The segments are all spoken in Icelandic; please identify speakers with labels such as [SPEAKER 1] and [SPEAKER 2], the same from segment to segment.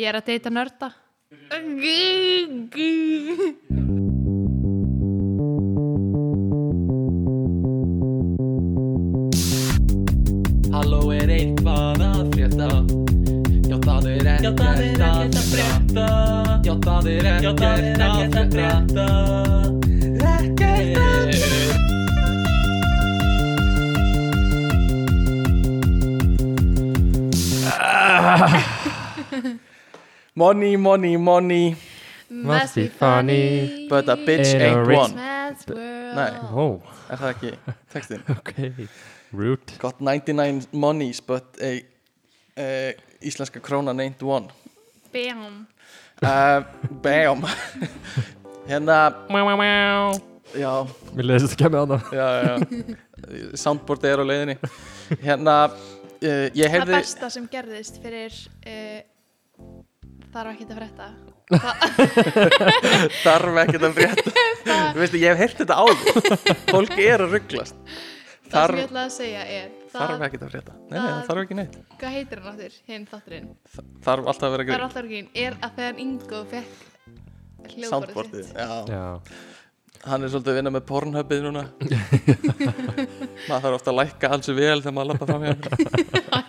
[SPEAKER 1] Ég er að deyta nörda.
[SPEAKER 2] Halló er eitthvað að frétta Já það er ekkert að frétta Já það er ekkert að frétta Ekkert að frétta
[SPEAKER 3] Money, money, money
[SPEAKER 1] Must
[SPEAKER 4] be funny,
[SPEAKER 3] But a bitch
[SPEAKER 4] In a
[SPEAKER 3] ain't
[SPEAKER 4] rich
[SPEAKER 3] one
[SPEAKER 1] Man's world.
[SPEAKER 3] Nei.
[SPEAKER 4] Ó,
[SPEAKER 3] Er það ekki textin?
[SPEAKER 4] ok Rude
[SPEAKER 3] Got 99 monies but a uh, Íslenska krónan ain't one
[SPEAKER 1] Bam.
[SPEAKER 3] uh, Bam Hérna,
[SPEAKER 4] Mjá, mjá, mjá
[SPEAKER 3] já,
[SPEAKER 4] Mér leðist ekki að með hana
[SPEAKER 3] já, já Soundboard er á leiðinni Hérna, uh, ég
[SPEAKER 1] Það
[SPEAKER 3] heyrði
[SPEAKER 1] besta sem gerðist fyrir uh, þarf ekki að frétta.
[SPEAKER 3] Þarf ekkert að frétta Þú veistu, ég hef heyrt þetta áður Fólk er að rugglast
[SPEAKER 1] Það sem ég
[SPEAKER 3] Þarf,
[SPEAKER 1] ætlaði að segja er
[SPEAKER 3] þarf
[SPEAKER 1] það,
[SPEAKER 3] ekkert að frétta Nei, nei, það þarf ekki neitt
[SPEAKER 1] hvað heitir hann áttur, hinn þátturinn?
[SPEAKER 3] Þarf alltaf að vera
[SPEAKER 1] Það er
[SPEAKER 3] gauð
[SPEAKER 1] alltaf ekki er að þegar Ingo fekk hljóðborðið
[SPEAKER 3] Soundboardið,
[SPEAKER 1] sitt.
[SPEAKER 3] já
[SPEAKER 4] Já,
[SPEAKER 3] Hann er svolítið að vinna með pornhubið núna Maður þarf ofta að lækka alls vel þegar maður lappa fram hjá hann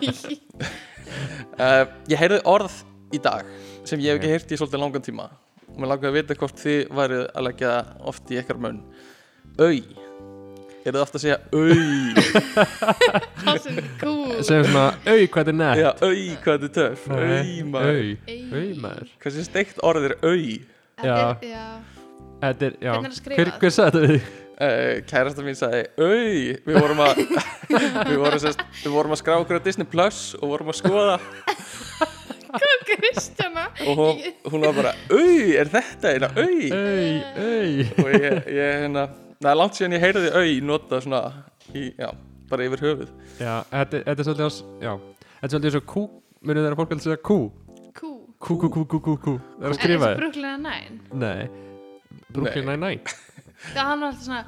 [SPEAKER 1] Æ,
[SPEAKER 3] uh, Ég heyrði orð í dag sem ég hef ekki heyrt í svolítið langan tíma og mér langar að vita hvort þið værið að leggja oft í ykkar mun Au Er þið ofta að segja au
[SPEAKER 1] það sem er cool.
[SPEAKER 4] segjum svona Au, hvað er nett?
[SPEAKER 3] Já, au, hvað þetta er töff Au, maður
[SPEAKER 4] Au, au maður
[SPEAKER 3] Hversu steikt orð er au
[SPEAKER 1] Þetta er- Já.
[SPEAKER 4] Þetta er, já
[SPEAKER 1] Hvernig er það skrifað?
[SPEAKER 4] Hver, hver sagði þetta við þig?
[SPEAKER 3] uh, Kærasta mín sagði au Við vorum að Við vorum, sest, við vorum að skrá okkur á Disney Plus og vorum að skoða
[SPEAKER 1] Hvað Kristjana?
[SPEAKER 3] og hún, hún var bara Au, er þetta eina au?
[SPEAKER 4] Au, au
[SPEAKER 3] Og ég, ég hérna Það er langt síðan ég heyrði au nota svona í, Já, bara yfir höfuð
[SPEAKER 4] Já, þetta er- þetta er svolítið ás Já, þetta er svolítið svo kú Munið þeirra fólk að segja kú
[SPEAKER 1] Kú.
[SPEAKER 4] Kú, kú, kú, kú, kú, kú Það er að
[SPEAKER 1] Er
[SPEAKER 4] skrifa
[SPEAKER 1] þessi
[SPEAKER 4] þér
[SPEAKER 1] brúklina næn?
[SPEAKER 4] Nei Brooklyn Nine-Nine
[SPEAKER 1] Það hann var alltaf svona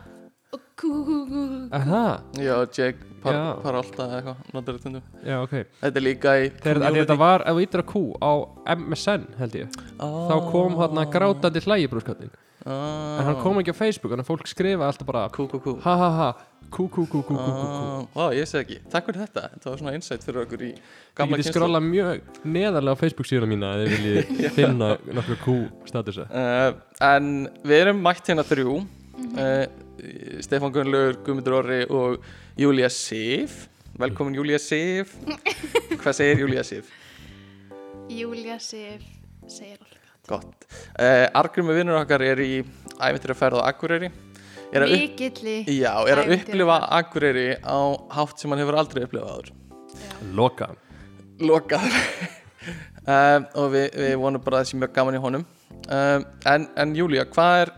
[SPEAKER 1] kú, kú, kú, kú, kú.
[SPEAKER 4] Aha,
[SPEAKER 3] Já, Jack par,
[SPEAKER 4] Já.
[SPEAKER 3] Parolta eða eitthvað notar þetta stundum.
[SPEAKER 4] já, ok
[SPEAKER 3] Þetta er líka í
[SPEAKER 4] Þegar að þetta var, ef þú ítir að kú á MSN held ég Þá kom hann að grátandi hlægi brúskattin En hann kom ekki á Facebook Þannig að fólk skrifa alltaf bara
[SPEAKER 3] Ah. Kú, kú, kú
[SPEAKER 4] Ha ha ha Kú kú kú kú kú kú kú
[SPEAKER 3] Ah, Vá, ég segi ekki Takk fyrir þetta Þetta var svona insight fyrir okkur í
[SPEAKER 4] Þið
[SPEAKER 3] gamla
[SPEAKER 4] getið skrolla mjög neðarlega á Facebook síðuna mína Ef þið viljið finna nokkur kú statusa
[SPEAKER 3] uh, En við erum mætt hérna þrjú uh, Stefán Gunnlaugur, Guðmundur Orri og Júlia Sif Velkomin Júlia Sif Hvað segir Júlia Sif?
[SPEAKER 1] Júlia Sif segir alltaf.
[SPEAKER 3] Gott uh, Argrimi vinnur okkar er í æfintir að ferða á Akureyri er að, upp,
[SPEAKER 1] Mikilli.
[SPEAKER 3] já, er að upplifa
[SPEAKER 1] Ævintýraferð.
[SPEAKER 3] Akureyri á hátt sem hann hefur aldrei upplifað áður
[SPEAKER 4] Loka
[SPEAKER 3] lokaður um, og við, við vonum bara að það sé mjög gaman í honum um, en, en Júlía, hvað er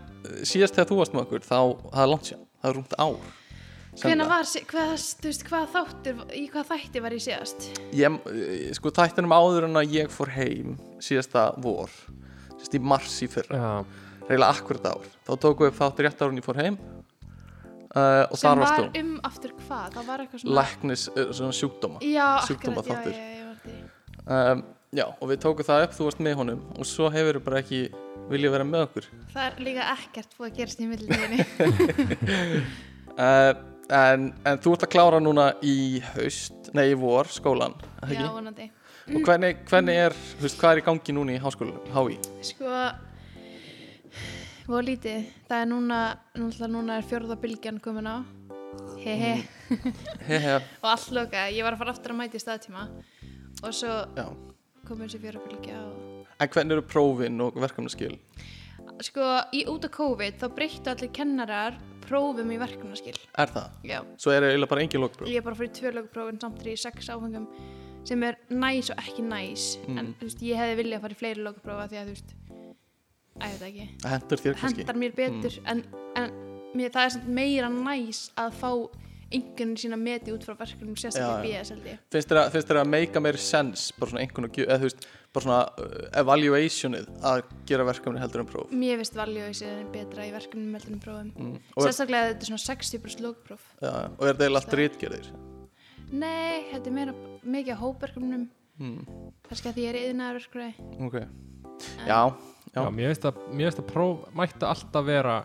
[SPEAKER 3] síðast þegar þú varst með okkur þá, það er langt sér, það er rúmt ár
[SPEAKER 1] Hvenær
[SPEAKER 3] sennilega.
[SPEAKER 1] var, sí- hvað, þú veist, hvað þáttur, í hvað þætti var ég síðast?
[SPEAKER 3] ég, eh, sko tættinum áður en að ég fór heim síðasta vor síðast í mars í fyrra,
[SPEAKER 4] Já
[SPEAKER 3] reyla akkurat ár þá tókum við þáttur rétt árun ég fór heim uh, og
[SPEAKER 1] Sem
[SPEAKER 3] þar
[SPEAKER 1] var
[SPEAKER 3] varst þú
[SPEAKER 1] um aftur hvað? Það var eitthvað svona.
[SPEAKER 3] læknis, uh, svona sjúkdóma
[SPEAKER 1] Já,
[SPEAKER 3] sjúkdóma
[SPEAKER 1] akkurat, já,
[SPEAKER 3] þáttur
[SPEAKER 1] já, já, ég var til. í.
[SPEAKER 3] um, já, og við tókum það upp, þú varst með honum og svo hefur bara ekki viljað vera með okkur
[SPEAKER 1] Það er líka ekkert búið að gerast í millitíðinni.
[SPEAKER 3] Uh, en, en þú ert að klára núna í haust, nei í vor, skólan er það
[SPEAKER 1] já,
[SPEAKER 3] ekki?
[SPEAKER 1] vonandi.
[SPEAKER 3] og hvernig, hvernig er, þú veist, hvað er í gangi núna í háskóla, HÍ?
[SPEAKER 1] Sko, voru lítið. Það er núna, núna, núna er fjórða bylgjan komin á. Hehe.
[SPEAKER 3] Mm. Hehe,
[SPEAKER 1] og allt lokaði, ég var að fara aftur að mæta í staðtíma og svo
[SPEAKER 3] já
[SPEAKER 1] kom þessi fjórabylgja og
[SPEAKER 3] en hvernig eru prófin og verkefnaskil
[SPEAKER 1] sko, í út af COVID þá breyttu allir kennarar prófum í verkefnaskil
[SPEAKER 3] er það?
[SPEAKER 1] já,
[SPEAKER 3] svo er eiginlega bara engin lokpróf
[SPEAKER 1] ég er bara fyrir tvölöguprófin samt þegar í sex áfengum sem er næs og ekki næs
[SPEAKER 3] Mm.
[SPEAKER 1] en þú veist, ég hefði viljað að fara í fleiri löguprófa því að þú veist, að þetta ekki
[SPEAKER 3] það hendur þér kannski
[SPEAKER 1] hendar mér betur
[SPEAKER 3] Mm.
[SPEAKER 1] en, en mér, það er samt meira næs að fá einhvern sína meti út frá verkefnum sérstaklega
[SPEAKER 3] Já, já.
[SPEAKER 1] BS held ég
[SPEAKER 3] finnst þér að, finnst þér að meika meiri sens bara svona einhvern og eða þú veist, bara svona uh, evaluationið að gera verkefni heldur en próf
[SPEAKER 1] Mér finnst valjóðisinn betra í verkefnum heldur en prófum. Mm.
[SPEAKER 3] Og-
[SPEAKER 1] Sérstaklega þetta er svona 60% lókpróf.
[SPEAKER 3] já, og er það eiginlega allt rítgerðir
[SPEAKER 1] Nei, þetta er meira mikið á hópverkefnum
[SPEAKER 3] mm,
[SPEAKER 1] kannski að því ég er yðnaður öskræði
[SPEAKER 3] ok já,
[SPEAKER 4] Já,
[SPEAKER 3] Já.
[SPEAKER 4] mér finnst að, mér finnst að próf mætti alltaf vera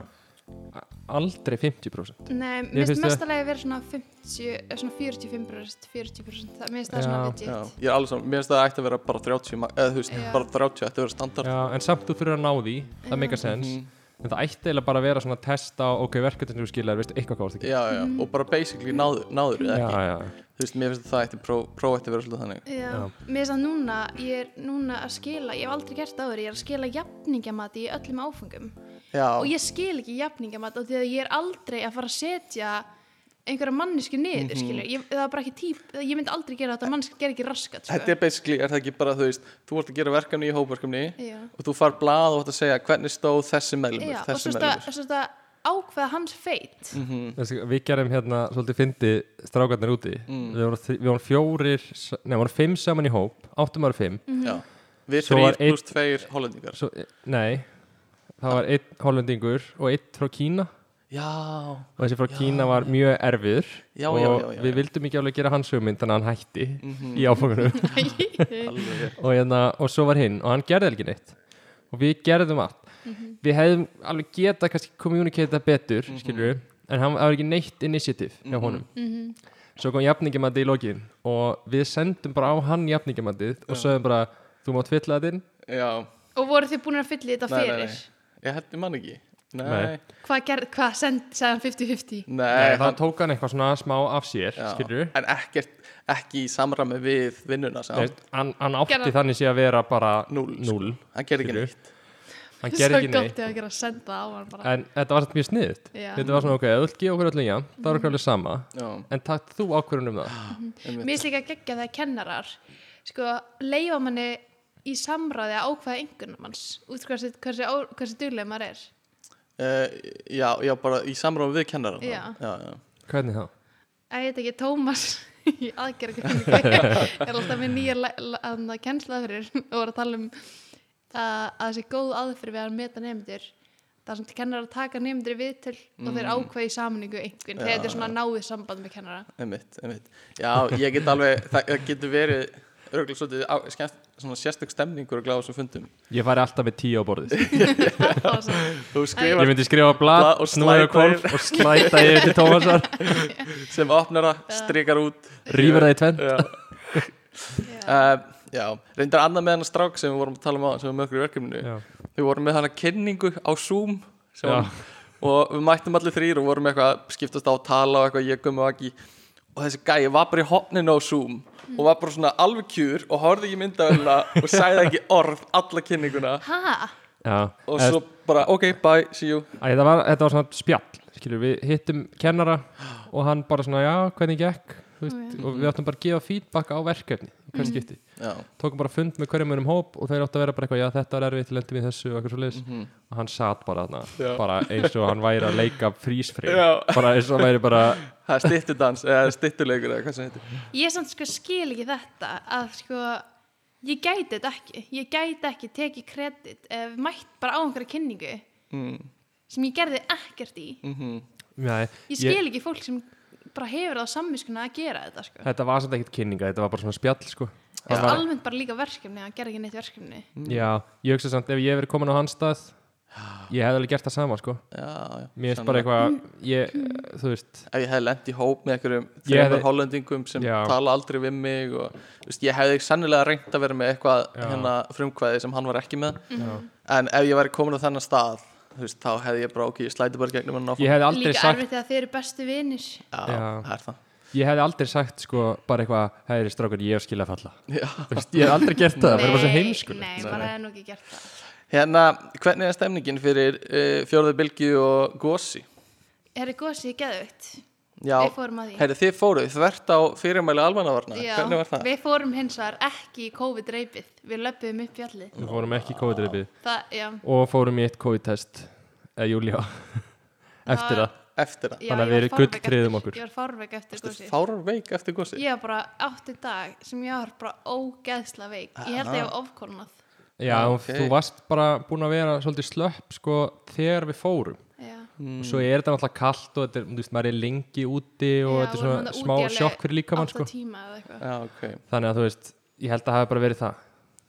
[SPEAKER 4] a- aldrei 50%
[SPEAKER 1] Nei, mér
[SPEAKER 4] finnst
[SPEAKER 1] finnst
[SPEAKER 4] það-
[SPEAKER 1] mest að vera svona 50, eh, svona 45% 40%, það, mér finnst það svona
[SPEAKER 4] Já.
[SPEAKER 1] legit
[SPEAKER 3] já, ég er alveg saman mér finnst að það ætti að vera bara 30 ma- eða þú veist,
[SPEAKER 1] Já.
[SPEAKER 3] bara 30 ætti að vera standard
[SPEAKER 4] Já, en samt þú þurfir að ná því, það
[SPEAKER 1] Já.
[SPEAKER 4] meika sens
[SPEAKER 3] Mhm.
[SPEAKER 4] en það ætti eiginlega bara að vera svona test á ok, verkefni sem þú skilar, veistu, eitthvað hvað þú ert að
[SPEAKER 3] já, já, og bara basically náður, náður eða
[SPEAKER 4] gera.
[SPEAKER 3] ekki,
[SPEAKER 4] já, já,
[SPEAKER 3] þú veist, mér finnst að það ætti próf, próf ætti að vera svolítið þannig
[SPEAKER 1] Já. mér finnst að núna, ég er núna að skila, ég hef aldrei gert það áður, ég er að skila jafningamati í öllum áfengum og
[SPEAKER 3] já,
[SPEAKER 1] ég skil ekki jafningamat af því að ég er aldrei að fara að setja einhverja mannesku niður, mm
[SPEAKER 3] Mhm.
[SPEAKER 1] -hmm. ég, það er bara ekki típ, ég myndi aldrei gera þetta, mannesku ger ekki raskat sko.
[SPEAKER 3] þetta er basically, er það ekki bara þú veist, þú ert að gera verkefni í hópverkefni
[SPEAKER 1] Já.
[SPEAKER 3] og þú far blað og ætti að segja hvernig stóð þessi meðlumur,
[SPEAKER 1] Já, og
[SPEAKER 3] þessi
[SPEAKER 1] svo
[SPEAKER 3] meðlumur
[SPEAKER 1] þetta ákveða hans feit
[SPEAKER 3] Mhm. Mm.
[SPEAKER 4] Þessi, við gerum hérna svolítið fyndi strákarnir úti
[SPEAKER 3] Mm.
[SPEAKER 4] við, vorum, þri- við vorum fjórir s- nei, við vorum fimm saman í hóp, áttum ára fimm
[SPEAKER 3] já, við
[SPEAKER 4] Svo var
[SPEAKER 3] þrýr pluss tveir hollendingar
[SPEAKER 4] svo, e, nei það var einn hollendingur og einn frá Kína
[SPEAKER 3] já,
[SPEAKER 4] og þessi frá Kína var mjög erfiður
[SPEAKER 3] Já, já,
[SPEAKER 4] og
[SPEAKER 3] já, já, já. Mm.
[SPEAKER 4] við vildum ekki alveg gera hans hugmynd þannig að hann hætti í áfangunum
[SPEAKER 3] Mhm. alveg
[SPEAKER 4] og, hérna, og svo var hinn og hann gerði ekki neitt og við gerðum allt
[SPEAKER 3] Mhm.
[SPEAKER 4] við hefðum alveg getað kannski kommunikata betur mm en hann það var ekki neitt initiative hjá
[SPEAKER 3] Mhm.
[SPEAKER 4] honum svo kom jafningamandi í lokin og við sendum bara á hann jafningamatið og sögum bara þú mátt fylla þetta inn
[SPEAKER 3] Já,
[SPEAKER 1] og voru þið búin að fylla þetta
[SPEAKER 3] nei,
[SPEAKER 1] fyrir
[SPEAKER 3] nei, nei Ég held ég man ekki Nei,
[SPEAKER 4] Nei.
[SPEAKER 3] nei,
[SPEAKER 1] hvað, ger, hvað send, sagði hann 50-50
[SPEAKER 4] Nei, þá
[SPEAKER 3] hann-
[SPEAKER 4] tók hann eitthvað svona smá af sér
[SPEAKER 3] já,
[SPEAKER 4] skilur
[SPEAKER 3] En ekkert, ekki í samræmi við vinnuna sem hann,
[SPEAKER 4] hann, hann átti
[SPEAKER 1] Gerði-
[SPEAKER 4] þannig sé að vera bara
[SPEAKER 3] Núll, sko.
[SPEAKER 4] núll.
[SPEAKER 3] hann gerði ekki
[SPEAKER 4] skilurðu.
[SPEAKER 3] neitt
[SPEAKER 4] hann
[SPEAKER 1] svo
[SPEAKER 4] gerði ekki
[SPEAKER 1] gott
[SPEAKER 4] neitt
[SPEAKER 1] ef að gera að senda á hann bara
[SPEAKER 4] en þetta var satt mjög sniðut
[SPEAKER 1] Já. Mhm.
[SPEAKER 4] þetta var svona ok, öll gefa okkur öllum já það var okkur alveg sama
[SPEAKER 3] Já,
[SPEAKER 4] en takk þú ákvörðun um það
[SPEAKER 1] mér
[SPEAKER 3] einmitt.
[SPEAKER 1] finnst líka geggja þegar kennarar sko, leifa manni í samráði að ákveða einhvernum hans út hversi, hversi, á- hversi duglega maður er
[SPEAKER 3] Eh, já, já, bara í samræmi við kennarann
[SPEAKER 1] Já.
[SPEAKER 3] já, já.
[SPEAKER 4] hvernig þá?
[SPEAKER 1] að ég heit ekki Tómas í aðgerð er alltaf með nýja la- la- þarna kennsluaðferðir og voru að tala um að, að þessi góð aðferð við að meta nefndir það sem kennarar taka nefndir við til og
[SPEAKER 4] Mm.
[SPEAKER 1] þeir ákveði í samningu einhvern þegar þetta er svona náið samband með kennara
[SPEAKER 3] Einmitt, einmitt. Já, ég get alveg, það, það getur verið örgulega svolítið á, skemmt, svona sérstök stemningur að gláða þessum fundum
[SPEAKER 4] ég fari alltaf með tíu á borðið
[SPEAKER 1] Það var svona-
[SPEAKER 3] Þú
[SPEAKER 4] ég
[SPEAKER 3] skrifar
[SPEAKER 4] myndi skrifa blad,
[SPEAKER 3] Blað og
[SPEAKER 4] snúða
[SPEAKER 3] slæta
[SPEAKER 4] kólf og slæta yfir til Tómasar
[SPEAKER 3] sem opnar það, strikar út
[SPEAKER 4] rýfur það í tvenn
[SPEAKER 3] Já,
[SPEAKER 1] já.
[SPEAKER 3] uh, já. reyndar annað með hann strák sem við vorum að tala um á sem við mögur í verkefninu
[SPEAKER 4] Já.
[SPEAKER 3] við vorum með hana kynningu á Zoom sem,
[SPEAKER 4] Já.
[SPEAKER 3] og við mættum allir þrýr og vorum eitthvað að skiptast á að tala og eitthvað ég gummi og ekki og þessi gæi var bara í hopninu á Zoom og var bara svona alveg kjur og horfði ekki myndavelina og sagði ekki orð alla kynninguna
[SPEAKER 1] ha,
[SPEAKER 4] Já,
[SPEAKER 3] og
[SPEAKER 4] eða-
[SPEAKER 3] svo bara ok, bye, see you
[SPEAKER 4] Æ, það var, þetta var svona spjall skilur, við hittum kennara og hann bara svona, já, hvernig gekk þú veist, og við áttum bara að gefa feedback á verkefni í
[SPEAKER 1] Mhm.
[SPEAKER 4] hvert skipti,
[SPEAKER 3] já,
[SPEAKER 4] tókum bara fund með hverjum einum hóp og þeir áttu að vera bara eitthvað, já, þetta er erfitt lendum í þessu og eitthvað svo
[SPEAKER 1] Mhm.
[SPEAKER 4] og hann satt bara þarna,
[SPEAKER 3] Já.
[SPEAKER 4] bara eins og hann væri að leika frísfrið,
[SPEAKER 3] Já.
[SPEAKER 4] bara eins og hann væri bara
[SPEAKER 3] það er styttudans eða styttuleikur eða hvað sem heitir
[SPEAKER 1] ég samt sko skil ekki þetta að sko ég gæti þetta ekki ég gæti ekki tekið kredit ef mætt bara á einhverja kynningu
[SPEAKER 3] mm,
[SPEAKER 1] sem ég gerði ekkert í
[SPEAKER 3] mm
[SPEAKER 4] Nei,
[SPEAKER 1] ég skil ekki fólk sem bara hefur það á sammiskuna að gera þetta sko.
[SPEAKER 4] þetta var samt ekkert kynninga, þetta var bara svona spjall sko.
[SPEAKER 1] Þú veist,
[SPEAKER 4] var-
[SPEAKER 1] almennt bara líka verkefni hann gerði ekki neitt verkefni
[SPEAKER 4] já, ég hugsa samt ef ég hef verið komin á hans stað ég hef alveg gert það sama sko.
[SPEAKER 3] já, já,
[SPEAKER 4] mér finnst
[SPEAKER 3] sannlega.
[SPEAKER 4] bara eitthvað ég, þú veist,
[SPEAKER 3] ef ég hefði lent í hóp með einhverjum
[SPEAKER 4] Ég
[SPEAKER 3] þreymur
[SPEAKER 4] hefði-
[SPEAKER 3] hollendingum sem
[SPEAKER 4] Já.
[SPEAKER 3] tala aldrei við mig og þú veist, ég hefði sannilega reynt að vera með eitthvað
[SPEAKER 4] Já.
[SPEAKER 3] hérna frumkvæði sem hann var ekki með en ef ég væri komin á þennan stað þú veist, þá hefði ég bara ok, ég slæti bara gegnum hann áfram
[SPEAKER 4] ég hefði aldrei
[SPEAKER 1] líka
[SPEAKER 4] sagt
[SPEAKER 1] erfitt þegar þeir eru bestu vinir
[SPEAKER 3] já,
[SPEAKER 4] Já.
[SPEAKER 3] það er það
[SPEAKER 4] Ég hefði aldrei sagt sko bara eitthvað Hæri strákur, ég hef skilað falla
[SPEAKER 3] já.
[SPEAKER 4] Þú veist, Ég hef aldrei gert það, það er bara svo
[SPEAKER 1] nei,
[SPEAKER 4] heimskulegt
[SPEAKER 1] nei, maður hefði nú ekki gert það
[SPEAKER 3] hérna, hvernig er stemningin fyrir uh, fjórðu bylgi og gósi
[SPEAKER 1] Herri gósið geðvögt
[SPEAKER 3] já,
[SPEAKER 1] Við fórum að því.
[SPEAKER 3] herri, þið fóruð þvert á fyrirmæli almannavarna, hvernig var það?
[SPEAKER 1] við fórum hins vegar ekki í COVID-reipið við löpum upp fjallið
[SPEAKER 4] Við fórum ekki í COVID-reipið
[SPEAKER 1] það, já,
[SPEAKER 4] Og fórum í eitt COVID-test Eða Júlía
[SPEAKER 1] Ah.
[SPEAKER 4] Eftir það
[SPEAKER 3] eftir það,
[SPEAKER 1] já,
[SPEAKER 4] Þannig að
[SPEAKER 1] ég var
[SPEAKER 4] við erum
[SPEAKER 1] fárveik
[SPEAKER 4] gulltryggðum
[SPEAKER 1] eftir-
[SPEAKER 4] okkur.
[SPEAKER 1] ég var farveg eftir gósið
[SPEAKER 3] fárar veik eftir gósi
[SPEAKER 1] ég var bara átti dag sem ég var bara ógeðsla veik ég held að
[SPEAKER 3] Ah.
[SPEAKER 1] ég var ofkonað
[SPEAKER 4] Já,
[SPEAKER 3] Ok.
[SPEAKER 4] þú varst bara búin að vera svolítið slöpp sko þegar við fórum
[SPEAKER 1] já,
[SPEAKER 4] og
[SPEAKER 3] Hmm.
[SPEAKER 4] svo er þetta náttúrulega kalt og þetta er, þú veist, maður er lengi úti og
[SPEAKER 1] Já,
[SPEAKER 4] þetta er
[SPEAKER 1] vorum þarna
[SPEAKER 4] svona smá
[SPEAKER 1] úti alveg
[SPEAKER 4] sjokk fyrir líkamann
[SPEAKER 1] átta
[SPEAKER 4] sko
[SPEAKER 1] tíma eða eitthvað
[SPEAKER 3] já, ok
[SPEAKER 4] Þannig að þú veist, ég held að það hafi bara verið það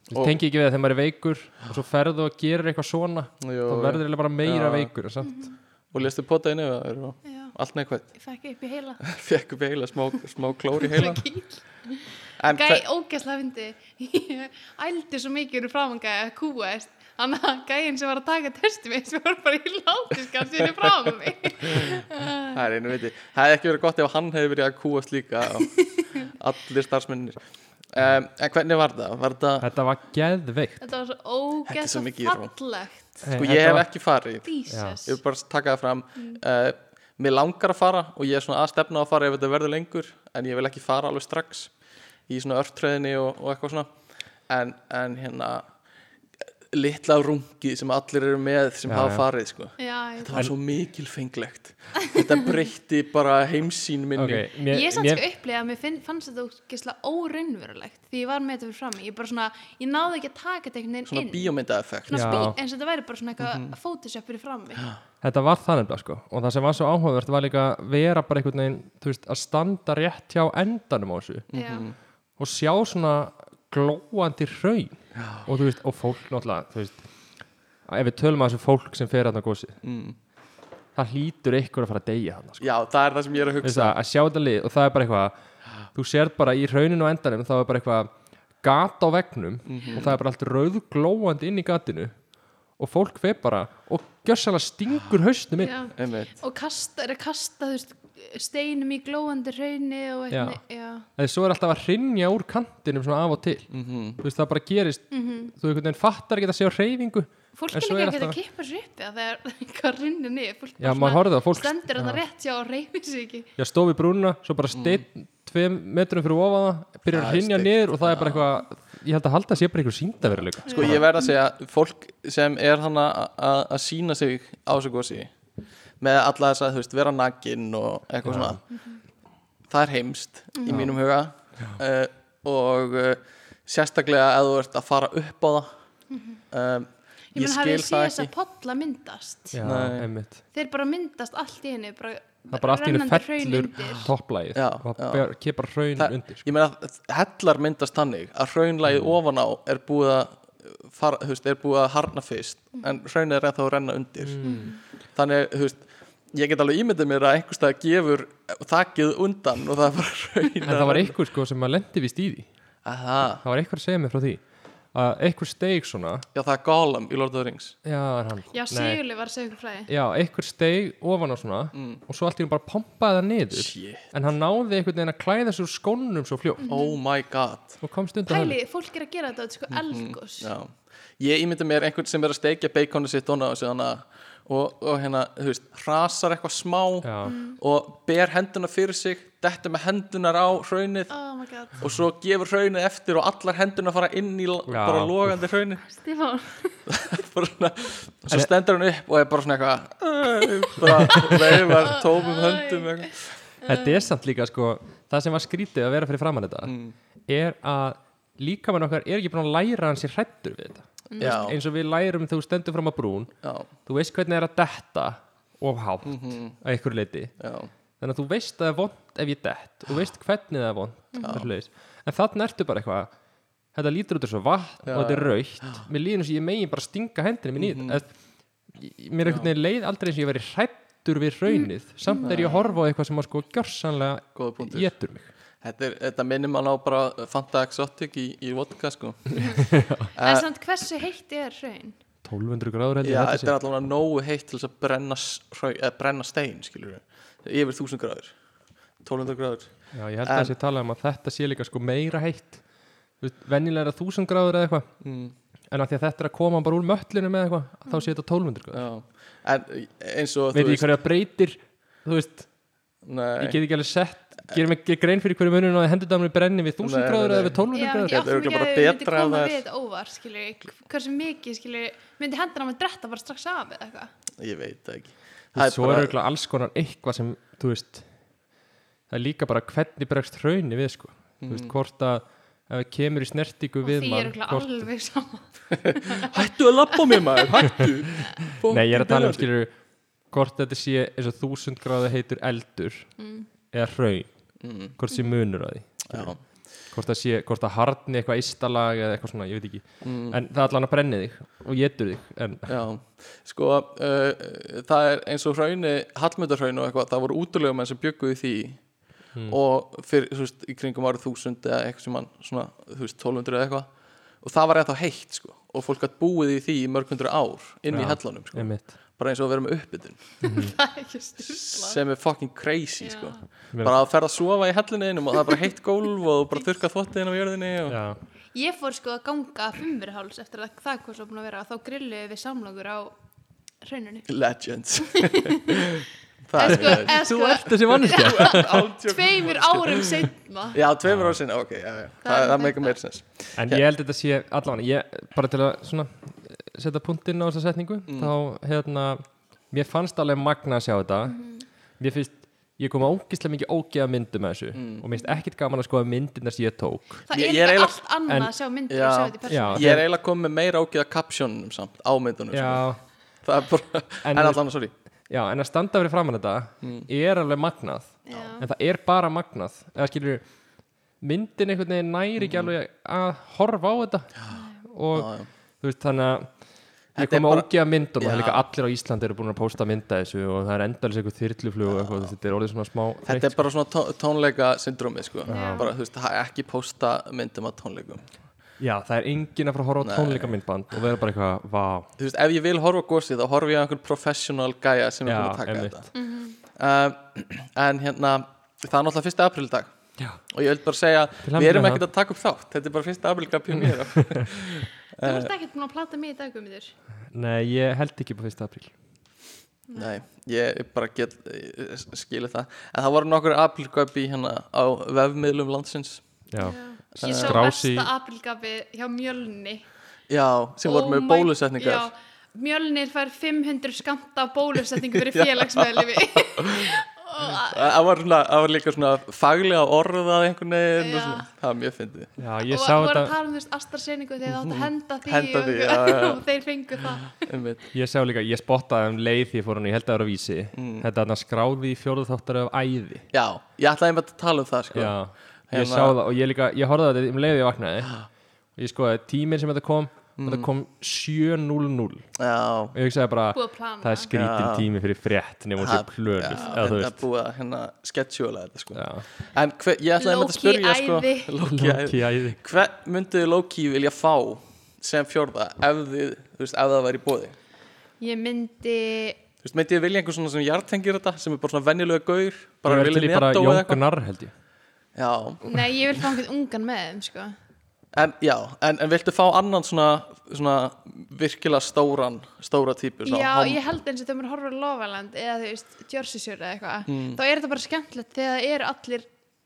[SPEAKER 4] Þú
[SPEAKER 3] Og-
[SPEAKER 4] tengi ekki við að þegar maður er veikur og svo ferðu og gerir eitthvað svona
[SPEAKER 3] Jú,
[SPEAKER 4] þá verður eiginlega bara meira
[SPEAKER 3] Já.
[SPEAKER 4] veikur en samt.
[SPEAKER 1] Mhm.
[SPEAKER 3] og lestu potaði nefn og
[SPEAKER 1] já,
[SPEAKER 3] allt neikvægt
[SPEAKER 1] ég fekk upp í heila
[SPEAKER 3] fekk upp í heila, smá, smá klór í heila
[SPEAKER 1] Svo kíl.
[SPEAKER 3] en
[SPEAKER 1] Gæ,
[SPEAKER 3] það-
[SPEAKER 1] ógæslega fyndi Ég ældi svo mikið úr framangæði að kúaðist Þannig að gæinn sem var að taka testi mig sem var bara í látiskap sem er fram mig Eh,
[SPEAKER 3] það er einu viti það hefði ekki verið gott ef hann hefði verið að kúast líka á allir starfsmennir um, en hvernig var það? Var það
[SPEAKER 4] þetta var geðveikt
[SPEAKER 1] Þetta var svo
[SPEAKER 3] Þetta er svo mikið
[SPEAKER 1] ógæslega
[SPEAKER 3] rúm.
[SPEAKER 1] fallegt
[SPEAKER 3] sko, ég hef ekki farið
[SPEAKER 1] Jesus
[SPEAKER 3] ég vil bara taka það fram uh, mér langar að fara og ég er svona að stefna á að fara ef þetta verður lengur en ég vil ekki fara alveg strax í svona örtröðinni og, og eitthvað svona en, en hérna litla rungi sem allir eru með sem
[SPEAKER 4] Já,
[SPEAKER 3] hafa
[SPEAKER 4] já.
[SPEAKER 3] farið sko
[SPEAKER 1] Já, ég,
[SPEAKER 3] þetta var svo mikilfenglegt þetta breytti bara heimsín minni
[SPEAKER 4] okay, mér,
[SPEAKER 1] ég samt
[SPEAKER 4] mér-
[SPEAKER 1] sko upplega að mér finn, fannst þetta ógæslega óraunverulegt því ég var með þetta fyrir fram mig. ég bara svona, ég náði ekki að taka þetta einhvern
[SPEAKER 3] svona
[SPEAKER 1] veginn inn
[SPEAKER 3] bíómyndaeffekt
[SPEAKER 1] svona
[SPEAKER 4] Já. Mhm.
[SPEAKER 1] spí, eins og þetta væri bara svona eitthvað mm fyrir fram mig
[SPEAKER 4] þetta var það nefnilega sko og það sem var svo áhugavert var líka að vera bara einhvern veginn þú veist, að standa rétt hjá endanum á þessu
[SPEAKER 1] Já,
[SPEAKER 4] Mhm. og sjá svona glóandi hraun og, þú veist, og fólk náttúrulega þú veist, ef við tölum að þessu fólk sem fer hann á gósi
[SPEAKER 3] Mm.
[SPEAKER 4] það hlýtur eitthvað að fara að deyja hann sko.
[SPEAKER 3] já það er það sem ég er að
[SPEAKER 4] Veist
[SPEAKER 3] hugsa
[SPEAKER 4] það, að sjá þetta lið og það er bara eitthvað þú sér bara í rauninu og endanum þá er bara eitthvað gat á vegnum
[SPEAKER 3] Mhm.
[SPEAKER 4] og það er bara allt rauðglóandi inn í gatinu og fólk veið bara og gjössalega stingur haustum inn
[SPEAKER 1] já.
[SPEAKER 3] einmitt
[SPEAKER 1] og kasta, er að kasta þú veist, steinum í glóandi raunni og eitthvað, já,
[SPEAKER 4] eða svo er alltaf að hrynja úr kantinum svona af og til
[SPEAKER 3] Mhm.
[SPEAKER 4] þú veist það bara gerist
[SPEAKER 1] Mhm.
[SPEAKER 4] þú einhvern veginn fattar ekki að sjá hreyfingu
[SPEAKER 1] fólk
[SPEAKER 4] En
[SPEAKER 1] er
[SPEAKER 4] svo
[SPEAKER 1] líka
[SPEAKER 4] er
[SPEAKER 1] ekki að
[SPEAKER 4] alltaf-
[SPEAKER 1] kippa sér upp eða þegar eitthvað rinnir niður fólk
[SPEAKER 4] já
[SPEAKER 1] bara
[SPEAKER 4] maður horfði á fólk
[SPEAKER 1] stendur
[SPEAKER 4] já.
[SPEAKER 1] þetta rétt hjá og reyfir sig ekki
[SPEAKER 4] Já, stóð við brúnuna, svo
[SPEAKER 3] Mhm.
[SPEAKER 4] bara steinn tveim metrum fyrir ofan það, byrjar
[SPEAKER 3] Það
[SPEAKER 4] að
[SPEAKER 3] er
[SPEAKER 4] hrynja
[SPEAKER 3] steikt.
[SPEAKER 4] niður og það er bara eitthvað, ég held að halda að sé bara eitthvað síndaveruleika.
[SPEAKER 3] Sko ég verð að segja fólk sem er hann að sína sig á þessu gósi með alla þess að þú veist vera nakin og eitthvað svona það er heimst
[SPEAKER 1] Mhm.
[SPEAKER 3] í mínum huga uh, og uh, sérstaklega að þú ert að fara upp á það um,
[SPEAKER 1] Mhm. ég,
[SPEAKER 3] ég,
[SPEAKER 1] menn hafið þið
[SPEAKER 3] skil
[SPEAKER 1] séð
[SPEAKER 3] það
[SPEAKER 1] þess
[SPEAKER 3] ekki
[SPEAKER 1] að podla myndast
[SPEAKER 4] Já,
[SPEAKER 3] Nei.
[SPEAKER 4] einmitt.
[SPEAKER 1] þeir bara myndast allt í hennu bara,
[SPEAKER 4] Það er bara allt í hennu
[SPEAKER 1] rennandi hraun
[SPEAKER 4] fellur
[SPEAKER 1] undir.
[SPEAKER 4] topplægið
[SPEAKER 3] Já,
[SPEAKER 4] og
[SPEAKER 3] já.
[SPEAKER 4] það ber- kemur bara hraun
[SPEAKER 3] Það-
[SPEAKER 4] undir. sko. Mm.
[SPEAKER 3] ég meina að hellar myndast þannig að hraunlægið ofan á er búið að fara, þú veist, er búið að harna fyrst en hraunið er ennþá að renna undir
[SPEAKER 4] Mm.
[SPEAKER 3] þannig, þú veist ég get alveg ímyndið mér að einhvers staðar gefur þakið undan og það er bara hraun
[SPEAKER 4] En það var einhver sko sem maður lendi vist í því.
[SPEAKER 3] Aha,
[SPEAKER 4] Það var einhver að segja mér frá því. Að einhver steig svona,
[SPEAKER 3] já það er Gollum í Lord of the Rings
[SPEAKER 4] já, er hann.
[SPEAKER 1] já,
[SPEAKER 4] Nei.
[SPEAKER 1] Sigurli var að segja ykkur fræði
[SPEAKER 4] Já, einhver steig ofan á svona og svo allt í hennu bara pompaði það niður.
[SPEAKER 3] Mm. Shit.
[SPEAKER 4] En hann náði einhvern veginn að klæða sér úr skónunum svo fljótt
[SPEAKER 3] oh my god
[SPEAKER 4] og komst undan henni.
[SPEAKER 1] pæli, fólk er að gera þetta, þetta er sko elgos
[SPEAKER 3] Mhm. já. ég ímyndið mér einhvern sem er að steikja baconu sitt ofan á þessu, þannig að- og, og hérna, þú veist, hrasar eitthvað smá
[SPEAKER 4] Já.
[SPEAKER 3] Mm. og ber henduna fyrir sig detta með hendunar á hraunið
[SPEAKER 1] oh my god,
[SPEAKER 3] og svo gefur hraunið eftir og allar hendurna fara inn í já. bara logandi hraunið
[SPEAKER 1] Stífán
[SPEAKER 3] Bara svona- og svo stendur hann upp og er bara svona eitthvað "Æ", bara veifar tómum höndum eitthvað.
[SPEAKER 4] Þetta er samt líka sko það sem var skrítið að vera fyrir framann þetta
[SPEAKER 3] Mm.
[SPEAKER 4] er að líkamann okkar er ekki búin að læra hann sér hrættur við þetta
[SPEAKER 3] já,
[SPEAKER 4] eins og við lærum þegar þú stendur fram að brún
[SPEAKER 3] já,
[SPEAKER 4] þú veist hvernig er að detta of hátt mm
[SPEAKER 3] Mhm.
[SPEAKER 4] að einhverju leiti
[SPEAKER 3] já
[SPEAKER 4] þannig að þú veist að það er vond ef ég dett þú veist hvernig það er vond mm. en þannig ertu bara eitthvað þetta lítur út þessu vatn og þetta er raukt mér líður eins og ég megin bara stinga hendinni minn í
[SPEAKER 3] Mhm.
[SPEAKER 4] þetta mm. mér er einhvern veginn leið aldrei eins og ég veri hrættur við raunnið samt er ég að horfa á eitthvað sem að sko gjörsanlega
[SPEAKER 3] Góður punktur.
[SPEAKER 4] getur mig
[SPEAKER 3] þetta, er, þetta minnir mann á bara Fanta Exotic í, í vodka sko Eh.
[SPEAKER 1] en samt hversu heitt er hraun
[SPEAKER 4] 1200 gráður heldur
[SPEAKER 3] já, þetta er allavega nógu heitt til þess að brenna, s- hraun- eða brenna stein skilur við, yfir 1000 gráður 1200 gráður
[SPEAKER 4] Já, ég held að það sé talað um að þetta sé líka sko meira heitt Þú veist, venjulega er það 1000 gráður eða eitthvað en að því að þetta er að koma bara úr möllunum eða eitthvað þá sé þetta 1200 gráður
[SPEAKER 3] já. Sko. en eins og
[SPEAKER 4] veit ég hverju það breytir þú veist,
[SPEAKER 3] nei,
[SPEAKER 4] ég get ekki alveg sett gerum ekki grein fyrir hverju munum að hendudamunum brenni við 1000
[SPEAKER 3] Nei,
[SPEAKER 4] gráður
[SPEAKER 3] nei,
[SPEAKER 4] eða við 1200
[SPEAKER 1] myndi ég
[SPEAKER 3] Þetta
[SPEAKER 4] gráður
[SPEAKER 3] er
[SPEAKER 1] átta mig
[SPEAKER 3] örugglega
[SPEAKER 1] ekki
[SPEAKER 3] bara
[SPEAKER 1] að þau myndi koma
[SPEAKER 3] betra ef það er-
[SPEAKER 1] við þetta óvar skilur, hversu mikið skilur, myndi hendina maður dretta bara strax af eða eitthvað
[SPEAKER 3] ég veit það ekki
[SPEAKER 4] Þú veist, svo er auðvitað alls konar eitthvað sem þú veist, það er líka bara hvernig bregst hraunni við sko þú
[SPEAKER 3] Mm.
[SPEAKER 4] veist, hvort að ef það kemur í snertingu
[SPEAKER 1] og
[SPEAKER 4] við
[SPEAKER 1] því er
[SPEAKER 4] mann,
[SPEAKER 1] örugglega
[SPEAKER 4] hvort
[SPEAKER 1] alveg sama
[SPEAKER 3] Hættu að lappa mér maður, hættu
[SPEAKER 4] Nei, ég er að tala um skilur hvort þetta sé eins og
[SPEAKER 1] Mm.
[SPEAKER 4] þúsund Mm, gráða heitur eldur eða hraun, hvort sé munur að því
[SPEAKER 3] Mm, Já,
[SPEAKER 4] hvort það sé, hvort það harni eitthvað istalag eða eitthvað svona, ég veit ekki
[SPEAKER 3] mm.
[SPEAKER 4] en það allan að brenni þig og getur þig en
[SPEAKER 3] Já, sko uh, það er eins og hraunni Hallmundarhraun og eitthvað, það voru útulegum enn sem bygguði því
[SPEAKER 4] Mm.
[SPEAKER 3] og fyrir, þú veist, í kringum árið þúsund eða eitthvað sem mann, svona, þú veist, 1200 eða eitthvað og það var ennþá heitt, sko og fólk gætt búið í því í mörg hundru ár inn í
[SPEAKER 4] Já.
[SPEAKER 3] hellunum, sko,
[SPEAKER 4] einmitt
[SPEAKER 3] bara eins og að vera með uppbytun
[SPEAKER 1] það er ekki styrla
[SPEAKER 3] sem er fucking crazy, sko
[SPEAKER 1] Já.
[SPEAKER 3] bara að ferð að sofa í helluninum og það er bara heitt gólf og þú bara þurka þvottiðin á jörðinni og...
[SPEAKER 4] Já,
[SPEAKER 1] Ég fór sko að ganga fimmurháls eftir að það kom svo búin að vera þá grilluði við samlokur á hraununni
[SPEAKER 3] Legends
[SPEAKER 1] En
[SPEAKER 3] Það
[SPEAKER 1] sko,
[SPEAKER 3] er
[SPEAKER 1] en
[SPEAKER 4] Þú
[SPEAKER 1] sko
[SPEAKER 4] ert þessi manneskja
[SPEAKER 3] sko,
[SPEAKER 1] tveimur árum seinna
[SPEAKER 3] Já, tveimur ára sinna, ok, já, já.
[SPEAKER 1] Það
[SPEAKER 3] Það,
[SPEAKER 1] er
[SPEAKER 3] það make
[SPEAKER 1] þetta.
[SPEAKER 3] a sense
[SPEAKER 4] En ég held þetta sé allavega ég, bara til að svona eh, setja punktinn á þessa setningu þá hérna, mér fannst alveg magna að sjá þetta mér finnst, ég kom að ógislega mikið ógeða myndum að þessu og mér finnst ekkit gaman að skoða myndina sem ég tók
[SPEAKER 1] Það er
[SPEAKER 3] Ég- ég er
[SPEAKER 1] eitthvað
[SPEAKER 3] eiginlega-
[SPEAKER 1] allt annað
[SPEAKER 4] en-
[SPEAKER 1] að sjá myndir
[SPEAKER 3] Já.
[SPEAKER 1] og sjá þetta í
[SPEAKER 4] Já.
[SPEAKER 1] persónu.
[SPEAKER 3] Ég er eiginlega komið með meira ágjöða kapsjónunum samt á myndunum sko.
[SPEAKER 4] Já,
[SPEAKER 3] Það er bara,
[SPEAKER 4] En-
[SPEAKER 3] en, en allan, sorry
[SPEAKER 4] já, en að standa fyrir framan þetta
[SPEAKER 3] Mm.
[SPEAKER 4] er alveg magnað
[SPEAKER 1] Já.
[SPEAKER 4] en það er bara magnað eða skilur myndin einhvern veginn næri ekki alveg að horfa á þetta og
[SPEAKER 3] Mm. Já, já.
[SPEAKER 4] þú veist þannig að ég
[SPEAKER 3] Þetta er
[SPEAKER 4] kom að
[SPEAKER 3] bara-
[SPEAKER 4] ógeða myndum og það er
[SPEAKER 3] Já.
[SPEAKER 4] líka allir á Íslandi eru búin að pósta mynda þessu og það er endalis eitthvað þyrluflug og eitthvað, þetta er orðið svona smá
[SPEAKER 3] Þetta er bara svona tó tónleika syndrómið sko.
[SPEAKER 1] Já.
[SPEAKER 3] bara, þú veist, það er ekki pósta myndum að tónleikum
[SPEAKER 4] já, það er enginn að fara að horfa á
[SPEAKER 3] Nei.
[SPEAKER 4] tónleikamyndband og vera bara eitthvað, vá
[SPEAKER 3] Þú veist, ef ég vil horfa á gósið þá horfi ég á einhvern professional gæja sem er
[SPEAKER 4] Já,
[SPEAKER 3] búin að taka
[SPEAKER 4] einmitt.
[SPEAKER 3] þetta um, En hérna það er náttúrulega 1. apríl í dag
[SPEAKER 4] Já.
[SPEAKER 3] og ég vil bara segja,
[SPEAKER 4] hamingju
[SPEAKER 3] við erum
[SPEAKER 4] með
[SPEAKER 3] ekkert að taka upp þátt þetta er bara 1. apríl gaf pjónir
[SPEAKER 1] Þú ert
[SPEAKER 3] Eh.
[SPEAKER 1] ekkert búin að plata mig í dag, Guðmundur.
[SPEAKER 4] nei, ég held ekki på 1. apríl
[SPEAKER 3] Nei, ég bara get skilu það, en það voru nokkur aprilgöp í hérna á vefmiðlum landsins
[SPEAKER 4] já,
[SPEAKER 1] Ég sá
[SPEAKER 4] Skrási-
[SPEAKER 1] besta aprilgafi hjá Mjölni.
[SPEAKER 3] Já, sem
[SPEAKER 1] Oh
[SPEAKER 3] voru með
[SPEAKER 1] my-
[SPEAKER 3] bólusetningar
[SPEAKER 1] Já, Mjölnir fær 500 skamta af bólusetningu fyrir félagsmeðlifi.
[SPEAKER 3] Það var, svona, það var líka svona faglega orðað einhvern veginn og
[SPEAKER 1] Já.
[SPEAKER 3] svona, það var mjög fyndið
[SPEAKER 4] já, ég
[SPEAKER 1] og
[SPEAKER 4] sá
[SPEAKER 1] voru að
[SPEAKER 4] þetta
[SPEAKER 1] tala um þú veist astarseiningu þegar það átt að henda því,
[SPEAKER 3] Henda því,
[SPEAKER 1] og,
[SPEAKER 3] já, já.
[SPEAKER 1] og þeir fengu það.
[SPEAKER 3] einmitt.
[SPEAKER 4] ég sá líka, ég spottaði um leið því ég fór hann í heldaður á vísi
[SPEAKER 3] Mm.
[SPEAKER 4] þetta hann skráði í fjóruð þáttar af æði
[SPEAKER 3] Já, ég ætlaði einmitt að tala um það sko.
[SPEAKER 4] já,
[SPEAKER 3] Hérna-
[SPEAKER 4] ég sá það og ég líka, ég horfði að þetta um leið og ég vaknaði og ég skoði tíminn sem þetta kom
[SPEAKER 3] Mm.
[SPEAKER 4] þetta kom 7.00
[SPEAKER 3] Já,
[SPEAKER 4] og ég hugsaði bara
[SPEAKER 1] Búið að plana.
[SPEAKER 4] það er skrítin
[SPEAKER 3] Já.
[SPEAKER 4] tími fyrir frétt nema hún sé
[SPEAKER 3] það-
[SPEAKER 4] plönuð
[SPEAKER 3] já,
[SPEAKER 4] eða
[SPEAKER 3] þetta
[SPEAKER 4] þú
[SPEAKER 3] er
[SPEAKER 4] veist
[SPEAKER 3] búið að hérna, sketsjúla þetta sko.
[SPEAKER 4] já,
[SPEAKER 3] En hver, ég ætlaði einmitt að
[SPEAKER 1] Loki
[SPEAKER 3] spyrja sko,
[SPEAKER 1] æði.
[SPEAKER 3] Loki
[SPEAKER 4] Loki
[SPEAKER 3] æði.
[SPEAKER 4] æði
[SPEAKER 3] Hver mynduðu Loki vilja fá sem fjórða ef, þið, þú veist, ef það væri í bóði?
[SPEAKER 1] Ég myndi,
[SPEAKER 3] Þú veist, myndi ég vilja einhver svona sem jartengir þetta sem er bara svona venjulega gaur bara
[SPEAKER 4] ég er til í
[SPEAKER 3] vilja
[SPEAKER 4] bara
[SPEAKER 3] netto eða eitthvað
[SPEAKER 4] jóngunar held ég
[SPEAKER 3] Já,
[SPEAKER 1] nei, ég vil fá einhvern ungan með þeim, sko.
[SPEAKER 3] En, já, en, en viltu fá annan svona, svona virkilega stóran, stóra típu? svona
[SPEAKER 1] Já,
[SPEAKER 3] hám-
[SPEAKER 1] ég held eins og þegar maður horfir að Lofaland eða þú veist, Jersey Shore eða eitthvað
[SPEAKER 3] Mm.
[SPEAKER 1] þá er þetta bara skemmtilegt þegar það eru allir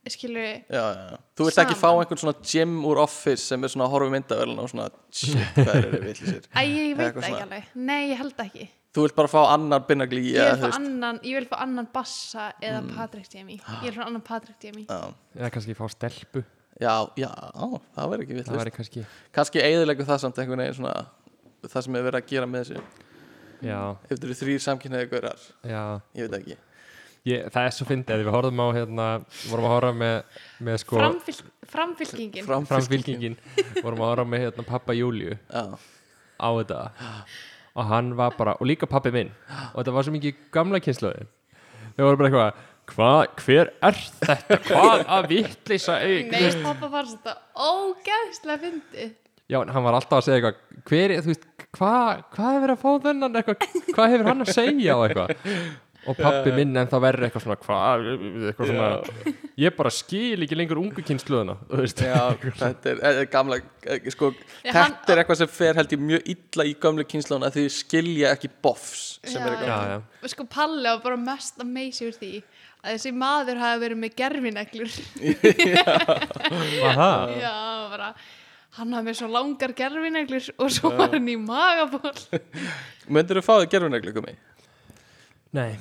[SPEAKER 1] skilur,
[SPEAKER 3] Já, já, já. Þú vilt ekki fá
[SPEAKER 1] Saman.
[SPEAKER 3] einhvern svona Jim úr Office sem er svona að horfa myndavelin og svona shit, hvað er þetta vitlisir?
[SPEAKER 1] að ég veit
[SPEAKER 3] Eða eitthvað
[SPEAKER 1] það ekki
[SPEAKER 3] svona.
[SPEAKER 1] alveg nei, ég held ekki ég
[SPEAKER 3] Þú vilt bara fá annan Binnagli í
[SPEAKER 1] vil, fá annan, ég vil fá annan Bassa eða Patrick Demi ég vil fá annan Patrick Demi
[SPEAKER 3] Já,
[SPEAKER 4] eða kannski fá stelpu
[SPEAKER 3] já, já, á, það verður ekki
[SPEAKER 4] það
[SPEAKER 3] vitlist.
[SPEAKER 4] væri kannski
[SPEAKER 3] Kannski eigðilegu það samt einhvern veginn svona það sem er verið að gera með þessu.
[SPEAKER 4] já,
[SPEAKER 3] Ef þetta eru þrýr samkynniði gaurar,
[SPEAKER 4] já
[SPEAKER 3] ég veit ekki.
[SPEAKER 4] ég, það er svo fyndið að við horfðum á hérna vorum að horfa með, með sko
[SPEAKER 1] Framfylg, framfylkingin
[SPEAKER 4] framfylkingin vorum að horfa með hérna pappa Júliu
[SPEAKER 3] Já,
[SPEAKER 4] á þetta og hann var bara, og líka pappi minn og þetta var svo mikið gamla kynslaðin þau voru bara eitthvað hva, hver er þetta, hvað að vittlýsa
[SPEAKER 1] nei, pappa var þetta ógæðslega fyndi
[SPEAKER 4] já, en hann var alltaf að segja eitthvað hver, er- þú veist, hvað hva hefur að fá þennan eitthvað, hvað hefur hann að segja og eitthvað og pappi minn en þá verður eitthvað svona hvað, eitthvað svona ég bara skil ekki lengur ungu kynsluðuna þú veist,
[SPEAKER 3] já þetta er, er gamla, eh, sko,
[SPEAKER 1] Já,
[SPEAKER 3] þetta
[SPEAKER 1] hann-
[SPEAKER 3] er eitthvað sem fer held ég mjög illa í gömlu kynslónu að þau skilja ekki boffs sem er
[SPEAKER 4] já,
[SPEAKER 3] eitthvað.
[SPEAKER 4] já,
[SPEAKER 1] og sko Palli var bara mest að meysi úr því að þessi maður hafi verið með gerfineglur
[SPEAKER 4] var það
[SPEAKER 1] Já, bara hann hafði með svo langar gerfineglur og svo var hann í magaból
[SPEAKER 3] Möndur þú fá þig gerfineglu komi?
[SPEAKER 4] nei,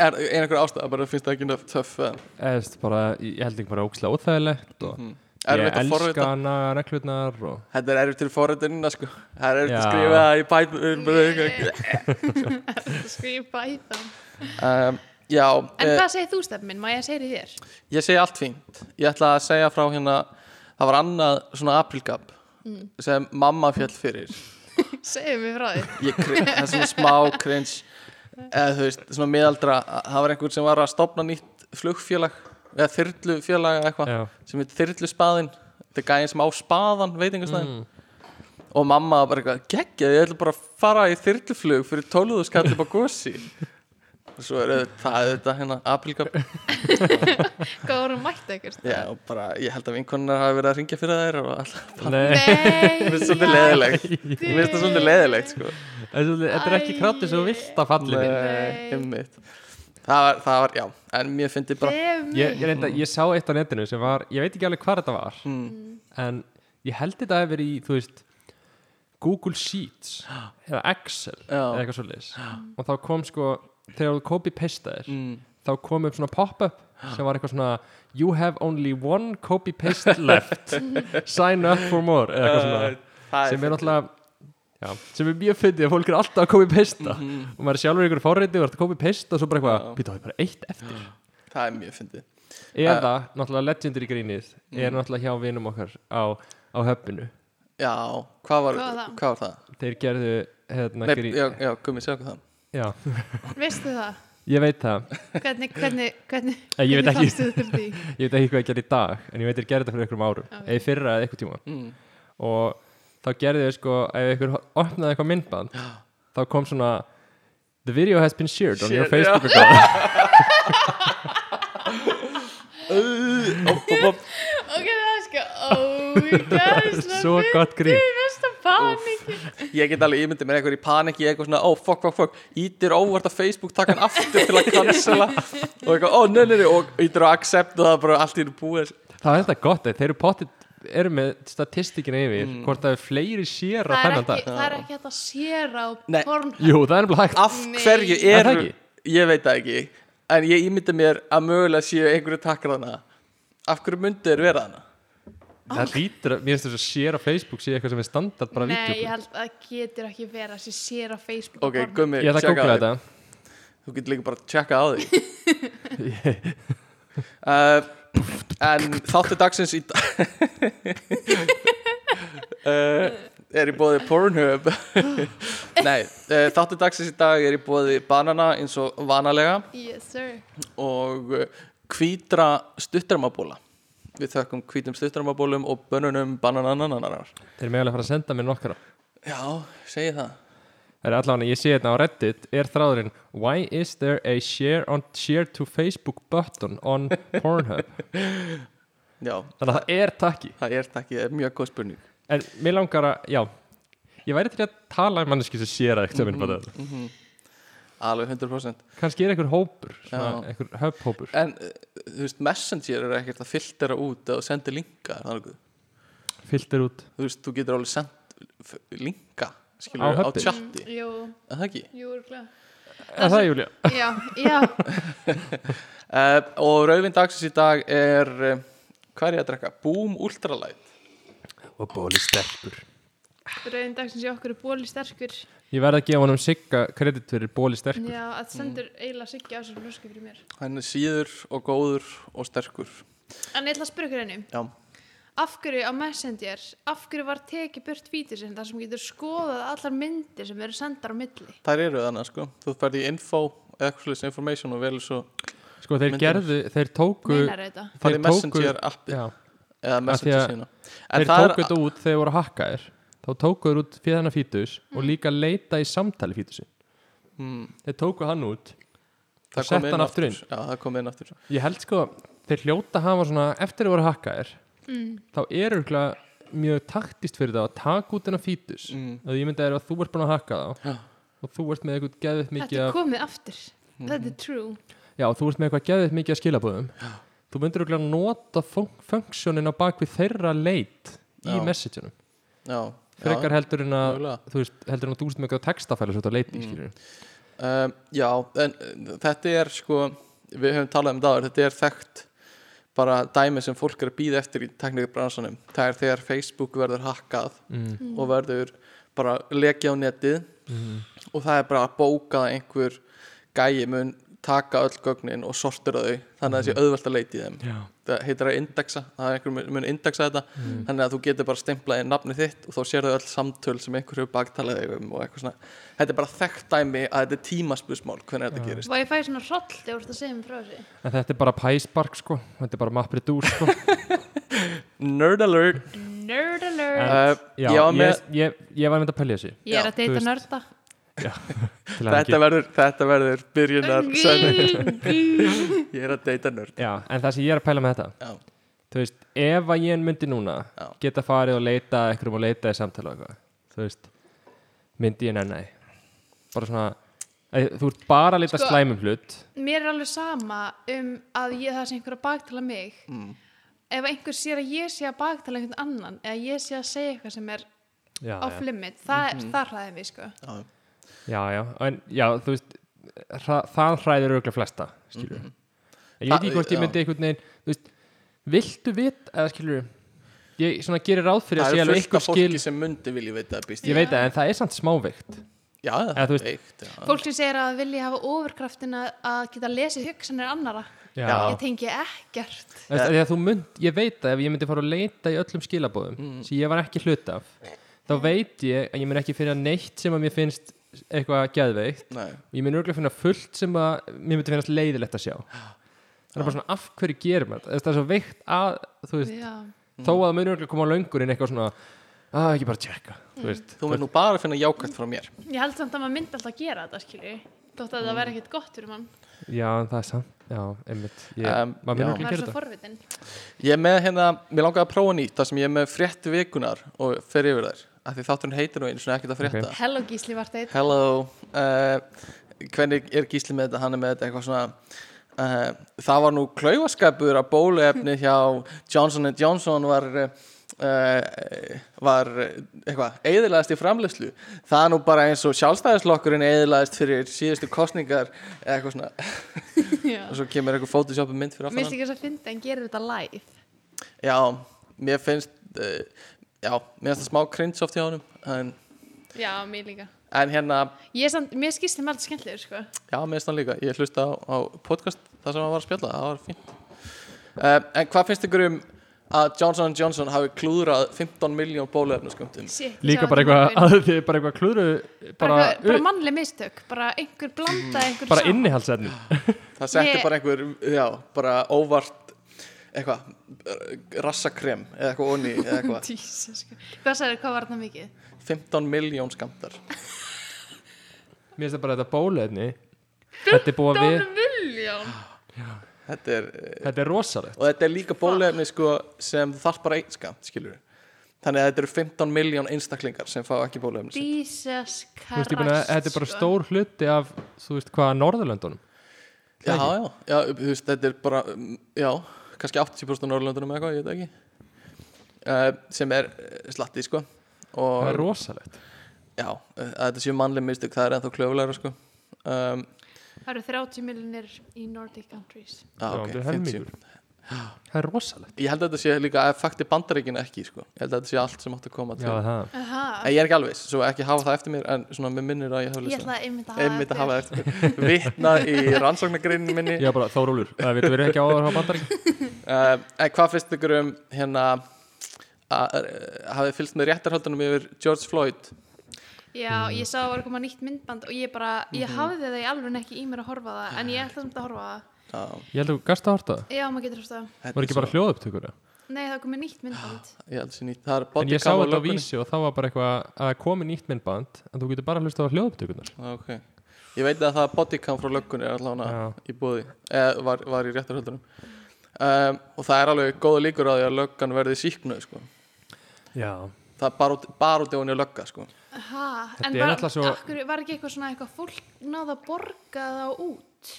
[SPEAKER 3] Er er einhver ástæða, bara finnst það ekki eh, nöfn töff eða
[SPEAKER 4] eða, þú veist, bara, ég held ekki bara ókslega óþægilegt og
[SPEAKER 3] er
[SPEAKER 4] ég
[SPEAKER 3] þetta
[SPEAKER 4] elska
[SPEAKER 3] forrita?
[SPEAKER 4] hana reglurnar og
[SPEAKER 3] Þetta er erfitt til forritinina sko Það er erfitt að
[SPEAKER 4] Já.
[SPEAKER 3] skrifa það í bætum
[SPEAKER 1] skrifa í það
[SPEAKER 3] um, Já,
[SPEAKER 1] En
[SPEAKER 3] eh,
[SPEAKER 1] hvað segir þú stefn minn? Má ég segir þér?
[SPEAKER 3] ég segi allt fínt Ég ætla að segja frá hérna það var annað svona aprilgap sem mamma fjall fyrir
[SPEAKER 1] segðu mér frá því
[SPEAKER 3] ég, kri- það er svona smá cringe eða þú veist, svona miðaldra það var einhver sem var að stopna nýtt flugfélag eða þyrlufélag eða eitthvað
[SPEAKER 4] Já.
[SPEAKER 3] sem heit þyrluspaðin þetta er gæðin sem á spaðan, veitingastæðin og mamma bara eitthvað, geggjað ég ætla bara að fara í þyrluflug fyrir tóluðu skall upp á gósi og svo er auðvitað- það er þetta hérna aprilgap
[SPEAKER 1] hvað voru mætt ekkert
[SPEAKER 3] já, og bara, ég held að vinkonunar hafi verið að ringja fyrir þær og alltaf
[SPEAKER 4] Nei,
[SPEAKER 1] nei,
[SPEAKER 3] Mér finnst svolítið
[SPEAKER 1] já,
[SPEAKER 3] leðilegt Mér finnst það svolítið leðilegt sko.
[SPEAKER 4] þetta er ekki kráttur sem þú vilt að falli
[SPEAKER 3] Nei,
[SPEAKER 4] fyrir.
[SPEAKER 3] einmitt. það, var, það var, já, en mér finnst bara
[SPEAKER 1] segðu
[SPEAKER 4] Ég,
[SPEAKER 1] mér
[SPEAKER 4] ég, reynda, ég sá eitt á netinu sem var, ég veit ekki alveg hvað þetta var en ég held þetta að verið í, þú veist Google Sheets eða Excel
[SPEAKER 3] Já.
[SPEAKER 4] eða eitthvað svoleiðis og þá kom sko, þegar þú copy-pastaðir
[SPEAKER 3] Mm.
[SPEAKER 4] þá kom upp svona pop-up sem var eitthvað svona you have only one copy-paste left sign up for more eða eitthvað svona
[SPEAKER 3] Það
[SPEAKER 4] sem er
[SPEAKER 3] fyndið.
[SPEAKER 4] náttúrulega já, sem er mjög fyndið að fólk er alltaf að koma í pesta
[SPEAKER 3] Mhm.
[SPEAKER 4] og maður er sjálfur ykkur forriti og er að koma í pesta og svo bara eitthvað, býta á ég bara eitt eftir
[SPEAKER 3] Það er mjög fyndið
[SPEAKER 4] eða náttúrulega legendary grínið
[SPEAKER 3] Mhm.
[SPEAKER 4] er náttúrulega hjá vinum okkar á, á höppinu
[SPEAKER 3] Já, hvað var,
[SPEAKER 1] Hvað var
[SPEAKER 3] hvað
[SPEAKER 1] það?
[SPEAKER 3] var það?
[SPEAKER 4] þeir gerðu hérna,
[SPEAKER 3] Nei,
[SPEAKER 4] grí-
[SPEAKER 3] já, já, gummi, segja okkur það
[SPEAKER 4] já.
[SPEAKER 1] veistu það
[SPEAKER 4] ég veit það,
[SPEAKER 1] hvernig, hvernig, hvernig,
[SPEAKER 4] Eh, ég veit
[SPEAKER 1] hvernig
[SPEAKER 4] ekki.
[SPEAKER 1] fannstu þér fyrir því?
[SPEAKER 4] ég veit ekki hvað ég gerði í dag en ég veit þeir gerðu þetta fyrir einhverjum árum eða í fyrra eða eitthvað tíma
[SPEAKER 3] mm.
[SPEAKER 4] og þá gerðu þau sko ef einhver ho- opnaði eitthvað myndband þá kom svona the video has been shared on your
[SPEAKER 3] Shared,
[SPEAKER 4] Facebook account
[SPEAKER 3] Opp, opp, opp.
[SPEAKER 1] ok, það er sko ógæðslega
[SPEAKER 4] Svo gott grín.
[SPEAKER 1] mest að paniki
[SPEAKER 3] Ég get alveg ímyndið mér eitthvað í paniki eitthvað svona, ó, fuck, fuck, fuck Ítir óvart á Facebook, takk hann aftur til að cancela og eitthvað, ó, nei, nei, nei og ítir á accept og það er bara allt í einu búið
[SPEAKER 4] það er þetta gott, eh, þeir eru pottit eru með statistikina yfir hvort það er fleiri sér á
[SPEAKER 1] það er
[SPEAKER 4] þennan
[SPEAKER 1] ekki,
[SPEAKER 4] dag
[SPEAKER 1] það er ekki hægt að séra á
[SPEAKER 3] Nei.
[SPEAKER 1] pornhætt
[SPEAKER 4] jú, það er nefnilega hægt
[SPEAKER 3] Af
[SPEAKER 1] Nei.
[SPEAKER 3] hverju
[SPEAKER 4] Er
[SPEAKER 3] eru
[SPEAKER 4] það ekki?
[SPEAKER 3] Ég veit það ekki En ég ímyndi mér að mögulega séu einhverju takkar þarna Af hverju myndu er verið þarna?
[SPEAKER 4] Það lítur að, mér finnst þess að sér á Facebook sé eitthvað sem er standard bara
[SPEAKER 1] Nei, ég
[SPEAKER 4] vítjum
[SPEAKER 1] held að það getur ekki verið að sé sér á Facebook
[SPEAKER 3] Ok,
[SPEAKER 1] porn.
[SPEAKER 3] gummi,
[SPEAKER 4] Ég ætla að
[SPEAKER 3] checka
[SPEAKER 4] googla
[SPEAKER 3] á því.
[SPEAKER 4] þetta
[SPEAKER 3] Þú getur líka bara að tjekka á því uh, En þáttu dagsins í dag uh, Er í bóði Pornhub Nei, uh, þáttu dagsins í dag er í bóði banana eins og vanalega
[SPEAKER 1] Yes sir
[SPEAKER 3] og uh, hvítra stuttarmabóla Við þökkum hvítum stuttarmabólum og bönunum banananananar
[SPEAKER 4] Þeir eru meðalega að fara að senda mér nokkra
[SPEAKER 3] Já, segi það
[SPEAKER 4] Það er allavega, ég sé þetta á Reddit er þráðurinn Why is there a share, on, share to Facebook button on Pornhub?
[SPEAKER 3] Já,
[SPEAKER 4] Þannig að það er takki
[SPEAKER 3] það er takk, það er mjög góð spurning
[SPEAKER 4] En mér langar að, já Ég væri til að tala um manneski sem sér að eitthvað mm -hmm.
[SPEAKER 3] Alveg 100%
[SPEAKER 4] Kannski er einhver hópur svona,
[SPEAKER 3] Já.
[SPEAKER 4] einhver höfhópur
[SPEAKER 3] En uh, þú veist, Messenger er ekkert að filtera út eða þú sendir linka er það nokkuð?
[SPEAKER 4] Filter út
[SPEAKER 3] Þú veist, þú getur alveg sendt f- linka skilur,
[SPEAKER 4] Á
[SPEAKER 3] á,
[SPEAKER 4] höfnið.
[SPEAKER 3] chatti,
[SPEAKER 1] Mm, Jú,
[SPEAKER 3] er það ekki?
[SPEAKER 1] jú, örgulega
[SPEAKER 4] Er það, Júlía?
[SPEAKER 1] Já, já,
[SPEAKER 3] Uh, og rauðvinn dagsins í dag er uh, hvað er ég að drekka? Boom Ultralight
[SPEAKER 4] Og bóli sterkur
[SPEAKER 1] rauðin dagsins í okkur er bóli sterkur
[SPEAKER 4] Ég verði að gefa honum sigga kredit fyrir bóli sterkur
[SPEAKER 1] Já, að stendur eiginlega siggi á sér flösku fyrir mér
[SPEAKER 3] hann er síður og góður og sterkur
[SPEAKER 1] En ég ætla að spyrja ykkur einu
[SPEAKER 3] Já,
[SPEAKER 1] Af hverju á Messenger, af hverju var tekið burt vítur sem það sem getur skoðað allar myndir sem eru sendar á milli
[SPEAKER 3] þær eru þannig sko þú ferði í info, eða eitthvað slags information og velur svo,
[SPEAKER 4] Sko þeir
[SPEAKER 3] Myndir.
[SPEAKER 4] gerðu, þeir tóku
[SPEAKER 1] Meinar þetta?
[SPEAKER 3] farið í
[SPEAKER 4] Þeir tóku-
[SPEAKER 3] Messenger appi
[SPEAKER 4] Já
[SPEAKER 3] eða Messenger
[SPEAKER 4] að-
[SPEAKER 3] sína
[SPEAKER 4] þeir
[SPEAKER 3] en það
[SPEAKER 4] tóku
[SPEAKER 3] er
[SPEAKER 4] þetta út þegar þeir voru hakkaðir þá tóku þeir út fyrir hennar fítus
[SPEAKER 1] Mm.
[SPEAKER 4] og líka leita í samtali fítusin
[SPEAKER 3] mm,
[SPEAKER 4] þeir tóku hann út
[SPEAKER 3] það
[SPEAKER 4] og
[SPEAKER 3] kom
[SPEAKER 4] sett
[SPEAKER 3] inn
[SPEAKER 4] hann aftur inn.
[SPEAKER 3] Já, það kom inn aftur
[SPEAKER 4] ég held sko, þeir hljóta hafa svona eftir þeir voru hakkaðir
[SPEAKER 1] Mm.
[SPEAKER 4] þá er örgulega mjög taktist fyrir það að taka út hennar fítus
[SPEAKER 3] Mm.
[SPEAKER 4] að ég myndi að, að þú ert búin að hakka þá
[SPEAKER 3] Já.
[SPEAKER 4] og þú ert með eitthvað geðvitt mikið
[SPEAKER 1] Þetta er
[SPEAKER 4] af, Mhm.
[SPEAKER 1] komið aftur
[SPEAKER 3] Mm,
[SPEAKER 1] Þetta er true
[SPEAKER 4] já, þú ert með eitthvað geðvitt mikið að skilabóðum þú myndir örgulega nota fun- funksjónin á bakvið þeirra leit í
[SPEAKER 3] Já.
[SPEAKER 4] messageunum
[SPEAKER 3] Já, já,
[SPEAKER 4] frekar hérna- heldur en að
[SPEAKER 3] mögulega.
[SPEAKER 4] þú veist, heldur en að þú veist með eitthvað textafæli svo þetta leiti, mm. skilur
[SPEAKER 3] Um, já, en uh, þetta er sko, við höfum talað um það áður, þetta er þekkt bara dæmi sem fólk er að býða eftir í teknikabransanum það er þegar Facebook verður hakkað og verður Mm. bara lekið á netið og það er bara að bókað að einhver gæi mun taka öll gögnin og sortera þau þannig að það sé
[SPEAKER 4] Mhm.
[SPEAKER 3] auðvelt að leita í þeim
[SPEAKER 4] Já.
[SPEAKER 3] það heitir að indexa, það er einhver mun- mun indexa þetta
[SPEAKER 4] Mhm.
[SPEAKER 3] þannig að þú getur bara stemplað í nafni þitt og þá sérðu öll samtöl sem einhver hefur baktalað þig um og eitthvað svona þetta er bara þekkt dæmi að þetta er tímaspusmál hvernig þetta gerist
[SPEAKER 1] Var ég fæði svona hroll þegar þú ert að segja mér frá þessu?
[SPEAKER 4] En þetta er bara pæspark sko, þetta er bara mappredúr sko.
[SPEAKER 3] Nerd alert
[SPEAKER 1] Nerd alert!
[SPEAKER 3] uh,
[SPEAKER 4] Já,
[SPEAKER 3] já,
[SPEAKER 4] ég,
[SPEAKER 3] með,
[SPEAKER 4] ég, ég var mynd að pælja þessu.
[SPEAKER 1] ég er
[SPEAKER 3] já,
[SPEAKER 1] að
[SPEAKER 4] Eh, þú
[SPEAKER 1] deyta
[SPEAKER 4] veist.
[SPEAKER 1] nörda.
[SPEAKER 4] til að
[SPEAKER 3] þetta,
[SPEAKER 4] ekki-
[SPEAKER 3] verður, þetta verður byrjunar sem
[SPEAKER 1] Gú, gú.
[SPEAKER 3] ég er að deyta nerd
[SPEAKER 4] Já, en það sem ég er að pæla með þetta,
[SPEAKER 3] já,
[SPEAKER 4] þú veist, ef að ég myndi núna
[SPEAKER 3] Já.
[SPEAKER 4] geta farið og leita ekkurum og leita í samtala og eitthvað, þú veist, myndi ég nenni. því. Bara svona, að, þú ert bara að leita
[SPEAKER 1] Sko-
[SPEAKER 4] slæmum hlut.
[SPEAKER 1] Mér er alveg sama um að ég, það sé einhver að baktala mig.
[SPEAKER 3] mm.
[SPEAKER 1] Ef einhver sér að ég sé að baktala einhvern annan eða ég sé að segja eitthvað sem er
[SPEAKER 4] Já, Mhm.
[SPEAKER 1] off limit, það, mm það hræði mig sko.
[SPEAKER 3] já,
[SPEAKER 4] já, já, en já, þú veist, hra, það hræðir auðvitað flesta, skilur. En ég veit
[SPEAKER 3] Mhm. Það-
[SPEAKER 4] ekki hvort ég
[SPEAKER 3] já.
[SPEAKER 4] myndi einhvern veginn, þú veist, viltu vit, eða skilur, ég svona gerir ráð fyrir að
[SPEAKER 3] það
[SPEAKER 4] sé
[SPEAKER 3] er
[SPEAKER 4] alveg
[SPEAKER 3] fullt
[SPEAKER 4] einhver
[SPEAKER 3] af fólki
[SPEAKER 4] skil,
[SPEAKER 3] sem myndi vilja veita að býst
[SPEAKER 4] ég
[SPEAKER 3] ég,
[SPEAKER 4] veit það, en það er samt smáveikt.
[SPEAKER 3] já,
[SPEAKER 4] Eða þú veist-
[SPEAKER 3] veikt já.
[SPEAKER 1] Fólk sem segir að vilja hafa ofurkraftina að geta lesið hugsanir annara.
[SPEAKER 3] Já.
[SPEAKER 1] Ég tengi ekkert.
[SPEAKER 4] Þú veist, af því að þú mynd, ég veit að ef ég myndi fara að leita í öllum skilabóðum
[SPEAKER 3] Mm.
[SPEAKER 4] sem ég var ekki hlut af þá veit ég að ég mun ekki finna neitt sem að mér finnst eitthvað geðveikt
[SPEAKER 3] Nei,
[SPEAKER 4] ég mun örgulega finna fullt sem að mér myndi finnast leiðilegt að sjá það er bara svona af hverju gerum þetta Þú veist, það er svo veikt að þú veist,
[SPEAKER 1] Já.
[SPEAKER 3] Mm.
[SPEAKER 4] þó að það mun örgulega koma á löngurinn eitthvað svona að ekki bara tjekka þú veist,
[SPEAKER 3] Mm. þú verður nú bara að finna jákvæmt frá mér
[SPEAKER 1] Ég held samt að maður myndi alltaf að gera þetta, skilji. Þótt
[SPEAKER 4] Mm.
[SPEAKER 1] að það verði ekkert gott fyrir mann.
[SPEAKER 4] já en það er samt já, einmitt, ég,
[SPEAKER 3] Um,
[SPEAKER 4] maður mun
[SPEAKER 3] já.
[SPEAKER 4] örgulega
[SPEAKER 1] Maður er
[SPEAKER 4] gera
[SPEAKER 1] svo
[SPEAKER 4] þetta
[SPEAKER 1] forvitin.
[SPEAKER 3] Ég er með hérna, mér langaði að prófa nýtt það sem ég er með frétt vikunar og fer yfir þær af því þátturinn heitir nú einu svona ekkert að frétta
[SPEAKER 1] Hello Gísli var þetta
[SPEAKER 3] Hello uh, Hvernig er Gísli með þetta, hann er með þetta eitthvað svona uh, Það var nú klaufaskapur að bóluefni hjá Johnson Johnson var uh, Uh, var eh, eitthvað eðilaðist í framleiðslu það er nú bara eins og sjálfstæðislokkurinn eðilaðist fyrir síðustu kostningar eða eitthvað svona og
[SPEAKER 1] einn.
[SPEAKER 3] svo kemur eitthvað photoshopu mynd fyrir
[SPEAKER 1] Mér
[SPEAKER 3] aftan hann.
[SPEAKER 1] stíkast að finna en gerir þetta live.
[SPEAKER 3] Já, mér finnst uh, Já, mér finnst það smá cringe oft hjá honum En,
[SPEAKER 1] Já, mér líka.
[SPEAKER 3] en hérna,
[SPEAKER 1] Ég er samt, mér skýrst þeim alltaf skemmtilegur, sko.
[SPEAKER 3] já, mér finnst það líka Ég hlusta á, á podcast þar sem hann var að spjalla Það var fínt uh, En hvað finnst ykkur um að Johnson Johnson hafi klúðrað 15 miljón bóluefnaskömmtum
[SPEAKER 1] Shit, ég
[SPEAKER 4] líka
[SPEAKER 1] sá
[SPEAKER 4] bara
[SPEAKER 1] þetta í
[SPEAKER 4] eitthvað
[SPEAKER 1] morgun.
[SPEAKER 4] að þið bara eitthvað klúru
[SPEAKER 1] Bara,
[SPEAKER 4] bara,
[SPEAKER 1] eitthvað- bara mannleg mistök. Bara einhver blanda einhver
[SPEAKER 4] Mm. bara
[SPEAKER 1] saman.
[SPEAKER 4] innihaldsefnum
[SPEAKER 3] Það setti
[SPEAKER 1] Ég-
[SPEAKER 3] bara einhver, já, bara óvart eitthvað, eh, rassakrem eða eitthvað onni, eða eitthvað
[SPEAKER 1] Jesus, sko. Hvað sagði hvað var þetta mikið?
[SPEAKER 3] 15 miljón skamtar
[SPEAKER 4] Mér finnst það bara þetta bóluefni Þetta er búið að við
[SPEAKER 1] miljón!
[SPEAKER 3] Þetta er, eh,
[SPEAKER 4] Þetta er rosalegt
[SPEAKER 3] og þetta er líka bólefni sko, sem þarf bara einn skamt skilur þannig að þetta eru 15 miljón einstaklingar sem fá ekki bólefni sitt.
[SPEAKER 1] Jesus
[SPEAKER 4] Þú veist, ég meina,
[SPEAKER 1] Christ,
[SPEAKER 4] Þetta er bara
[SPEAKER 1] sko.
[SPEAKER 4] stór hluti af Þú veist hvað Norðurlöndunum
[SPEAKER 3] já, já, já, þú veist, þetta er bara mm, já, kannski 80% á Norrlöndunum eða eitthvað, ég veit það ekki uh, sem er eh, slatti sko
[SPEAKER 4] Það er
[SPEAKER 3] og
[SPEAKER 4] rosalegt
[SPEAKER 3] já, eh, að þetta séu mannleg mistök það er ennþá klöfulegra sko um,
[SPEAKER 1] Það eru 30 miljonir í Nordic countries.
[SPEAKER 3] á,
[SPEAKER 4] Já,
[SPEAKER 3] ok,
[SPEAKER 4] þetta er
[SPEAKER 3] 50
[SPEAKER 4] helmingur. Það er rosalegt
[SPEAKER 3] ég held að þetta sé líka að fakti bandaríkinu ekki sko. ég held að þetta sé allt sem átt að koma
[SPEAKER 4] Já,
[SPEAKER 3] til
[SPEAKER 4] það
[SPEAKER 1] Aha,
[SPEAKER 3] en ég er ekki alveg, viss, svo ekki hafa það eftir mér en svona með minnir að ég hef
[SPEAKER 1] ég
[SPEAKER 3] lesið það.
[SPEAKER 1] ætla að einmitt að hafa
[SPEAKER 3] einmitt að
[SPEAKER 1] Ah, þetta.
[SPEAKER 3] hafa eftir vitna í rannsóknargreinin minni
[SPEAKER 4] Já, bara Þórólur Það veitum við ekki á að hafa bandar
[SPEAKER 3] uh, en hvað finnst ykkur um hérna að- að hafið fylgst með réttarhaldunum yfir George Floyd
[SPEAKER 1] Já,
[SPEAKER 4] Mhm.
[SPEAKER 1] ég sá að það var að koma nýtt myndband og ég bara, ég hafði það í alveg ekki í mér að horfa á það, en ég ætla samt að horfa á það.
[SPEAKER 3] uh,
[SPEAKER 4] Ég held að þú gasta að horta það
[SPEAKER 1] Já, maður getur það.
[SPEAKER 4] Var ekki bara hljóðupptökur eða?
[SPEAKER 1] Nei, það er komið nýtt myndband.
[SPEAKER 3] ég held sér nýtt, það er
[SPEAKER 4] En
[SPEAKER 3] body
[SPEAKER 4] ég sá
[SPEAKER 3] cam á
[SPEAKER 4] þetta á
[SPEAKER 3] löggunni.
[SPEAKER 4] vísi og þá var bara eitthvað að komi nýtt myndband en þú getur bara hlusta á hljóðupptökunar
[SPEAKER 3] Ah, ok, ég veit að það bodycam frá löggunni er allavega
[SPEAKER 4] Já.
[SPEAKER 3] í búði eða var, var í réttarhaldunum um, og það er alveg góða líkur á því að löggan verði síknuð sko.
[SPEAKER 4] Já
[SPEAKER 3] það er bara út, bara út í hún í lögga sko.
[SPEAKER 1] Ha, en
[SPEAKER 4] Þetta er
[SPEAKER 1] var,
[SPEAKER 4] náttúrulega svo-
[SPEAKER 1] akkur, var ekki eitthvað svona eitthvað fólk náða að borga það út?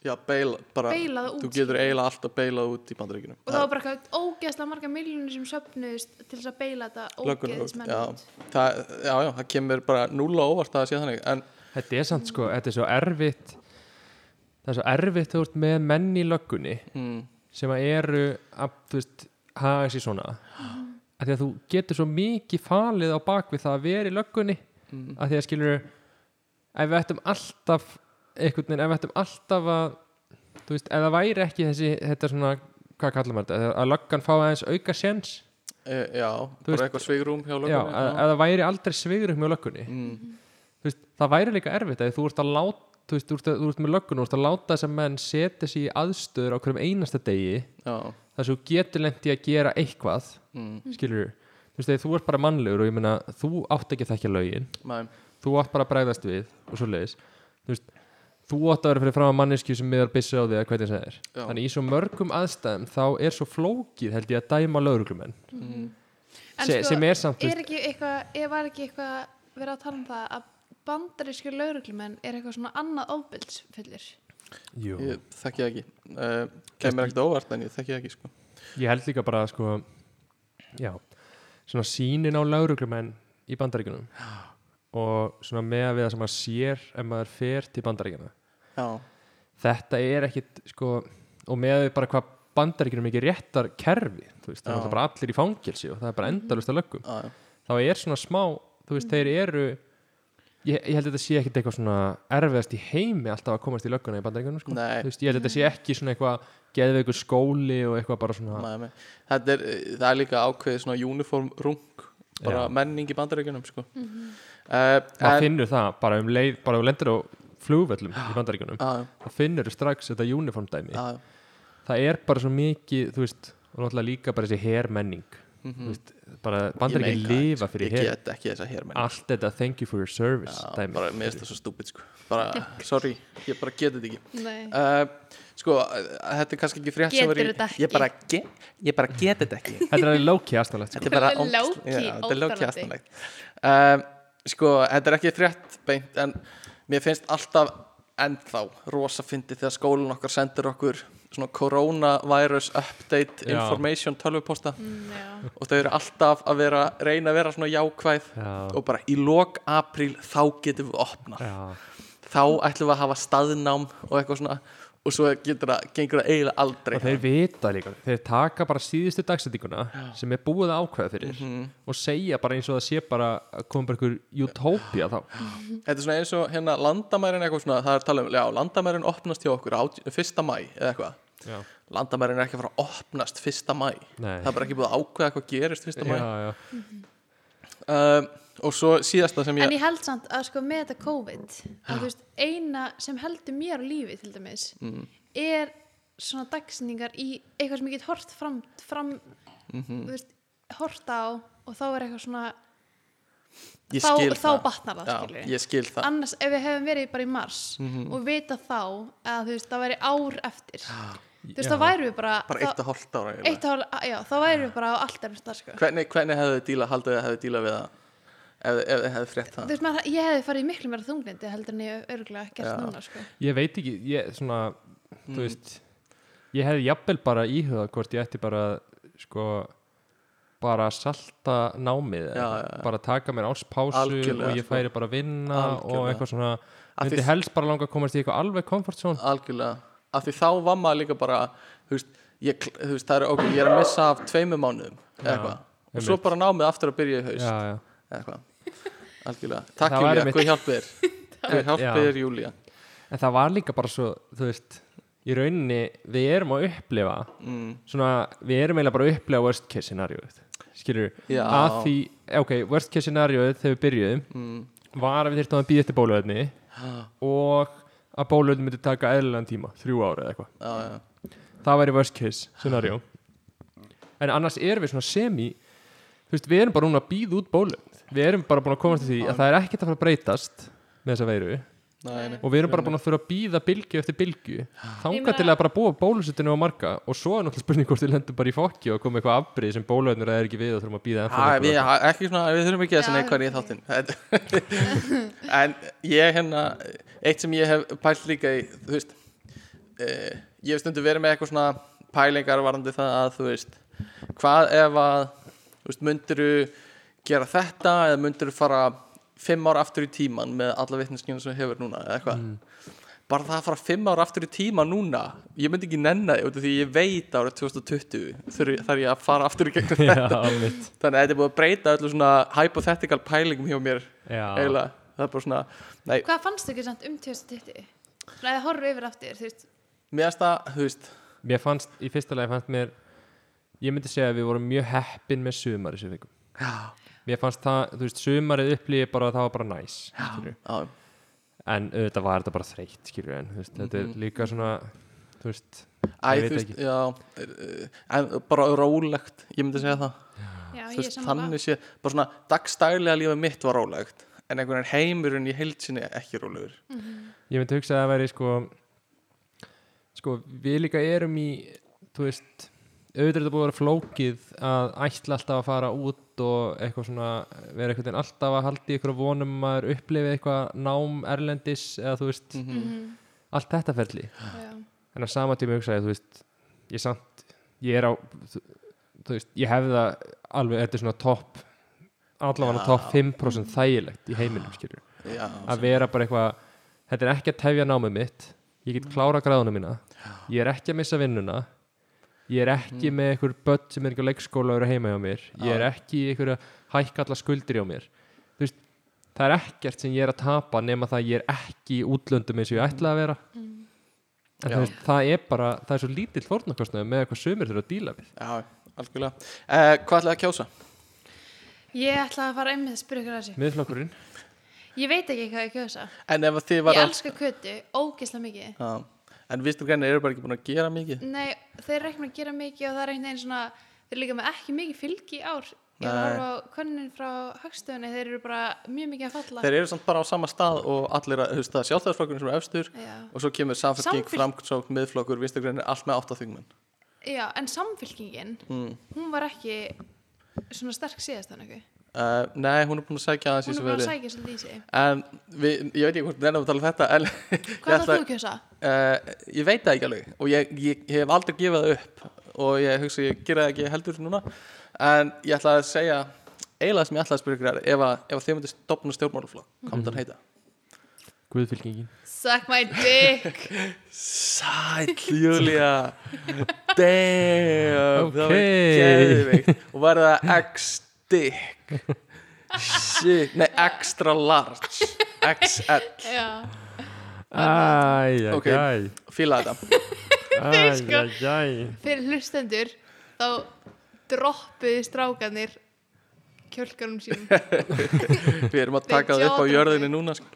[SPEAKER 3] já, beila, bara,
[SPEAKER 1] Beila það út,
[SPEAKER 3] þú getur eiginlega alltaf beilað út í bandaríkinu
[SPEAKER 1] Og það var bara eitthvað ógeðslega marga miljónir sem söpnuðist til þess að beila þetta ógeðsmenn
[SPEAKER 3] já,
[SPEAKER 1] út.
[SPEAKER 3] það, já, já, það kemur bara núla óvart að það sé þannig en
[SPEAKER 4] Þetta er samt sko, þetta er svo erfitt það er svo erfitt þú ert með menn í löggunni
[SPEAKER 3] mm,
[SPEAKER 4] sem að eru að, þú veist, haga sér svona af því að þú getur svo mikið falið á bakvið það að vera í löggunni af því að skilur ef við ættum alltaf einhvern veginn, ef við ættum alltaf að þú veist, ef það væri ekki þessi þetta svona, hvað kallar maður þetta að löggan fá aðeins auka séns
[SPEAKER 3] e, já, bara
[SPEAKER 4] veist-
[SPEAKER 3] eitthvað sveigrúm hjá
[SPEAKER 4] já, ef
[SPEAKER 3] lögum
[SPEAKER 4] ef það væri aldrei svigurum með löggunni
[SPEAKER 3] mm,
[SPEAKER 4] þú veist, það væri líka erfitt að þú ert að láta þú veist, þú ert, að, þú ert með löggun og þú ert að láta þess að menn setja sig í aðstöður á hverjum einasta degi
[SPEAKER 3] já,
[SPEAKER 4] þar sem þú getur lent í að gera eitthvað
[SPEAKER 3] mm,
[SPEAKER 1] Mhm.
[SPEAKER 4] skilur þú veist, þegar þú ert bara mannlegur og ég meina þú átt ekki að þekkja lögin
[SPEAKER 3] mæm,
[SPEAKER 4] þú átt bara að bregðast við og svo leiðis þú veist, þú átt að vera fyrir fram að mannesku sem miðar byssu á því að hvernig það er
[SPEAKER 3] Já.
[SPEAKER 4] þannig í svo mörgum aðstæðum þá er svo flókið held ég að dæma lögreglumenn
[SPEAKER 1] En sko,
[SPEAKER 4] Se, sem er samt, þú
[SPEAKER 1] er
[SPEAKER 4] veist,
[SPEAKER 1] ekki eitthvað, ég var ekki eitthvað verið að tala um það að bandarísku lauruglumenn er eitthvað svona annað ofbildsfyllir
[SPEAKER 4] jú,
[SPEAKER 3] ég þekki það ekki uh, kemur ekkert á óvart en ég þekki það ekki sko.
[SPEAKER 4] ég held líka bara sko, já svona sínin á lögreglumenn í bandaríkunum og svona með að við það sem maður sér ef maður fer til bandaríkuna
[SPEAKER 3] já,
[SPEAKER 4] þetta er ekkit sko, og með við bara hvað bandaríkjunum ekki réttar kerfi þú veist, það
[SPEAKER 3] Já. Mhm.
[SPEAKER 4] er náttúrulega bara allir í fangelsi og það er bara endalust að löggum
[SPEAKER 3] já, já,
[SPEAKER 4] þá er svona smá, þú veist,
[SPEAKER 3] Mhm.
[SPEAKER 4] þeir eru ég, ég held að þetta sé ekkit eitthvað svona erfiðast í heimi alltaf að komast í lögguna í bandaríkjunum sko.
[SPEAKER 3] Nei.
[SPEAKER 4] Þú veist, ég held að þetta sé ekki svona eitthvað geðveikur skóli og eitthvað bara svona
[SPEAKER 3] mæm þetta er, það er líka ákveðið svona uniform rung bara
[SPEAKER 4] Já.
[SPEAKER 3] menning í bandaríkjunum sko. mm
[SPEAKER 4] maður finnur það bara um leið, bara um lendur á flugvöllum í bandaríkjunum,
[SPEAKER 3] já,
[SPEAKER 4] þá finnur strax þetta uniform dæmi
[SPEAKER 3] já, já,
[SPEAKER 4] það er bara svo mikið, þú veist og náttúrulega líka bara þessi hermenning mm -hmm. bara bandar
[SPEAKER 3] Mhm. Ég
[SPEAKER 4] ekki
[SPEAKER 3] meika,
[SPEAKER 4] lifa
[SPEAKER 3] ég
[SPEAKER 4] fyrir her
[SPEAKER 3] get ekki þessa hér menning
[SPEAKER 4] allt þetta thank you for your service
[SPEAKER 3] Já,
[SPEAKER 4] dæmi.
[SPEAKER 3] bara mér finnst það svo stúpid sko. bara, sorry, ég bara get þetta ekki
[SPEAKER 1] Nei,
[SPEAKER 3] uh, sko, uh, þetta er kannski ekki frétt
[SPEAKER 1] Getur
[SPEAKER 3] sem var í-
[SPEAKER 1] þetta ekki.
[SPEAKER 3] ég bara, ge, ég bara get þetta ekki
[SPEAKER 4] þetta er alveg lóki aðstæðlegt sko.
[SPEAKER 3] þetta er bara
[SPEAKER 1] Þetta er
[SPEAKER 3] ógeðslega-
[SPEAKER 1] low-key
[SPEAKER 3] Já, þetta er lóki
[SPEAKER 1] óþolandi.
[SPEAKER 3] aðstæðlegt uh, sko, þetta er ekki frétt beint en mér finnst alltaf ennþá rosa fyndi þegar skólinn okkar sendir okkur svona coronavirus update
[SPEAKER 4] Já.
[SPEAKER 3] information tölvuposta
[SPEAKER 1] mm, já
[SPEAKER 3] og þau eru alltaf að vera, reyna að vera svona jákvæð
[SPEAKER 4] Já.
[SPEAKER 3] og bara í lok apríl þá getum við opnað
[SPEAKER 4] Já.
[SPEAKER 3] þá ætlum við að hafa staðnám og eitthvað svona og svo getur það, gengur það eiginlega aldrei
[SPEAKER 4] og þeir vita líka, þeir taka bara síðustu dagsettinguna sem er búið að ákveða fyrir
[SPEAKER 3] Mhm.
[SPEAKER 4] og segja bara eins og það sé bara að koma bara einhver utopia þá
[SPEAKER 3] þetta er svona eins og hérna landamærin eitthvað svona, það er talað um, já, landamærin opnast hjá okkur á 1. mæ eða eitthvað
[SPEAKER 4] já,
[SPEAKER 3] landamærin er ekki að fara að opnast 1. mæ
[SPEAKER 4] Nei.
[SPEAKER 3] það er bara ekki búið að ákveða hvað gerist 1. mæ
[SPEAKER 4] já, já.
[SPEAKER 3] um, og svo síðasta sem
[SPEAKER 1] En
[SPEAKER 3] ég
[SPEAKER 1] ég held samt að sko með þetta COVID að þú veist, eina sem heldur mér á lífi til dæmis
[SPEAKER 3] Mm.
[SPEAKER 1] er svona dagsendingar í eitthvað sem ég get hort fram, fram
[SPEAKER 3] Mhm.
[SPEAKER 1] þú veist, hort á og þá er eitthvað svona
[SPEAKER 3] ég
[SPEAKER 1] þá,
[SPEAKER 3] skil
[SPEAKER 1] þá
[SPEAKER 3] það
[SPEAKER 1] batnar það,
[SPEAKER 3] já,
[SPEAKER 1] skilur
[SPEAKER 3] ég skil það Mhm.
[SPEAKER 1] annars ef við hefum verið bara í mars og vita þá að þú veist, það væri ár eftir þú veist,
[SPEAKER 4] Já.
[SPEAKER 1] þá væri við bara
[SPEAKER 3] Ah, bara eitt og hálft ára eiginlega.
[SPEAKER 1] eitt ár, já, þá væri við bara á allt eftir það, sko
[SPEAKER 3] hvernig, hvernig hefðu þið dílað, haldið þið hefðu dílað við það ef, ef þið hefðu frétt
[SPEAKER 1] þú
[SPEAKER 3] það
[SPEAKER 1] veist, maður, ég hefði farið í miklu meira þunglindi heldur en ég örgulega gert núna, sko
[SPEAKER 4] ég veit ekki, ég svona
[SPEAKER 3] Mm.
[SPEAKER 4] þú veist, ég hefði jafnvel bara íhuga hvort ég ætti bara sko, bara að salta námið,
[SPEAKER 3] Já,
[SPEAKER 4] eða eitthvað.
[SPEAKER 3] já, já.
[SPEAKER 4] bara taka mér áspásu
[SPEAKER 3] Algjörlega,
[SPEAKER 4] og ég
[SPEAKER 3] sko.
[SPEAKER 4] færi bara að vinna og
[SPEAKER 3] Algjörlega.
[SPEAKER 4] eitthvað svona,
[SPEAKER 3] Af því-
[SPEAKER 4] myndi helst bara langa að komast í eitthvað alveg comfort zone
[SPEAKER 3] algjörlega, af því þá var maður líka bara þú veist, ég, kl- þú veist það er ok, ég er að missa af tveimur mánuðum eða
[SPEAKER 4] Já,
[SPEAKER 3] eitthvað, og
[SPEAKER 4] einmitt.
[SPEAKER 3] svo bara námið aftur að byrja í haust
[SPEAKER 4] já, já.
[SPEAKER 3] eða eitthvað, algjörlega takk
[SPEAKER 4] Það var
[SPEAKER 3] Júlía,
[SPEAKER 4] einmitt.
[SPEAKER 3] hvað hjálp þér hvað hjálp
[SPEAKER 4] Já.
[SPEAKER 3] þér Júlía
[SPEAKER 4] en það var líka bara svo, þú veist í rauninni, við erum að upplifa
[SPEAKER 3] mm,
[SPEAKER 4] svona, við erum eiginlega bara að upplega worst case scenarióið skilur,
[SPEAKER 3] Já.
[SPEAKER 4] að því ok, worst case scenarióið þegar við byrjuðum
[SPEAKER 3] mm.
[SPEAKER 4] var að við þyrftum að býja eftir bóluefni og að bóluefni myndi taka eðlilegan tíma, þrjú ára eða eitthvað
[SPEAKER 3] já, já,
[SPEAKER 4] það væri worst case scenario en annars erum við svona semi þú veist, við erum bara núna að býða út bóluefni við erum bara búin að komast til því að það er ekkert að fara að breytast með þessa veiru
[SPEAKER 3] Nei, nei.
[SPEAKER 4] og við erum bara búin að þurfa að býða bylgju eftir bylgju
[SPEAKER 1] Ég
[SPEAKER 4] þanga
[SPEAKER 1] meina-
[SPEAKER 4] til að bara búa bólusetinu á marga og svo er náttúrulega spurning hvort við lendum bara í fokki og komum eitthvað afbrið sem bólusetinu er ekki við og þurfum að býða
[SPEAKER 3] Æ, við,
[SPEAKER 4] ennþá
[SPEAKER 3] ekki svona, við þurfum ekki að
[SPEAKER 1] Já,
[SPEAKER 3] þessan eitthvað í þáttinn Þetta- en ég hérna eitt sem ég hef pælt líka í þú veist eh, ég hef stundu verið með eitthvað svona pælingar varandi það að þú veist hvað ef að þú veist, myndiru gera þetta eða myndiru fara fimm ár aftur í tíman með alla vitneskina sem þú hefur núna eða eitthvað
[SPEAKER 4] Mm.
[SPEAKER 3] bara það að fara fimm ár aftur í tíma núna ég myndi ekki nenna því, út af því ég veit árið 2020 þurfi- þarf ég að fara aftur í gegnum
[SPEAKER 4] Já, mitt
[SPEAKER 3] Þannig að þetta er búið að breyta öllu svona hypothetical pælingum hjá mér
[SPEAKER 4] Já,
[SPEAKER 3] eiginlega. Það er bara svona, nei,
[SPEAKER 1] Hvað fannst þau ekki samt um 2020? Svona ef þið horfum yfir aftur, þú veist
[SPEAKER 3] Mér erst það, þú veist
[SPEAKER 4] Mér fannst, í fyrsta lagi fannst mér Ég myndi segja að við vorum mjög heppin með sumar sem við fengum Mér fannst það, þú veist, sumarið upplýði bara að það var bara næs skilurðu.
[SPEAKER 3] Já,
[SPEAKER 4] En auðvitað var þetta bara þreytt skilur en, þú veist, þetta er líka svona Þú veist,
[SPEAKER 3] Æ,
[SPEAKER 4] Ég veit
[SPEAKER 3] þú veist,
[SPEAKER 4] ekki.
[SPEAKER 3] já eh, En bara rólegt, ég myndi segja það
[SPEAKER 1] Já,
[SPEAKER 3] Ah, Þú
[SPEAKER 1] ég er
[SPEAKER 3] veist,
[SPEAKER 1] saman
[SPEAKER 3] þannig sé, bara svona dagstælega lífið mitt var rólegt En einhvern veginn heimurinn í heild sinni ekki rólegur
[SPEAKER 4] ég myndi hugsa að það væri sko Sko, við líka erum í Þú veist, auðvitað er þetta búið að vera flókið Að ætla alltaf að fara út Og eitthvað svona, vera einhvern veginn alltaf að haldi Ykkur að vonum að maður upplifi eitthvað Nám erlendis, eða þú veist
[SPEAKER 3] Mm.
[SPEAKER 1] Mm-hmm.
[SPEAKER 4] Allt þetta ferli
[SPEAKER 1] Já,
[SPEAKER 4] en á sama tíma hugsaði, þú veist ég samt, ég er á þú, þú veist, ég hefði það alveg, þetta er svona topp allavega
[SPEAKER 3] Já.
[SPEAKER 4] topp 5% þægilegt í heiminum, skilur,
[SPEAKER 3] Mhm. Já,
[SPEAKER 4] að vera bara eitthvað þetta er ekki að tefja námið mitt ég
[SPEAKER 3] Mm.
[SPEAKER 4] get klára gráðuna mína ég er ekki að missa vinnuna ég er
[SPEAKER 3] Mm.
[SPEAKER 4] ekki með einhver börn sem er ekki á leikskóla og eru heima hjá mér, ég er ekki í einhverju að hækka alla skuldir hjá mér þú veist, það er ekkert sem ég er að tapa nema það að ég er ekki í útlöndum eins og ég ætla að vera en
[SPEAKER 3] Já.
[SPEAKER 4] þú veist, það er bara, það er svo lítill fórnarkostnaði með eitthvað sömur þurfa að díla við
[SPEAKER 3] já, algjörlega eh, Hvað ætlaði að kjósa?
[SPEAKER 1] ég ætla að fara einmitt að spyrja ykkur að þessu
[SPEAKER 4] miðflokkurinn,
[SPEAKER 1] Ég veit ekki hvað ég kjósa
[SPEAKER 3] En ef að þið
[SPEAKER 1] Ég
[SPEAKER 3] var
[SPEAKER 1] elska kötu, ógislega mikið
[SPEAKER 3] að, En viðstur grænir eru bara ekki búin að gera mikið
[SPEAKER 1] Nei, þeir eru ekki búin að gera mikið og það er einhvern veginn svona þeir eru líka með ekki mikið fylgi í ár Ég var að
[SPEAKER 3] Nei.
[SPEAKER 1] horfa á könnin frá högstöðunni þeir eru bara mjög mikið að falla
[SPEAKER 3] Þeir eru samt bara á sama stað og allir að, þú veist, það er sjálfstæðisflokkurinn sem er efstur
[SPEAKER 1] Já.
[SPEAKER 3] og svo kemur samfélking,
[SPEAKER 1] Samfylk-
[SPEAKER 3] framsókn, miðflokkur, viðstur grænir, allt með átta þingmenn
[SPEAKER 1] Já, en samfylkingin
[SPEAKER 3] mm.
[SPEAKER 1] hún var ekki svona sterk síðast þannig hún
[SPEAKER 3] uh, Nei, hún er búin að sækja aðeins
[SPEAKER 1] er
[SPEAKER 3] í þessu
[SPEAKER 1] bara að
[SPEAKER 3] veðri
[SPEAKER 1] sækja svolítið í sig
[SPEAKER 3] En við, ég veit ekki hvort nefnum að tala um þetta en ég,
[SPEAKER 1] Hvað ætlar þú að kjósa?
[SPEAKER 3] uh, ég veit það ekki alveg og ég, ég, ég hef aldrei gefið það upp og ég hugsa ég gera það ekki heldur núna en ég ætla að segja eiginlega sem ég ætla að spyrja ykkur er ef, að, ef að þið myndir stopna stjórnmálaflokk, hvað myndi hann heita?
[SPEAKER 4] guðfylkingin
[SPEAKER 1] Suck my dick
[SPEAKER 3] Sæll Júlia Damn Það var
[SPEAKER 4] Ok.
[SPEAKER 3] geðveikt Og var það X-Dick Shit, nei extra large XL,
[SPEAKER 1] Já,
[SPEAKER 4] æj,
[SPEAKER 3] Ok. fíla þetta
[SPEAKER 1] sko.
[SPEAKER 4] æj, æj
[SPEAKER 1] fyrir hlustendur þá droppuði strákanir kjölkarum sínum
[SPEAKER 3] Við erum að taka það upp á jörðinni núna sko.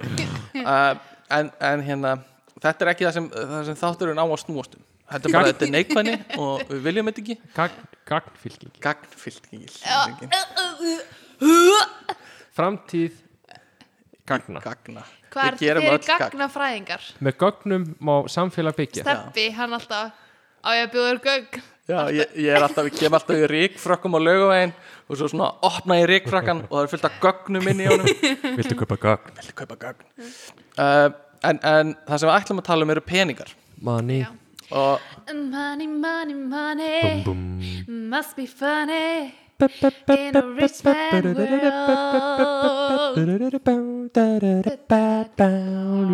[SPEAKER 3] uh, en, en hérna Þetta er ekki það sem, það sem þátturinn á að snúast um Þetta er bara, þetta er neikvæðni og við viljum þetta ekki
[SPEAKER 4] gagnfylking
[SPEAKER 3] Gagnfylking
[SPEAKER 4] framtíð gagna
[SPEAKER 3] Gagna
[SPEAKER 1] Hvað er
[SPEAKER 3] Við
[SPEAKER 1] þeir
[SPEAKER 3] gerum
[SPEAKER 1] eru
[SPEAKER 3] öll gagn.
[SPEAKER 1] gagnafræðingar?
[SPEAKER 4] með gögnum má samfélag byggja
[SPEAKER 1] Steppi, hann alltaf á ég að bjóða þér gögn
[SPEAKER 3] Já, ég, ég er alltaf, ég kem alltaf í ríkfrökkum á laugavegin og svo svona opna ég ríkfrökkan og það er fullt af gögnum inn í honum
[SPEAKER 4] viltu köpa gögn?
[SPEAKER 3] Viltu kaupa gögn uh, en, en það sem við ætlum að tala um eru peningar
[SPEAKER 4] manni
[SPEAKER 1] Já.
[SPEAKER 3] og
[SPEAKER 1] Money, money, money
[SPEAKER 4] bum.
[SPEAKER 1] Must be funny In a rich man world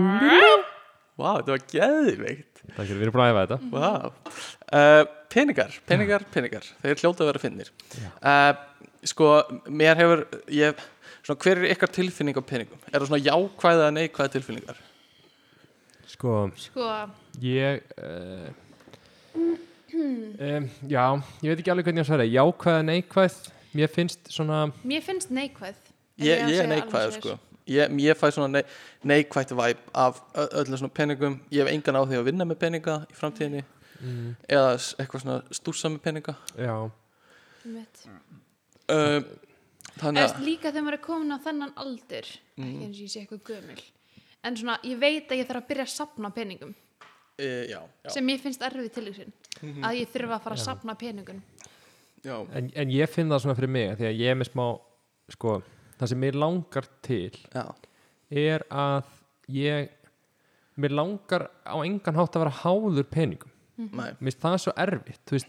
[SPEAKER 3] Vá, þetta var geðveikt
[SPEAKER 4] takk fyrir, við erum búin að æfa þetta
[SPEAKER 3] Vá uh, Peningar, peningar, peningar Þeir hljóta að vera finnir uh, Sko, mér hefur ég, svona, Hver er ykkar tilfinning á peningum? Er það svona jákvæða eða neikvæða tilfinningar?
[SPEAKER 4] sko,
[SPEAKER 1] Sko,
[SPEAKER 4] ég uh, um, já, ég veit ekki alveg hvernig ég á að svara jákvæð, neikvæð, mér finnst svona
[SPEAKER 1] mér finnst neikvæð ef á að
[SPEAKER 3] ég, ég
[SPEAKER 1] segja
[SPEAKER 3] er neikvæður
[SPEAKER 1] alveg
[SPEAKER 3] sko ég, ég fæ svona nei, neikvætt væp af ö- öllum svona peningum ég hef engan á því að vinna með peninga í framtíðinni
[SPEAKER 4] Mm.
[SPEAKER 3] eða s- eitthvað svona stúrsa með peninga
[SPEAKER 4] já,
[SPEAKER 1] svoleiðis. Einmitt.
[SPEAKER 3] Mm. um,
[SPEAKER 1] Eða,
[SPEAKER 3] þannig
[SPEAKER 1] veist,
[SPEAKER 3] að
[SPEAKER 1] líka þegar maður er komin á þennan aldur
[SPEAKER 3] Mm.
[SPEAKER 1] ekki eins og ég sé eitthvað gömul en svona, ég veit að ég þarf að byrja að sapna peningum
[SPEAKER 3] e, já, já, Mhm.
[SPEAKER 1] sem ég finnst erfið tilvísin að ég þurfa að fara að sapna peningum
[SPEAKER 3] já,
[SPEAKER 4] en, en ég finn það svona fyrir mig því að ég er með smá sko, það sem mér langar til
[SPEAKER 3] já.
[SPEAKER 4] er að ég mér langar á engan hátt að vera háður peningum
[SPEAKER 3] Nei,
[SPEAKER 4] mér finnst það svo erfitt þú veist,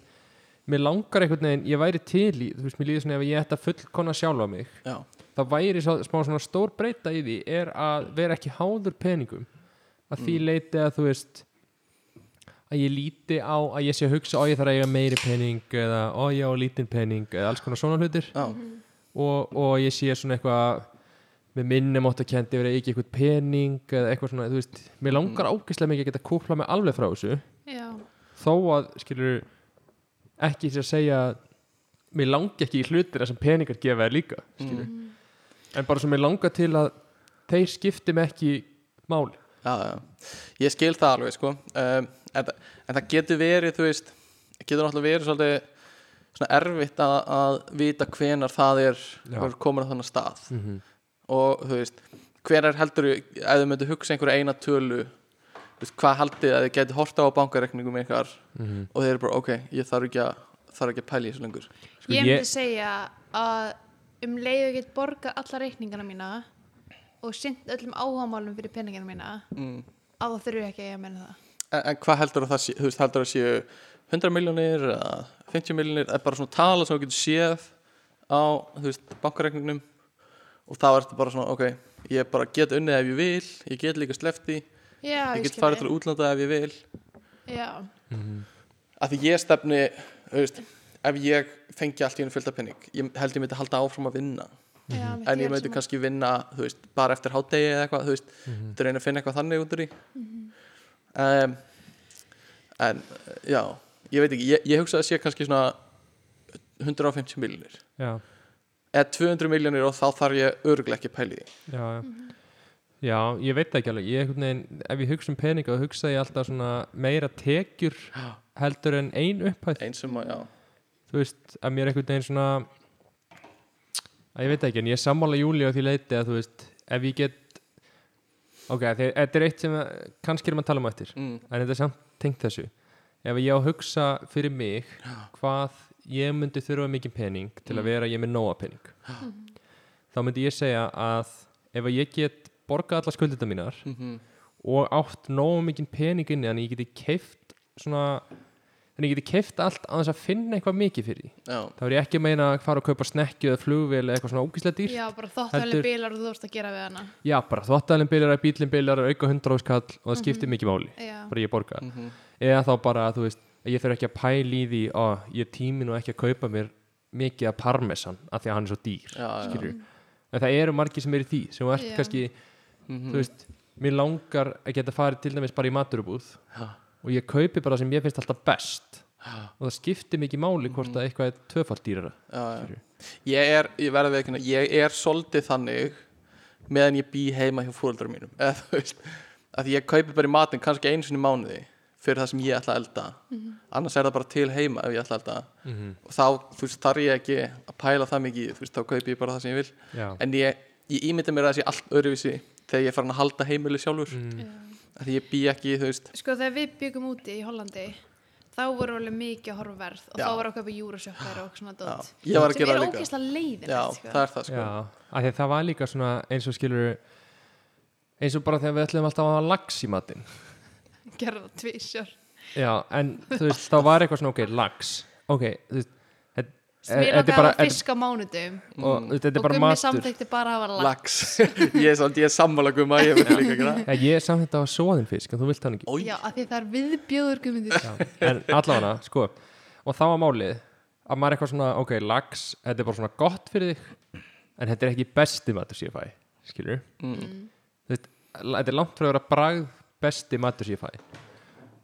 [SPEAKER 4] mér langar einhvern veginn ég væri til í, þú veist, mér líður svona ef ég ætti að fullkona sjálfa mig
[SPEAKER 3] já,
[SPEAKER 4] það væri svo, smá svona stór breyta í því er að vera ekki háður peningum að því leiti að þú veist að ég líti á að ég sé að hugsa, ó ég þarf að eiga meiri pening eða ó
[SPEAKER 3] Mhm.
[SPEAKER 4] ég á lítinn pening eða alls konar svona hlutir
[SPEAKER 3] já,
[SPEAKER 4] og, og ég sé svona eitthvað með minnum átt að kendi verið ekki eitthvað pening eða eitthvað svona, þú veist, mér langar ákvæslega mikið að geta kúpla mig alveg frá þessu
[SPEAKER 1] já,
[SPEAKER 4] þó að, skilur ekki til að segja mér langi ekki í hlutina sem peningar gefa þér líka,
[SPEAKER 3] Mm.
[SPEAKER 4] skilur
[SPEAKER 1] Mhm.
[SPEAKER 4] en bara sem mér langar til að þeir skipti mig ekki máli
[SPEAKER 3] já, já. ég skil það alveg sko. um, en, þa- en það getur verið þú veist, getur náttúrulega verið svolítið svona erfitt að, að vita hvenar það er
[SPEAKER 4] Já.
[SPEAKER 3] er komin á þannig stað
[SPEAKER 4] -hmm.
[SPEAKER 3] og þú veist, hvenar heldur ef þau myndu hugsa einhverja eina tölu þú veist, hvað haldið að þið geti horta á bankarekningum ykkar og þeir eru bara ok, ég þarf ekki að þarf ekki að pæla í þessu lengur
[SPEAKER 4] Sko,
[SPEAKER 1] ég myndi
[SPEAKER 4] ég-
[SPEAKER 1] segja að um leiðu ég get borga alla reikningana mína og sint öllum áhámálum fyrir peningana mína
[SPEAKER 3] mm.
[SPEAKER 1] að það þurfi ekki að ég að menna það
[SPEAKER 3] en, en hvað heldur að það sé, þú veist, heldur að séu 100 miljónir eða 50 miljónir eða bara svona tala sem þú getur séð á, þú veist, bankareikningnum og þá er þetta bara svona, ok ég bara get unnið ef ég vil, ég get líka slefti,
[SPEAKER 1] já,
[SPEAKER 3] ég get farið til útlanda ef ég vil
[SPEAKER 1] já,
[SPEAKER 3] að því ég stefni, þú veist ef ég fengi allt í einu fylgta penning ég held ég myndi halda áfram að vinna
[SPEAKER 4] Mhm.
[SPEAKER 1] já,
[SPEAKER 3] en ég myndi kannski vinna, þú veist, bara eftir hádegi eða eitthvað, þú veist, þú veist, reyna að finna eitthvað þannig út úr í Mhm. um, en, já ég veit ekki, ég, ég hugsa að sé kannski svona 150 miljonir
[SPEAKER 4] já,
[SPEAKER 3] eða 200 miljonir og þá þarf ég örglega ekki að pæli því
[SPEAKER 4] já, já já, ég veit það ekki alveg, ég einhvern veginn ef ég hugsa um peninga, þá hugsa ég alltaf svona meira tekjur heldur en ein upphæð,
[SPEAKER 3] eins sem að, já,
[SPEAKER 4] þú veist, að mér einhvern veginn svona að ég veit það ekki, en ég er sammála Júli á því leiti að þú veist, ef ég get ok, þegar- þetta er eitt sem að- kannski erum að tala um á eftir
[SPEAKER 3] mm,
[SPEAKER 4] en þetta er samt tengt þessu ef ég á að hugsa fyrir mig hvað ég myndi þurfa mikið pening til að vera ég með nóa pening Mm-hmm. þá myndi ég segja að ef að ég get borgað alla skuldita mínar
[SPEAKER 3] mm -hmm,
[SPEAKER 4] og átt nógu mikið pening inni þannig ég geti keift svona þannig ég geti keift allt að þess að finna eitthvað mikið fyrir því
[SPEAKER 3] já
[SPEAKER 4] þá er ég ekki að meina að fara að kaupa snekju eða flugvél eða eitthvað svona ógíslega dýrt
[SPEAKER 1] já, bara þóttanlega
[SPEAKER 4] Heldur-
[SPEAKER 1] bílar og þú vorst að gera við hana
[SPEAKER 4] já, bara þvóttælinn byrjar að bílinn byrjar að auka hundra áskall og það skiptir mikið máli
[SPEAKER 1] já,
[SPEAKER 4] bara ég borga
[SPEAKER 3] mhm,
[SPEAKER 4] eða þá bara að þú veist að ég þurf ekki að pæla í því að ég tími nú ekki að kaupa mér mikið af parmesan af því að hann er svo dýr
[SPEAKER 3] já, já,
[SPEAKER 4] skilur en það eru margir sem eru í því sem þú ert
[SPEAKER 1] Já.
[SPEAKER 4] kannski,
[SPEAKER 3] mhm,
[SPEAKER 4] þú veist mér langar að geta farið til dæmis bara í maturubúð
[SPEAKER 3] Já.
[SPEAKER 4] og ég kaupi bara það sem ég finnst alltaf best
[SPEAKER 3] já, Mhm.
[SPEAKER 4] og það skiptir mikið máli hvort að eitthvað er tvöfald dýrara
[SPEAKER 3] já, já.
[SPEAKER 4] skilur.
[SPEAKER 3] ég er, ég verði veikina ég er soldið þannig meðan ég bý heima hjá fóröldrar mínum eða þú veist, að ég kaupi bara í matinn kannski einu sinni í mánuði fyrir það sem ég ætla að elda annars er það bara til heima ef ég ætla að elda og þá, þú veist, þarf ég ekki að pæla það mikið, í, þú veist, þá kaupi ég bara það sem ég vil
[SPEAKER 4] já,
[SPEAKER 3] en ég, ég ímynda mér að það sé allt öðruvísi þegar ég er farin að halda heimili sjálfur mm.
[SPEAKER 1] já.
[SPEAKER 3] því ég bý ekki, þú veist
[SPEAKER 1] sko þegar við byggum úti í Hollandi þá voru alveg mikið að horfa á verð og
[SPEAKER 3] Já.
[SPEAKER 1] þá voru okkur upp í júrasjökkar og svona dót
[SPEAKER 3] Já, ég var að
[SPEAKER 1] sem
[SPEAKER 3] gera
[SPEAKER 1] er
[SPEAKER 3] það líka.
[SPEAKER 1] ógeðslega leiðin
[SPEAKER 3] já, það er það sko
[SPEAKER 4] já, af því að það var líka svona eins og skilur eins og bara þegar við ætlum alltaf að hafa lax í matinn
[SPEAKER 1] gerða það tvísjör
[SPEAKER 4] Já, en þú veist, þá var eitthvað svona, ok, lax Ok, þú veist þet- e-
[SPEAKER 1] mér
[SPEAKER 4] Þetta er
[SPEAKER 1] langaði
[SPEAKER 4] bara
[SPEAKER 1] að
[SPEAKER 4] þetta-
[SPEAKER 1] fisk á mánudum
[SPEAKER 4] og þú veist, þetta er
[SPEAKER 1] og
[SPEAKER 4] bara
[SPEAKER 1] gummi
[SPEAKER 4] matur
[SPEAKER 1] samþykti bara að hafa lag
[SPEAKER 3] lax, ég er svolítið, ég er sammála gumma ég verði líka að gera það.
[SPEAKER 4] ja, Ég er samt þetta á soðin fisk, en þú vilt hann ekki
[SPEAKER 3] Oj.
[SPEAKER 1] já, af því það er viðbjóður gummindur
[SPEAKER 4] Já, En allavega, sko Og þá var málið að maður er eitthvað svona, ok, lax Þetta er bara svona gott fyrir þig En þetta er ekki besti matur sem ég fæ Skilur
[SPEAKER 3] Mm.
[SPEAKER 4] Þú veist, Þetta er langt frá að vera bragð besti matur sem ég fæ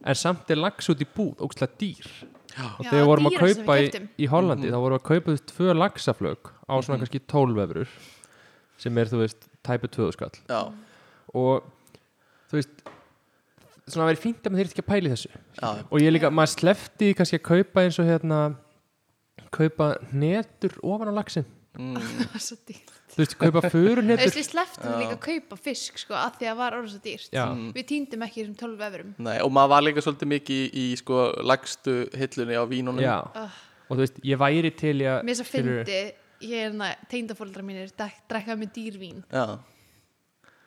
[SPEAKER 4] En samt er lax út í búð, ógstlega dýr og
[SPEAKER 1] Já,
[SPEAKER 4] þegar við vorum að
[SPEAKER 1] dýrasta sem
[SPEAKER 4] kaupa
[SPEAKER 1] við
[SPEAKER 4] í,
[SPEAKER 1] keyptum.
[SPEAKER 4] í Hollandi þá vorum við að kaupa þú veist tvö laxaflög á svona kannski tólvefrur sem er þú veist tæpu tvöðuskall
[SPEAKER 3] já,
[SPEAKER 4] og þú veist svona verið fínt að maður þyrfti ekki að pæli þessu
[SPEAKER 3] já,
[SPEAKER 4] og ég líka, maður slefti kannski að kaupa eins og hérna kaupa netur ofan á laxin
[SPEAKER 3] mm.
[SPEAKER 1] það er svo dýrt
[SPEAKER 4] þú veist, kaupa
[SPEAKER 1] Þú veist,
[SPEAKER 4] förunetur
[SPEAKER 1] við sleftum
[SPEAKER 3] Já.
[SPEAKER 1] líka að kaupa fisk sko, af því að það var orðið svo dýrt Mm.
[SPEAKER 4] Já.
[SPEAKER 1] við týndum ekki þessum 12 öfrum
[SPEAKER 3] Nei, og maður var líka svolítið mikið í, í sko, lagstu hillunni á vínunum
[SPEAKER 4] Já,
[SPEAKER 1] Ah.
[SPEAKER 4] og þú veist, ég væri til ég
[SPEAKER 1] mér svo fyndi, ég er hérna teindafóldra mínir dek- drekka með dýrvín
[SPEAKER 3] Já,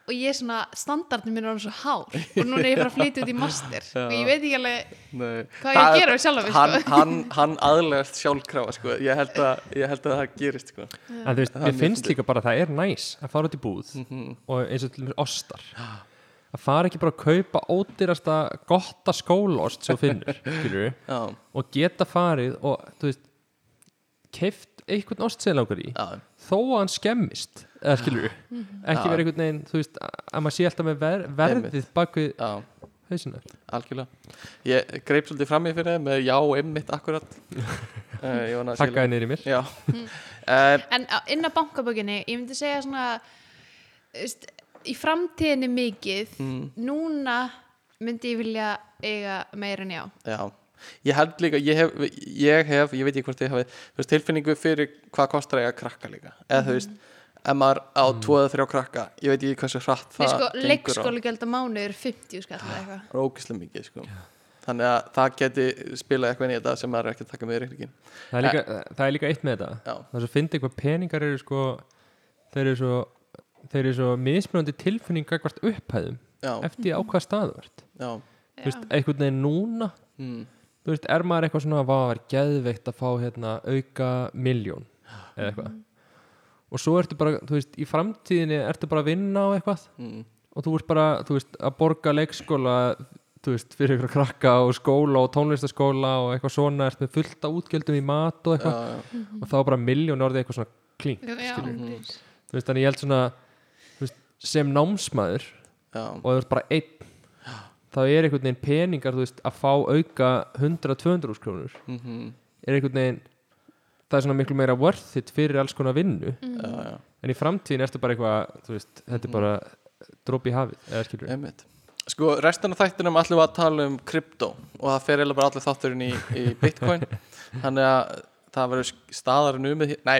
[SPEAKER 1] og ég er svona, standardin minn er orðin svo hár og núna er ég bara að flytja út í master og ég veit ekki alveg,
[SPEAKER 3] nei
[SPEAKER 1] Hvað á ég að
[SPEAKER 3] Það-
[SPEAKER 1] gera við sjálfan mig,
[SPEAKER 3] Hann,
[SPEAKER 1] sko?
[SPEAKER 3] hann, hann aðlegast sjálfkrafa, sko ég held, að, ég held að það gerist, sko
[SPEAKER 4] en þú veist,
[SPEAKER 3] Það er
[SPEAKER 4] mér
[SPEAKER 3] mjög
[SPEAKER 4] finnst
[SPEAKER 3] fyndið. Mm.
[SPEAKER 4] líka bara að það er næs að fara út í búð
[SPEAKER 3] Mhm.
[SPEAKER 4] og eins og til mér ostar að fara ekki bara að kaupa ódýrasta gotta skólost sem þú finnur skilur,
[SPEAKER 3] Já,
[SPEAKER 4] og geta farið og þú veist keift einhvern ost sem þig langar í
[SPEAKER 3] já,
[SPEAKER 4] þó að hann skemmist eða skilur ekki
[SPEAKER 3] Já.
[SPEAKER 4] vera einhvern veginn þú veist að að maður sé alltaf með ver, verðið
[SPEAKER 3] Einmitt.
[SPEAKER 4] bak við
[SPEAKER 3] já,
[SPEAKER 4] hausina
[SPEAKER 3] algjörlega ég greip svolítið fram í fyrir þeim með já, einmitt, akkurat uh, ég vona að
[SPEAKER 4] takkaði niður í mér
[SPEAKER 3] já uh,
[SPEAKER 1] En á- inn á bankabökinni, ég myndi segja svona þú veist, í framtíðinni mikið
[SPEAKER 3] Mm.
[SPEAKER 1] núna myndi ég vilja eiga meira en já
[SPEAKER 3] já ég held líka, ég hef, ég hef ég veit ekki hvort ég hafi, þú veist, tilfinningu fyrir hvað kostar ég að krakka líka eða
[SPEAKER 1] Mhm.
[SPEAKER 3] þú veist, ef maður á tvo eða þrjá krakka ég veit ekki hversu hratt
[SPEAKER 1] Nei,
[SPEAKER 3] það
[SPEAKER 1] sko,
[SPEAKER 3] gengur á.
[SPEAKER 1] leikskólugjöld á mánuði er 50 skall eða eitthvað
[SPEAKER 3] Það er ógislega mikið sko. þannig að það geti spilað eitthvað inn í þetta sem maður er ekki að taka með í reikningin
[SPEAKER 4] það er, líka,
[SPEAKER 3] Eh.
[SPEAKER 4] það er líka eitt með þetta
[SPEAKER 3] Já.
[SPEAKER 4] það er svo fyndið hvað peningar eru sko þeir eru svo þeir eru svo mismunandi tilfinning gagvart upphæðum
[SPEAKER 3] já,
[SPEAKER 4] eftir á hvað staðu vart
[SPEAKER 3] já,
[SPEAKER 4] þú veist, einhvern veginn núna
[SPEAKER 3] mm,
[SPEAKER 4] þú veist, er maður eitthvað svona að var geðveikt að fá hérna auka miljón eða eitthvað
[SPEAKER 3] Mm.
[SPEAKER 4] og svo ertu bara, þú veist, í framtíðinni ertu bara að vinna á eitthvað
[SPEAKER 3] mm,
[SPEAKER 4] og þú ert bara, þú veist, að borga leikskóla þú veist, fyrir ykkur krakka og skóla og tónlistaskóla og eitthvað svona ert með fullt af útgjöldum í mat og
[SPEAKER 3] já,
[SPEAKER 4] eitthvað
[SPEAKER 3] já, Mm-hmm.
[SPEAKER 4] og þá er bara miljón orðið eitthvað svona klink
[SPEAKER 1] Já, já, ángríns.
[SPEAKER 4] þú veist, þannig ég held svona þú veist, sem námsmaður
[SPEAKER 3] já,
[SPEAKER 4] og þú ert bara einn þá er einhvern veginn peningar, þú veist, að fá auka 100-200 úr krónur
[SPEAKER 3] mhm,
[SPEAKER 4] er einhvern veginn það er svona miklu meira worth it fyrir alls konar vinnu
[SPEAKER 3] mm,
[SPEAKER 1] Mhm.
[SPEAKER 3] já, já,
[SPEAKER 4] en í framtíðin ertu bara eitthvað þú veist, þetta er bara dropi í hafið eða skilur
[SPEAKER 3] einmitt sko, restan af þættinum ætlum við að tala um krypto og það fer eða bara allir þátturinn í, í bitcoin þannig að það verður staðarinn um nei,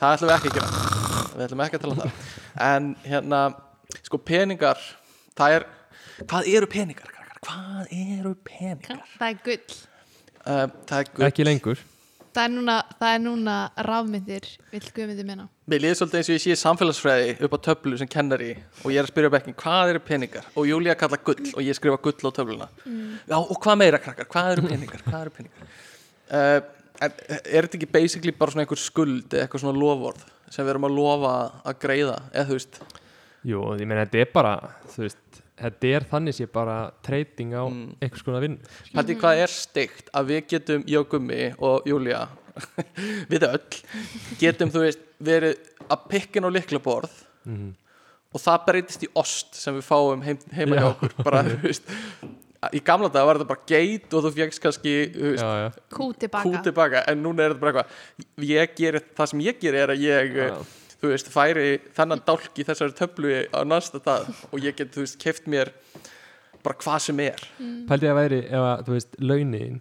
[SPEAKER 3] það ætlum við ekki að gera við ætlum ekki að tala um það en hérna, sko peningar það er, hvað eru peningar krakkar? hvað eru peningar
[SPEAKER 1] Það er gull
[SPEAKER 3] uh, það er gull.
[SPEAKER 4] ekki lengur
[SPEAKER 1] Það er núna, það er núna rafmyndir vill guðmyndir minna
[SPEAKER 3] Mér líður svolítið eins og ég sé samfélagsfræði upp á töflu sem kennari og ég er að spyrja bekkin hvað eru peningar og Júlía kalla gull og ég skrifa gull á töfluna Já og hvað meira krakkar, hvað eru peningar, hvað eru peningar uh, en Er þetta ekki basically bara svona einhver skuld eða eitthvað svona lofvörð sem við erum að lofa að greiða eða þú veist
[SPEAKER 4] Jú, ég meina þetta er bara þú veist, þetta er þannig sé bara treyting á
[SPEAKER 3] Mm.
[SPEAKER 4] einhvers konar vinn
[SPEAKER 3] Patti hvað er steikt að við getum ég og Gummi og Júlía við öll getum þú veist verið að pikkin á liklaborð
[SPEAKER 4] mm.
[SPEAKER 3] og það breytist í ost sem við fáum heim, heima hjá
[SPEAKER 4] Já.
[SPEAKER 3] okkur bara, þú veist í gamla dag var þetta bara geit og þú fegst kannski þú
[SPEAKER 4] Já,
[SPEAKER 3] veist,
[SPEAKER 4] já,
[SPEAKER 1] Kú tilbaka
[SPEAKER 3] kú tilbaka en núna er þetta bara eitthvað ég gerir, það sem ég gerir er að ég
[SPEAKER 4] Já.
[SPEAKER 3] þú veist, færi þennan dálk í þessari töflu á næsta dag og ég get, þú veist, keft mér bara hvað sem er
[SPEAKER 4] pældi að væri ef að, þú veist, launin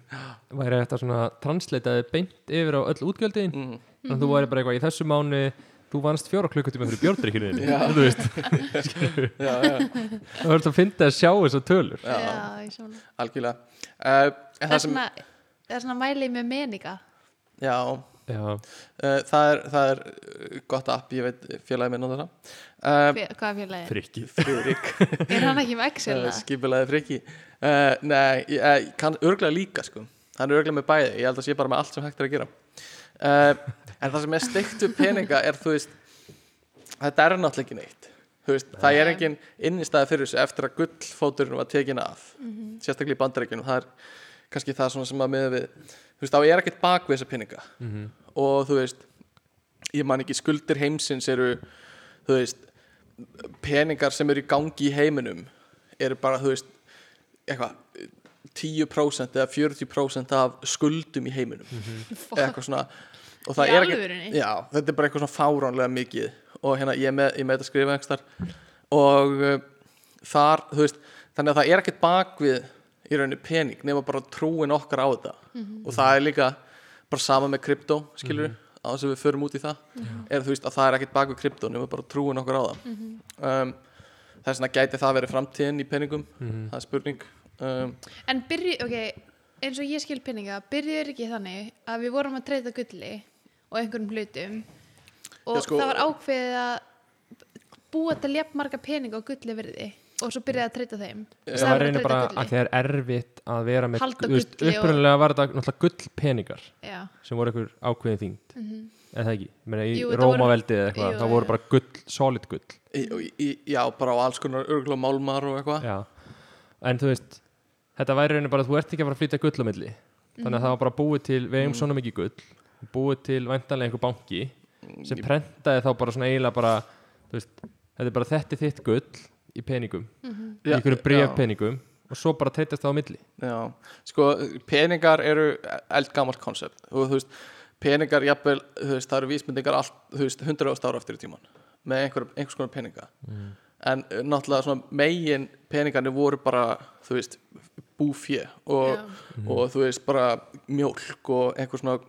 [SPEAKER 4] væri þetta svona translitaði beint yfir á öll útgjöldin
[SPEAKER 3] mm.
[SPEAKER 4] þannig að þú væri bara eitthvað í þessu mánu þú vannst fjóra klukkutíma fyrir bjórdrykkinu þinni, þú veist,
[SPEAKER 3] já, já,
[SPEAKER 4] það verður það að finna að sjá þessar tölur
[SPEAKER 1] Já, ég svona
[SPEAKER 3] algjörlega uh, en
[SPEAKER 1] Það
[SPEAKER 3] það
[SPEAKER 1] er
[SPEAKER 3] sem,
[SPEAKER 1] svona, það er svona mælið með meninga
[SPEAKER 3] já
[SPEAKER 4] Já,
[SPEAKER 3] Uh, það, er, það er uh, gott app, ég veit félagi minn á þetta uh,
[SPEAKER 1] Hver- Hvað er félagið?
[SPEAKER 4] frikkið
[SPEAKER 3] Friðrik eh,
[SPEAKER 1] Er hann ekki með Excel?
[SPEAKER 3] uh,
[SPEAKER 1] eða?
[SPEAKER 3] skipilaði friki uh, nei, ég, eh, kann örglega líka sko. hann er örglega með bæði, ég held að sé bara með allt sem hægt er að gera uh, en það sem er steikt upp peninga er þú veist þetta er náttúrulega ekki neitt Þú veist, það er
[SPEAKER 1] Nei.
[SPEAKER 3] engin innistæði fyrir þessu eftir að gullfóturinn var tekin af sérstaklega í bandarækjunum það er kannski það svona sem að miða við þú veist, þá er ekkert bak við þessa peninga
[SPEAKER 4] Mhm.
[SPEAKER 3] og þú veist ég man ekki skuldir heimsins eru þú veist peningar sem eru í gangi í heiminum eru bara, þú veist, eitthvað 10% eða 40% af skuldum í heiminum eða eitthvað svona og það
[SPEAKER 1] Mhm. Í
[SPEAKER 3] er ekki,
[SPEAKER 1] alvörunni?
[SPEAKER 3] já, þetta er bara eitthvað svona fáránlega mikið og hérna ég er með, ég er með þetta skrifa einhverstar og uh, þar, þú veist þannig að það er ekkert bakvið í rauninni pening nema bara trúin okkar á þetta
[SPEAKER 1] Mhm.
[SPEAKER 3] og það er líka bara sama með krypto, skilur mm á þess að við förum út í það mm
[SPEAKER 1] Mhm.
[SPEAKER 3] er þú veist að það er ekkert bakvið krypto nema bara trúin okkar á það
[SPEAKER 1] Mhm.
[SPEAKER 3] um, þess vegna gæti það verið framtíðin í peningum
[SPEAKER 4] Mhm.
[SPEAKER 3] það er spurning um,
[SPEAKER 1] En byrju, ok, eins og ég skil pinninga, byrjuður ekki þannig að við vorum að treyta gulli og einhverjum hlutum og
[SPEAKER 3] Já, sko-
[SPEAKER 1] það var ákveðið að búa til jafn marga peninga á gulli virði og svo byrjaði að treyta þeim. Í
[SPEAKER 4] Það
[SPEAKER 1] staðinn fyrir
[SPEAKER 4] var reynir bara
[SPEAKER 1] treyta
[SPEAKER 4] að það er erfitt að vera með
[SPEAKER 1] Halda
[SPEAKER 4] þú veist,
[SPEAKER 1] gulli og-
[SPEAKER 4] Upprunalega var þetta náttúrulega gullpeningar
[SPEAKER 1] Já,
[SPEAKER 4] sem voru einhver ákveðin þyngd eða það ekki, Ég meina í
[SPEAKER 1] Mhm. Jú, þetta voru-
[SPEAKER 4] Rómaveldi eða eitthvað,
[SPEAKER 1] Jú,
[SPEAKER 4] það
[SPEAKER 1] já,
[SPEAKER 4] voru
[SPEAKER 1] já.
[SPEAKER 4] bara gull, solid gull
[SPEAKER 3] í, í, já, bara á alls konar örgulega málmar og eitthvað
[SPEAKER 4] Já, en þú veist
[SPEAKER 3] Mhm.
[SPEAKER 4] þetta væri reynir bara að þú ert ekki að fara að flytja gull á milli þannig að það var bara búið til við eigum svona mikið gull búið til væntanlega einhver banki
[SPEAKER 3] Mm,
[SPEAKER 4] sem prentaði þá bara svona eiginlega bara þú veist, þetta er bara þetta er þitt gull í peningum, í einhverjum brefpeningum og svo bara treytast það á milli
[SPEAKER 3] Já, sko peningar eru eldgamalt konsept og þú veist, peningar jafnvel, þú veist, það eru vísmyndingar allt, þú veist, 100 ára aftur í tíman með einhver, einhvers konar peninga
[SPEAKER 4] Mhm.
[SPEAKER 3] en eh, náttúrulega svona megin peningarnir voru bara, þú veist búfjö og,
[SPEAKER 4] Mhm.
[SPEAKER 3] og þú veist, bara mjólk og einhver svona,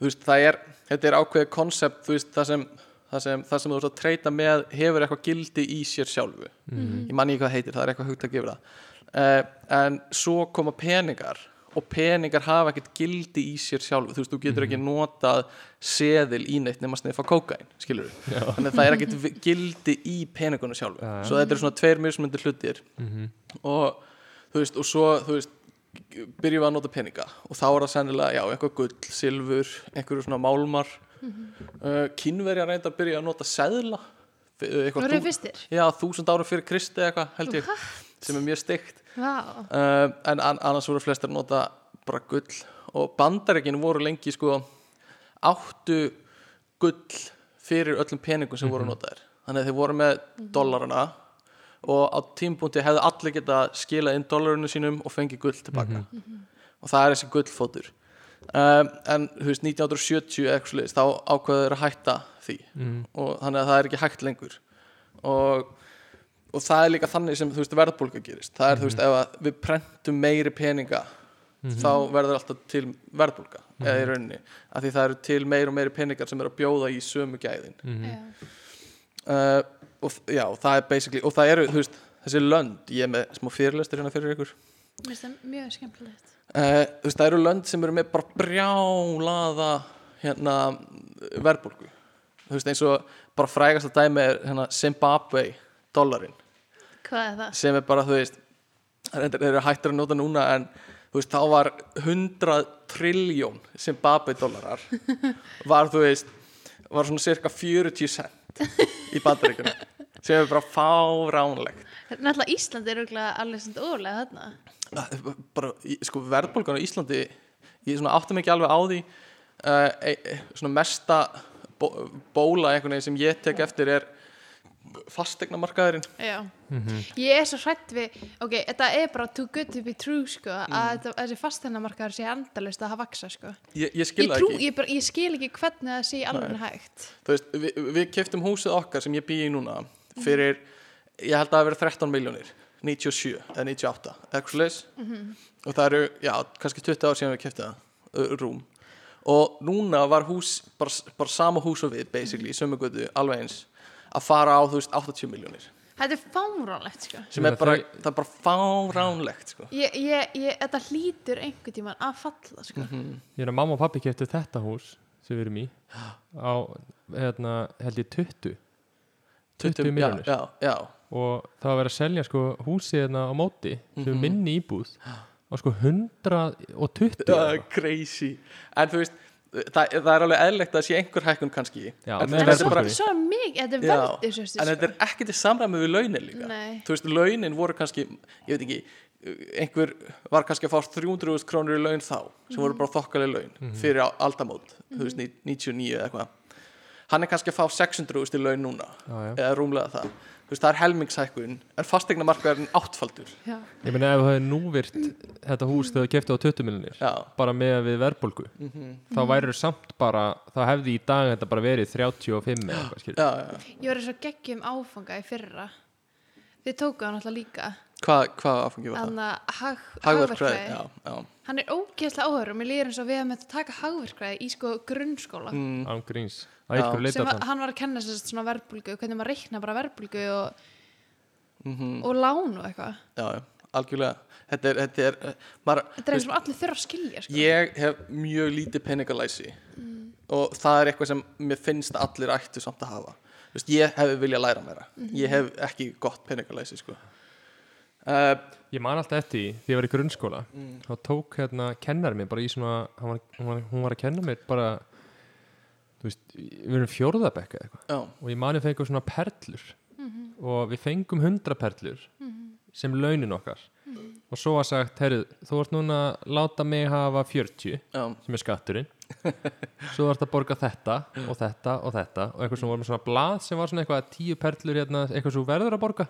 [SPEAKER 3] þú veist, það er þetta er ákveðið konsept, þú veist, það sem það sem, það sem þú ert að treyta með hefur eitthvað gildi í sér sjálfu
[SPEAKER 4] Mhm.
[SPEAKER 3] ég manni ekki hvað það heitir, það er eitthvað hugt að gefa það en svo koma peningar og peningar hafa ekkert gildi í sér sjálfu, þú veist, þú getur
[SPEAKER 4] Mhm.
[SPEAKER 3] ekki notað seðil í neitt nema sniffa kókain skilur við, þannig að það er ekkert vi- gildi í peningunum sjálfu
[SPEAKER 4] Já, já.
[SPEAKER 3] svo þetta eru svona tveir mismunandi hlutir og þú veist, og svo þú veist, byrjum við að nota peninga og þá er það sennilega, já, eitthvað gull, silfur einhverju svona málmar uh, kínverjar reyndar byrja að nota seðla f- uh,
[SPEAKER 1] Þú
[SPEAKER 3] eitthvað
[SPEAKER 1] eru
[SPEAKER 3] þú-
[SPEAKER 1] fyrstir?
[SPEAKER 3] já, þúsund ára fyrir Kristi eða eitthvað, held ég sem er mjög stygt
[SPEAKER 1] Vá.
[SPEAKER 3] uh, en an annars voru flestir að nota bara gull og bandaríkin voru lengi sko áttu gull fyrir öllum peningum sem voru notaðir þannig að þeir voru með dollarana og á tímpúnti hefðu allir geta skilað inn dollarinu sínum og fengið gull tilbaka og það er þessi gullfótur um, en þú veist 1970 eða eitthvað sliðist þá ákveður þeir að hætta því og þannig að það er ekki hægt lengur og og það er líka þannig sem þú veist verðbólga gerist það er þú veist ef að við prentum meiri peninga þá verður alltaf til verðbólga eða í rauninni af því það eru til meiri og meiri peningar sem eru að bjóða í sömu gæðin
[SPEAKER 4] Mhm.
[SPEAKER 1] Já.
[SPEAKER 3] uh, og þ- já og það er basically og það eru þú veist þessi lönd ég er með smá fyrirlestur hérna fyrir ykkur
[SPEAKER 1] Mér finnst það mjög skemmtilegt.
[SPEAKER 3] uh, þú veist það eru lönd sem eru með bara brjálaða hérna verðbólgu þú veist eins og bara frægast að dæmi er hérna Zimbabwe dollarinn
[SPEAKER 1] Hvað er það?
[SPEAKER 3] sem er bara, þú veist reyndar, þeir eru hættir að nota núna en þú veist, þá var 100 triljón Zimbabwe dólarar var, þú veist var svona cirka 40 cent í bandaríkjunum sem er bara fáránlegt
[SPEAKER 1] Náttúrulega Ísland er auðvitað alveg svona ólega þarna.
[SPEAKER 3] Það er bara, í- sko, verðbólgan á Íslandi ég svona átti mig ekki alveg á því uh, e, e, svona mesta bó, bóla einhvern veginn sem ég tek eftir er fastegnamarkaðurinn
[SPEAKER 1] Já.
[SPEAKER 3] Mhm.
[SPEAKER 1] Ég er svo hrætt við, ok, þetta er bara too good to be true, sko, að þetta- þessi fasteinamarkaður sé endalust að hafa vaksa, sko.
[SPEAKER 3] Mm. ég, ég
[SPEAKER 1] Ég,
[SPEAKER 3] skil það
[SPEAKER 1] trú,
[SPEAKER 3] ekki
[SPEAKER 1] ég, bara, ég skil ekki hvernig það sé alveg hægt.
[SPEAKER 3] þú veist, við, við keftum húsið okkar sem ég býi í núna fyrir, ég held að það hafi verið 13 miljónir 97 eða 98 eitthvað leis og það eru, já, kannski 20 ár síðan við keftum það ö, rúm og núna var hús, bara, bara sama hús og við basically, í sömu gutu, alveg eins að fara á, þú veist, 80 miljónir
[SPEAKER 1] Þetta er fáránlegt, sko.
[SPEAKER 3] sem er
[SPEAKER 4] Ég meina,
[SPEAKER 3] bara,
[SPEAKER 4] þau-
[SPEAKER 3] það er bara fáránlegt sko.
[SPEAKER 1] Ég, ég, ég, þetta hlýtur einhvern tíman að falla, sko.
[SPEAKER 3] Mhm.
[SPEAKER 4] Ég er að mamma og pappi keftu þetta hús sem við erum í á, hérna, held ég 20 20 miljónir
[SPEAKER 3] já, já, já,
[SPEAKER 4] og það var verið að selja sko húsið hérna á móti sem er minni íbúð á sko 120
[SPEAKER 3] það er crazy en þú veist, það, það er alveg eðlegt að sé einhver hækkun kannski
[SPEAKER 4] Já,
[SPEAKER 3] en
[SPEAKER 4] með
[SPEAKER 3] þetta
[SPEAKER 1] En
[SPEAKER 3] er
[SPEAKER 1] svo,
[SPEAKER 4] verðbólgunni.
[SPEAKER 1] svo mikið, þetta er
[SPEAKER 3] Já,
[SPEAKER 1] veldið, svo
[SPEAKER 3] en þetta er ekki til samræmi við launin líka
[SPEAKER 1] Nei.
[SPEAKER 3] þú veist, launin voru kannski ég veit ekki, einhver var kannski að fá 300.000 krónur í laun þá sem
[SPEAKER 1] Mhm.
[SPEAKER 3] voru bara þokkaleg laun fyrir á- aldamót þú veist, ní- 99 eða eitthvað hann er kannski að fá 600.000 í laun núna
[SPEAKER 4] Já, já.
[SPEAKER 3] eða rúmlega það þú veist, það er helmingshækkun en fastegnamarkaðurinn áttfaldur
[SPEAKER 1] Já,
[SPEAKER 4] Ég meina ef það er núvirt þetta hús þegar þau keftu á 20 miljonir
[SPEAKER 3] já,
[SPEAKER 4] bara með við verðbólgu þá
[SPEAKER 1] Mhm.
[SPEAKER 4] væri samt bara, þá hefði í dag þetta bara verið 35 eða eitthvað skilur
[SPEAKER 3] já, já.
[SPEAKER 1] ég var í svo geggjum áfanga í fyrra. Þið tókuðu hann alltaf líka.
[SPEAKER 3] hvað hva áfangi var það?
[SPEAKER 1] Þannig að hag,
[SPEAKER 3] Hagverkfræði,
[SPEAKER 1] hagverkfræði.
[SPEAKER 3] já, já,
[SPEAKER 1] Hann er ógeðslega áhörður og mér líður eins og við hefum þetta að taka hagverkfræði í sko grunnskóla.
[SPEAKER 4] án gríns, að ykkur Mm, leita
[SPEAKER 1] sem að,
[SPEAKER 4] þann
[SPEAKER 1] hann var að kenna sér svona verðbulgu hvernig maður reikna bara verðbulgu og,
[SPEAKER 4] Mm.
[SPEAKER 1] og lán og eitthvað
[SPEAKER 3] Mhm, já, já, algjörlega þetta er, þetta er, eh, maður,
[SPEAKER 1] þetta er eitthvað sem allir þurfa að skilja sko.
[SPEAKER 3] Ég hef mjög lítið peningalæsi
[SPEAKER 1] Mm.
[SPEAKER 3] og það er eitthvað sem mér finnst að allir ættu samt að hafa Þú veist, ég hefði viljað læra meira
[SPEAKER 1] Mhm.
[SPEAKER 3] ég hef ekki gott peningalæsi sko. uh,
[SPEAKER 4] Ég man alltaf eftir því því ég var í grunnskóla þá tók hérna kennar mér bara í svona hann var, hún, var, hún var að kenna mér bara þú veist, við erum fjórðabekka eitthvað
[SPEAKER 3] já,
[SPEAKER 4] og ég mani fengum svona perlur og við fengum hundra perlur sem launin okkar og svo var sagt, herrið, þú ert núna að láta mig hafa 40
[SPEAKER 3] já,
[SPEAKER 4] sem er skatturinn svo þarf þetta að borga þetta og þetta og þetta og eitthvað sem var með svona blað sem var svona eitthvað tíu perlur hérna, eitthvað sem þú verður að borga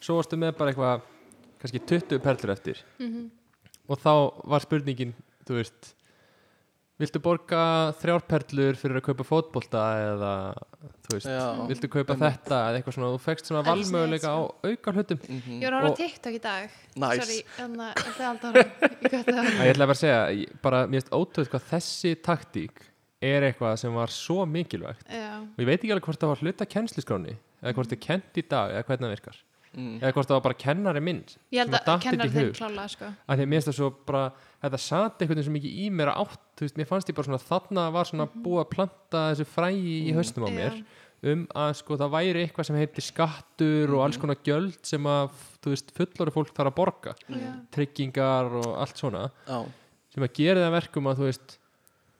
[SPEAKER 4] svo varstu með bara eitthvað kannski 20 perlur eftir og þá var spurningin þú veist viltu borga þrjár perlur fyrir að kaupa fótbolta eða þú veist,
[SPEAKER 3] Já.
[SPEAKER 4] viltu kaupa þetta eða eitthvað svona, þú fekst svona
[SPEAKER 1] Eldsneytis-
[SPEAKER 4] valmöguleika á auka hlutum
[SPEAKER 1] Ég var að horfa á
[SPEAKER 4] Og-
[SPEAKER 1] TikTok í dag
[SPEAKER 3] Mhm. Nice.
[SPEAKER 1] Sorry, hérna, en það er alltaf horfa Ég gæti það
[SPEAKER 4] Æ, ég ætla bara að segja, ég- bara mér finnst ótrúð hvað þessi taktík er eitthvað sem var svo mikilvægt
[SPEAKER 1] Já,
[SPEAKER 4] og ég veit ekki alveg hvort það var hluta kennsluskráni eða hvort það er kent í dag eða hvernig það virkar
[SPEAKER 3] Mm.
[SPEAKER 4] eða hvort það var bara kennari minn
[SPEAKER 1] ég held að kennar þinn klála sko.
[SPEAKER 4] að því að mér finnst það svo bara þetta sat einhvern veginn sem ekki í mér átt þú veist, mér fannst ég bara svona þarna var svona búið að planta þessu frægi í haustum á mér um að sko það væri eitthvað sem heitir skattur og alls konar gjöld sem að þú veist fullori fólk þarf að borga
[SPEAKER 1] Já,
[SPEAKER 4] tryggingar og allt svona
[SPEAKER 3] Já,
[SPEAKER 4] sem að gera það að verkum að þú veist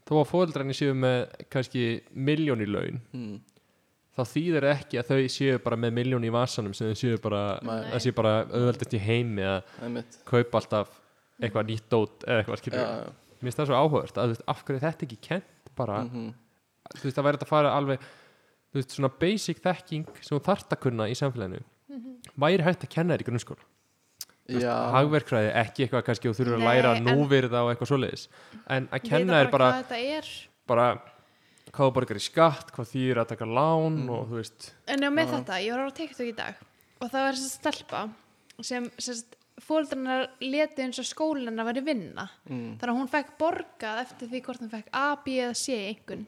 [SPEAKER 4] þó að fóðeldrarnir séu með kannski miljón í laun
[SPEAKER 3] mm,
[SPEAKER 4] þá þýðir það ekki að þau séu bara með miljón í vasanum sem þau séu bara,
[SPEAKER 3] Nei.
[SPEAKER 4] það séu bara auðveldast í heimi að
[SPEAKER 3] einmitt
[SPEAKER 4] kaupa alltaf eitthvað nýtt dót eða eitthvað skilur
[SPEAKER 3] Já,
[SPEAKER 4] við.
[SPEAKER 3] já,
[SPEAKER 4] mér finnst það svo áhugast að þú veist, af hverju er þetta ekki kent bara,
[SPEAKER 3] mhm,
[SPEAKER 4] þú veist, það væri þetta að fara alveg þú veist, svona basic þekking sem þú þarft að kunna í samfélaginu væri hægt að kenna þér í grunnskóla
[SPEAKER 3] já,
[SPEAKER 4] hagverkfræði, ekki eitthvað kannski og þú þurfur að
[SPEAKER 1] Nei,
[SPEAKER 4] læra
[SPEAKER 1] en-
[SPEAKER 4] núvirða og eitthvað svoleiðis en að kenna
[SPEAKER 1] Vita
[SPEAKER 4] þér bara,
[SPEAKER 1] hvað þetta er
[SPEAKER 4] bara hvað þú borgar í skatt, hvað þýðir að taka lán
[SPEAKER 3] Mm.
[SPEAKER 4] og þú veist,
[SPEAKER 1] En já, með þetta, ég var á TikTok í dag og það var þessi stelpa sem, sem fóldrarnar leti eins og skólinna væri vinna mm. þannig að hún fekk borgað eftir því hvort hún fekk A, B eða C einhvern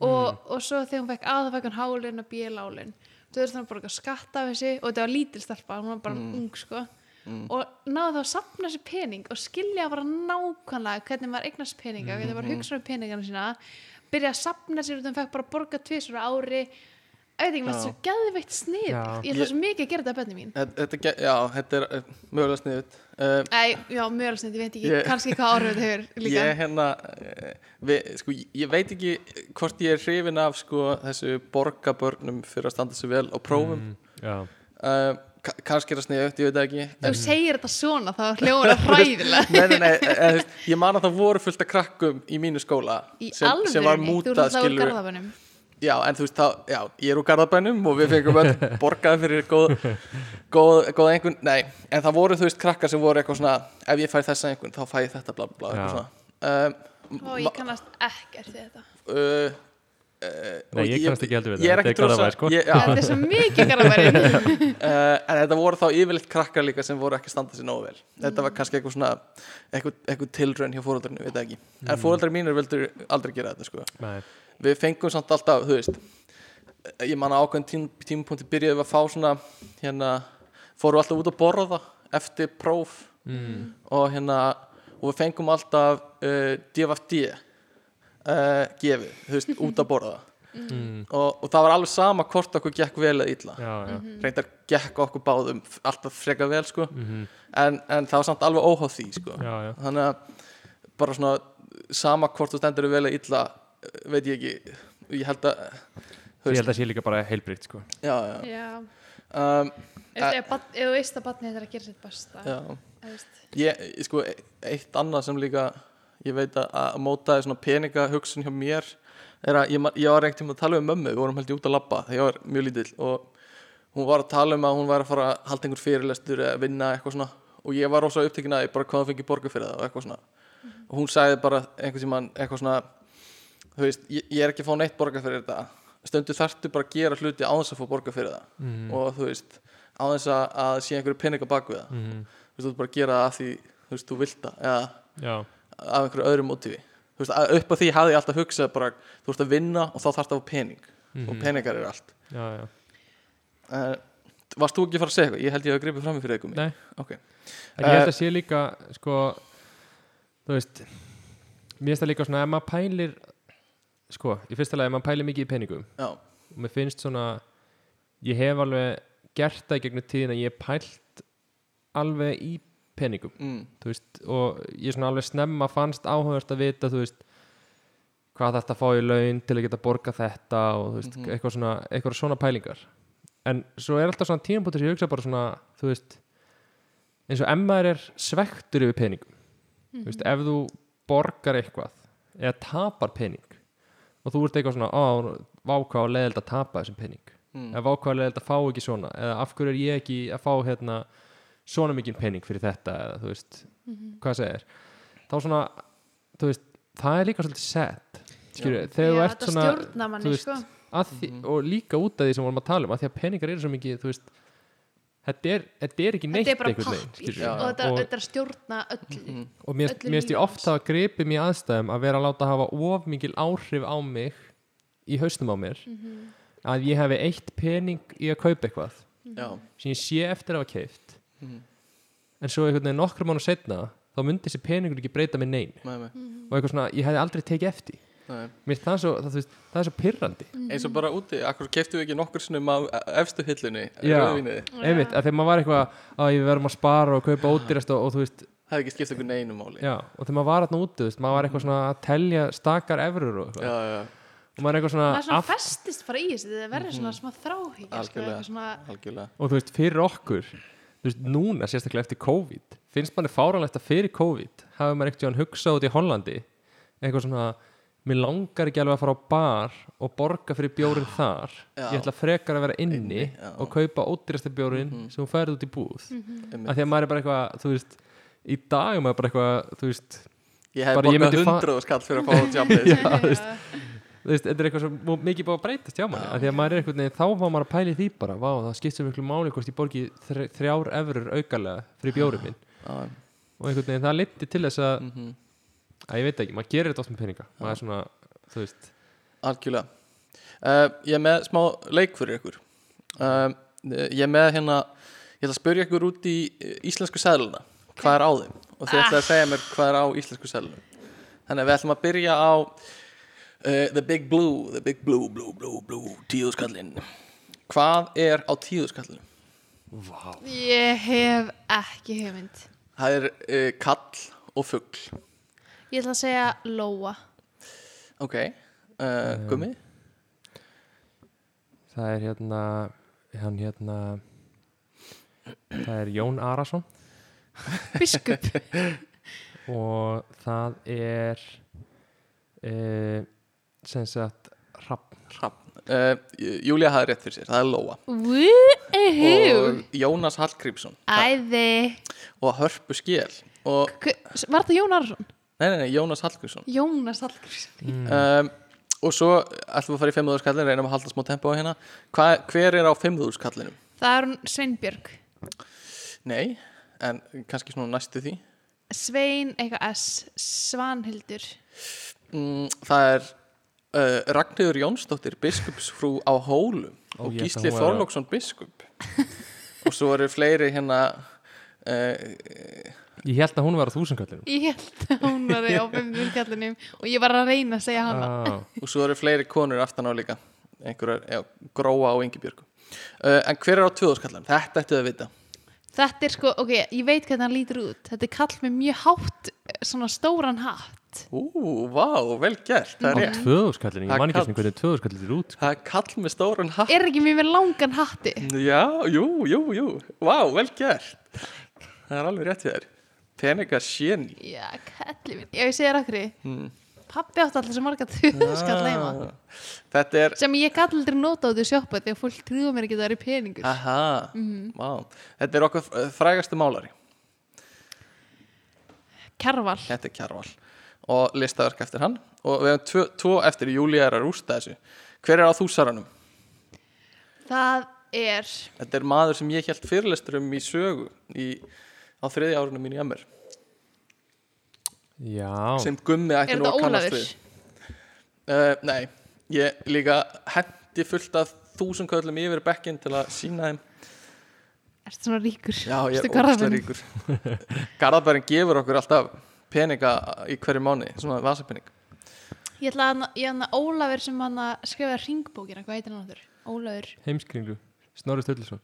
[SPEAKER 1] og, og svo þegar hún fekk A þá fekk hún hálun og B lálun þú veist þannig að borga skatt af þessi og þetta var lítil stelpa, hún var bara ung sko
[SPEAKER 3] Mm.
[SPEAKER 1] og náðu þá að sapna þessi pening og skilja bara nákvæmlega hvernig maður eignast peninga, hvernig maður hugsa um peningana sína byrja að sapna sér út um fekk bara að borga tvisur ári ég veit ekki, mér finnst
[SPEAKER 3] Já.
[SPEAKER 1] svo geðveitt snið
[SPEAKER 4] Já.
[SPEAKER 1] ég ætla svo mikið að gera þetta að bönni mín
[SPEAKER 3] Þetta- þetta ge- já, þetta er eh, mögulega sniðut uh,
[SPEAKER 1] Æ, já, mjög alveg snið, ég veit ekki
[SPEAKER 3] Ég-
[SPEAKER 1] kannski hvað áhrif þetta hefur líka
[SPEAKER 3] Ég hérna eh, við, sko, ég- ég veit ekki hvort ég er hrifin af sko, þessu borgabörnum fyrir að standa sér vel á prófum mm.
[SPEAKER 4] já,
[SPEAKER 3] Eh, kannski er það sniðut, ég veit það ekki
[SPEAKER 1] þú segir þetta svona, þá hljóður það hræðilega
[SPEAKER 3] Nei, nei,
[SPEAKER 4] eh,
[SPEAKER 3] nei, e, e, þú veist, ég man að það voru fullt af krakkum í mínu skóla
[SPEAKER 1] í
[SPEAKER 3] sem, sem var
[SPEAKER 1] alvörunni, þú
[SPEAKER 3] mútað
[SPEAKER 1] hljóður það úr
[SPEAKER 3] skilur
[SPEAKER 1] garðabönnum
[SPEAKER 3] Já, en þú veist, þá, já, ég er úr garðabænum og við fengum öll borgað fyrir góð, góð, góð einhvern, nei, en það voru, þú veist, krakkar sem voru eitthvað svona, ef ég fæ þessa einhvern, þá fæ ég þetta, bla, bla, bla,
[SPEAKER 4] Já.
[SPEAKER 3] eitthvað svona. Um,
[SPEAKER 1] og ég kannast ekkert við þetta
[SPEAKER 3] uh, uh,
[SPEAKER 4] Nei,
[SPEAKER 3] eh, og
[SPEAKER 4] ég kannast ekki heldur við
[SPEAKER 3] Ég
[SPEAKER 4] það,
[SPEAKER 3] er
[SPEAKER 4] þetta
[SPEAKER 3] ekki
[SPEAKER 4] er Garðabær, sko.
[SPEAKER 3] ég, já,
[SPEAKER 1] þetta er svo mikið garðabönnin
[SPEAKER 3] uh, en þetta voru þá yfirleitt krakkar líka sem voru ekki að standa sér nógu vel þetta var kannski eitthvað svona eitthvað, eitthvað tilraun hjá fóröldarinu, veit það ekki en fóreldrar mínir vildur aldrei gera þetta sko.
[SPEAKER 4] nei,
[SPEAKER 3] við fengum samt alltaf, þú veist eh, ég man að ákveðin tím, tímapunkti byrjuðum við að fá svona hérna, fórum alltaf út að borða eftir próf
[SPEAKER 4] Mm.
[SPEAKER 1] Mm.
[SPEAKER 3] og hérna og við fengum alltaf uh, DFD uh, gefið, þú veist, út að borða
[SPEAKER 4] Mm.
[SPEAKER 3] og, og það var alveg sama hvort okkur gekk vel eða illa
[SPEAKER 4] já, já
[SPEAKER 3] reyndar gekk okkur báðum f- alltaf freka vel sko
[SPEAKER 1] Mhm.
[SPEAKER 3] en, en það var samt alveg óháð því sko
[SPEAKER 4] já, Mhm. já,
[SPEAKER 3] þannig að bara svona sama hvort þú stendur þig vel eða illa eh, veit ég ekki ég held að
[SPEAKER 4] ég held að sé líka bara heilbrikt, sko
[SPEAKER 3] já, já.
[SPEAKER 1] já,
[SPEAKER 3] Um,
[SPEAKER 1] Þú veist, ef barn- ef þú veist að barnið þetta er að gera sitt besta
[SPEAKER 3] já.
[SPEAKER 1] þú veist.
[SPEAKER 3] Ég, ég- sko, e- eitt annað sem líka ég veit að, að mótaði svona peninga hugsun hjá mér er að ég, man- ég var ekkert tíma að tala um mömmu, við vorum held ég út að labba þegar ég var mjög lítill og hún var að tala um að hún var að fara að halda einhver fyrirlestur eða vinna eitthvað svona og ég var rosa upptekin að ég bara hvað hún fengi borga fyrir það og eitthvað svona og hún sagði bara einhvern tímann eitthvað svona þú veist, ég, ég er ekki að fá neitt borga fyrir þetta stundu þartu bara að gera hluti á þess að fá borga fyrir það Mm.
[SPEAKER 4] Mhm. Mm.
[SPEAKER 3] og þú veist, á þess að, að sé einhverju peninga bak við það
[SPEAKER 4] Mhm.
[SPEAKER 3] þú veist, þú ert bara að gera það af því þú veist, þú vilt það eða
[SPEAKER 4] já,
[SPEAKER 3] af einhverju öðru mótífi þú veist, að- upp að því hafði ég alltaf hugsað bara þú ert að vinna og þá þarf það á pening og peningar er allt
[SPEAKER 4] Mhm. já, já
[SPEAKER 3] uh, varst þú ekki að fara að segja eitthvað? ég held ég hef gripið fram fyrir eitthvað
[SPEAKER 4] nei,
[SPEAKER 3] okay.
[SPEAKER 4] en ég held
[SPEAKER 3] Eh,
[SPEAKER 4] að sé líka, sko þú veist mér finnst það líka svona, ef maður pælir sko, í fyrsta lagi, ef maður pælir mikið í peningum
[SPEAKER 3] já,
[SPEAKER 4] og mér finnst svona ég hef alveg gert það í gegnum tíðin að ég hef pælt alveg í peningum
[SPEAKER 3] mm,
[SPEAKER 4] þú veist, og ég svona alveg snemma fannst áhugast að vita þú veist, hvað þetta fá í laun til að geta borga þetta og þú veist, eitthvað, svona, eitthvað svona pælingar en svo er alltaf svona tímabútur sem ég hugsa bara svona þú veist, eins og ef maður er svektur yfir peningum þú veist, ef þú borgar eitthvað eða tapar pening og þú ert eitthvað svona á, vákvað og leðild að tapa þessum pening
[SPEAKER 3] Mm.
[SPEAKER 4] eða vákvað og leðild að fá ekki svona eða af hverju er ég ekki að fá hérna svona mikinn pening fyrir þetta eða þú veist,
[SPEAKER 1] Mhm.
[SPEAKER 4] hvað segir þá svona, þú veist það er líka svolítið sad skilur, þegar þú
[SPEAKER 1] Já,
[SPEAKER 4] ert
[SPEAKER 1] þetta
[SPEAKER 4] svona
[SPEAKER 1] stjórnar manni,
[SPEAKER 4] þú veist,
[SPEAKER 1] sko.
[SPEAKER 4] að því, og líka út af því sem vorum að tala um að því að peningar eru svo mikið þú veist, þetta er, þetta er ekki neitt
[SPEAKER 1] þetta er bara
[SPEAKER 4] einhvern veginn,
[SPEAKER 1] pappir
[SPEAKER 4] skilurðu.
[SPEAKER 1] og þetta,
[SPEAKER 4] og, Mm-hmm.
[SPEAKER 1] þetta er að stjórna
[SPEAKER 3] Mm,
[SPEAKER 1] öllu
[SPEAKER 4] og mér
[SPEAKER 1] öllum
[SPEAKER 4] finnst ég
[SPEAKER 1] lífans.
[SPEAKER 4] oft að gripa mér aðstæðum að vera að láta hafa of mikil áhrif á mig í haustum á mér
[SPEAKER 1] Mhm.
[SPEAKER 4] að ég hefi eitt pening í að kaupa eitthvað
[SPEAKER 3] já,
[SPEAKER 4] sem ég sé eftir að hafa keift
[SPEAKER 3] Mhm.
[SPEAKER 4] en svo einhvern veginn nokkrum mánu setna þá myndi þessi peningur ekki breyta mig nein
[SPEAKER 3] með mig
[SPEAKER 4] og eitthvað svona, ég hefði aldrei tekið eftir
[SPEAKER 3] Nei.
[SPEAKER 4] mér finnst það, svo, það, þú veist, það er svo pirrandi
[SPEAKER 3] eins og bara úti, akkur keftu við ekki nokkur sinnum á efstu hillunni,
[SPEAKER 4] Já.
[SPEAKER 3] rauðvinni
[SPEAKER 4] einmitt, að þegar maður var eitthvað að við verðum að spara og kaupa ódýrast og, og þú veist,
[SPEAKER 3] það hefði ekki skipt okkur neinu máli
[SPEAKER 4] já, og þegar maður var þarna úti, þú veist, maður var eitthvað svona að telja stakar efrur og,
[SPEAKER 3] já,
[SPEAKER 4] eitthvað.
[SPEAKER 3] já,
[SPEAKER 4] og maður er eitthvað svona,
[SPEAKER 1] það er svona
[SPEAKER 4] aft-
[SPEAKER 1] festist bara í þessu þetta
[SPEAKER 4] Mhm.
[SPEAKER 1] verður svona smá þráhyggja sko,
[SPEAKER 3] Algjörlega.
[SPEAKER 1] eitthvað svona,
[SPEAKER 3] algjörlega
[SPEAKER 4] og þú veist, fyrir okkur þú veist, núna sérstaklega eftir COVID finnst manni fáranlegt að fyrir COVID hafi maður eitthvað hugsað út í Hollandi eitthvað svona, mér langar ekki alveg að fara á bar og borga fyrir bjórin þar
[SPEAKER 3] Já.
[SPEAKER 4] ég ætla frekar að vera inni,
[SPEAKER 3] Inni, já. Mhm.
[SPEAKER 4] og kaupa ódýrasta bjórin sem hún færið út í búð
[SPEAKER 3] Einmitt.
[SPEAKER 4] að því að maður er bara eitthvað, þú veist í dag er maður bara eitthvað, þú veist
[SPEAKER 3] ég hefði
[SPEAKER 4] Bara ég
[SPEAKER 3] borgað
[SPEAKER 4] myndi fa-
[SPEAKER 3] hundruð skall fyrir að fá tjámið
[SPEAKER 4] Já, þú veist, þú veist, þetta er eitthvað sem mú- mikið búið að breytast hjá manni, af því að maður er einhvern veginn þá var maður að pæli því bara, vá, það skiptir miklu máli hvort ég borgi þr þrjár efurur aukalega fyrir bjórum minn og einhvern veginn það liti til þess að,
[SPEAKER 3] Mhm.
[SPEAKER 4] að ég veit ekki, maður gerir þetta oft með peninga maður er svona, þú veist
[SPEAKER 3] Algjörlega uh, Ég er með smá leik fyrir ykkur uh, Ég er með hérna Ég ætla að spyrja ykkur út í eh, íslensku seðluna Hvað er á þeim? Og þið ætla að segja mér hvað er á íslensku seðlunum Þannig að við ætlum að byrja á uh, The Big Blue The Big Blue, Blue, Blue, Blue Tíðuskallin Hvað er á tíðuskallinu?
[SPEAKER 1] ég hef ekki hugmynd
[SPEAKER 3] Það er uh, kall og fugl
[SPEAKER 1] ég ætla að segja Lóa
[SPEAKER 3] Ok, uh, gummi
[SPEAKER 4] það er hérna, hann hérna það er Jón Arason
[SPEAKER 1] biskup
[SPEAKER 4] og það er e, sem sagt Rappn
[SPEAKER 3] uh, Júlía hafði rétt fyrir sér, það er Lóa
[SPEAKER 1] Woo-hoo.
[SPEAKER 3] Og Jónas Hallgrímsson
[SPEAKER 1] æði
[SPEAKER 3] og hörpu skil og,
[SPEAKER 1] Hver- var þetta Jón Arsson?
[SPEAKER 3] nei, nei, nei, Jónas Hallgrímsson
[SPEAKER 1] Jónas Hallgrímsson
[SPEAKER 4] Mm.
[SPEAKER 3] um, og svo ætlum við að fara í fimmúðurskallin reynum að halda smá tempo á hérna Hva, hver er á fimmúðurskallinum?
[SPEAKER 1] það er hún Sveinbjörg
[SPEAKER 3] Nei, en kannski svona næstu því
[SPEAKER 1] Svein eitthvað S Svanhildur
[SPEAKER 3] mm, það er uh, Ragnhildur Jónsdóttir biskupsfrú á Hólum
[SPEAKER 4] Ó,
[SPEAKER 3] og
[SPEAKER 4] ég ætla
[SPEAKER 3] Gísli
[SPEAKER 4] hún væri á-
[SPEAKER 3] Þorlóksson biskup og svo eru fleiri hérna uh,
[SPEAKER 4] ég held að hún var á þúsundkallinum
[SPEAKER 1] ég held að hún var á fimmurkallinum og ég var að reyna að segja hana
[SPEAKER 4] ah,
[SPEAKER 3] og svo eru fleiri konur aftan á líka einhverjar, já, gróa og yngibjörgu uh, en hver er á tvöðurskallinum? Þetta ættu að vita
[SPEAKER 1] Þetta er sko, ok, ég veit hvernig hann lítur út. Þetta er kall með mjög hátt, eh, svona stóran hatt.
[SPEAKER 3] Ú, vá, vel gert, það er
[SPEAKER 4] á
[SPEAKER 3] rétt
[SPEAKER 4] tvöðurskallinu,
[SPEAKER 3] Það
[SPEAKER 4] ég man
[SPEAKER 3] kall-
[SPEAKER 4] ekki einu sinni hvernig tvöðurskallinu er út sko.
[SPEAKER 3] Það er kall með stórun hatt
[SPEAKER 1] Er ekki mjög með langan hatti?
[SPEAKER 3] Já, jú, jú, jú, vá, vel gert Það er alveg rétt hjá þér Peningar sjeni
[SPEAKER 1] Já, kalli minn. Já, ég segi þér okkur.
[SPEAKER 3] Mm.
[SPEAKER 1] Pappi átti alltaf svo marga tuðskall
[SPEAKER 3] Ah.
[SPEAKER 1] heima.
[SPEAKER 3] Þetta er,
[SPEAKER 1] Sem ég gall aldrei nota á því sjoppa því að fólk trúða mér ekki að það eru peningur.
[SPEAKER 3] aha,
[SPEAKER 1] Mhm.
[SPEAKER 3] vá Þetta er okkar eh, frægasti málari
[SPEAKER 1] Kjarval.
[SPEAKER 3] Þetta er Kjarval Og listaverk eftir hann Og við hefum tvo, tvo eftir Júlía er að rústa þessu Hver er á þúsaranum?
[SPEAKER 1] Það er,
[SPEAKER 3] Þetta er maður sem ég held fyrirlestur um í sögu í, á þriðja árunum mínu í Ammer
[SPEAKER 4] já,
[SPEAKER 3] sem gummi ætti
[SPEAKER 1] er
[SPEAKER 3] nú að
[SPEAKER 1] þetta
[SPEAKER 3] kannast við
[SPEAKER 1] Ólafur?
[SPEAKER 3] Uh, nei, ég líka hendi fullt af þúsund köllum yfir bekkinn til að sína þeim
[SPEAKER 1] Ertu svona ríkur?
[SPEAKER 3] Já, ég
[SPEAKER 1] Ertu
[SPEAKER 3] er ógæslega
[SPEAKER 1] Garðabæinn?
[SPEAKER 3] ríkur Garðabærin gefur okkur alltaf peninga í hverju mánu, svona vasapening
[SPEAKER 1] Ég ætla að, ég hann að Ólafur sem hann að skrifa ringbókina, hvað heitir hann áttur? Ólafur,
[SPEAKER 4] heimskringlu Snorri Stöldlisson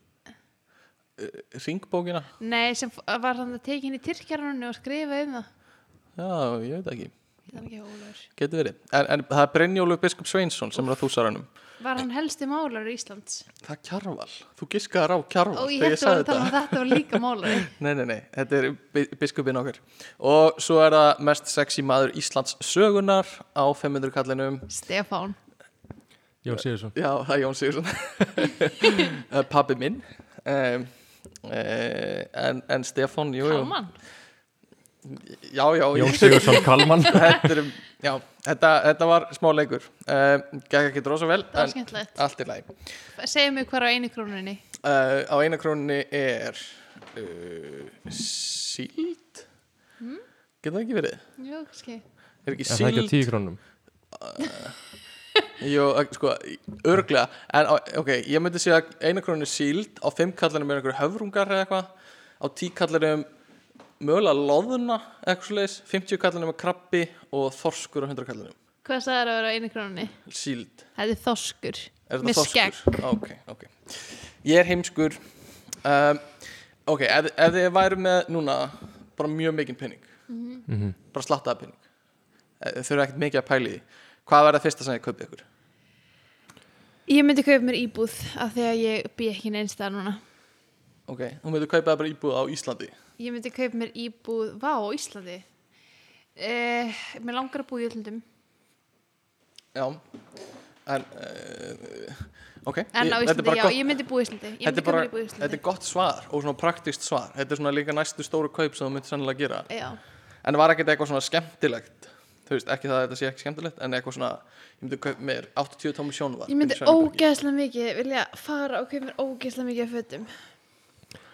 [SPEAKER 3] Ringbókina?
[SPEAKER 1] nei, sem f- var hann að tekið inn í Tyrkjarnunni og skrifa um það.
[SPEAKER 3] Já, ég veit ekki,
[SPEAKER 1] Það er ekki Ólafur.
[SPEAKER 3] getur verið En, en það er Brynjólu Biskup Sveinsson sem er að þúsaranum
[SPEAKER 1] Var hann helsti málar í Íslands?
[SPEAKER 3] Það er kjarval, þú giskaðar á kjarval
[SPEAKER 1] Ó, ég hætti að vera að tala um að þetta var líka málari.
[SPEAKER 3] Nei, nei, nei, þetta er bi- biskupinn okkar Og svo er það mest sexy maður Íslands sögunar á 500 kallinum
[SPEAKER 1] Stefán.
[SPEAKER 4] Jón Sigursson
[SPEAKER 3] Já, það er Jón Sigursson Pappi minn um, uh, en, en Stefán, jú, jú
[SPEAKER 1] Kalman.
[SPEAKER 3] Já, já,
[SPEAKER 4] Jón
[SPEAKER 3] ég,
[SPEAKER 4] Sigursson Kalman
[SPEAKER 3] þetta, er, um, já þetta, þetta var smá leikur um, Gekk ekki drosa vel
[SPEAKER 1] Það var
[SPEAKER 3] en
[SPEAKER 1] skemmtilegt.
[SPEAKER 3] allt í læg
[SPEAKER 1] Segðu mig hver á einu krónunni.
[SPEAKER 3] uh, Á eina krónunni er uh, Síld
[SPEAKER 1] Hmm?
[SPEAKER 3] Getur það ekki verið?
[SPEAKER 1] Jú, kannski.
[SPEAKER 3] Er ekki
[SPEAKER 4] Er það ekki á
[SPEAKER 3] síld?
[SPEAKER 4] tíu krónum?
[SPEAKER 3] Jó, eh, sko, örglega En á- ok, ég myndi segja að eina krónu síld Á fimm kallanum er einhverju höfrungar eða eitthvað Á tí kallanum Mögulega loðuna, eða eitthvað svoleiðis 50 kallanum er krabbi og þorskur á 100 kallanum
[SPEAKER 1] Hvað sagði það að vera á einu krónunni?
[SPEAKER 3] Síld,
[SPEAKER 1] Þetta er þoskur.
[SPEAKER 3] er
[SPEAKER 1] Með
[SPEAKER 3] þetta þorskur?
[SPEAKER 1] skegg.
[SPEAKER 3] Ok, ok Ég er heimskur um, Ok, ef, ef þið væru með núna Bara mjög mikinn penning
[SPEAKER 1] Mhm.
[SPEAKER 3] Bara slattaða penning Eh, Þau eru ekkert mikið að pæli því Hvað var það fyrsta sem ég kaupið ykkur?
[SPEAKER 1] Ég myndi kaupa mér íbúð af því að ég bý ekki neins það núna.
[SPEAKER 3] Ok, þú myndir kaupað bara íbúð á Íslandi
[SPEAKER 1] Ég myndi kaupa mér íbúð, vá, á Íslandi. Eh, mér langar að búa í Íslandum.
[SPEAKER 3] Já En uh, Ok
[SPEAKER 1] En á
[SPEAKER 3] Ég- þetta er
[SPEAKER 1] Íslandi,
[SPEAKER 3] bara
[SPEAKER 1] já,
[SPEAKER 3] gott-
[SPEAKER 1] ég myndi búa í Íslandi. Ég myndi
[SPEAKER 3] Þetta er,
[SPEAKER 1] kaupa mér
[SPEAKER 3] bara,
[SPEAKER 1] íbúð í
[SPEAKER 3] þetta
[SPEAKER 1] Íslandi.
[SPEAKER 3] er gott svar og svona praktíst svar Þetta er svona líka næstu stóru kaup sem þú myndir sannlega gera
[SPEAKER 1] Já,
[SPEAKER 3] En var ekkert eitthvað svona skemmtilegt Þú veist, ekki það að þetta sé ekki skemmtilegt En eitthvað svona, ég myndi kaup mér 80 tómi sjónvarp
[SPEAKER 1] ég myndi
[SPEAKER 3] inn í Sveinborgi.
[SPEAKER 1] ógeðslega mikið vilja fara og kaupa mér ógeðslega mikið af fötum.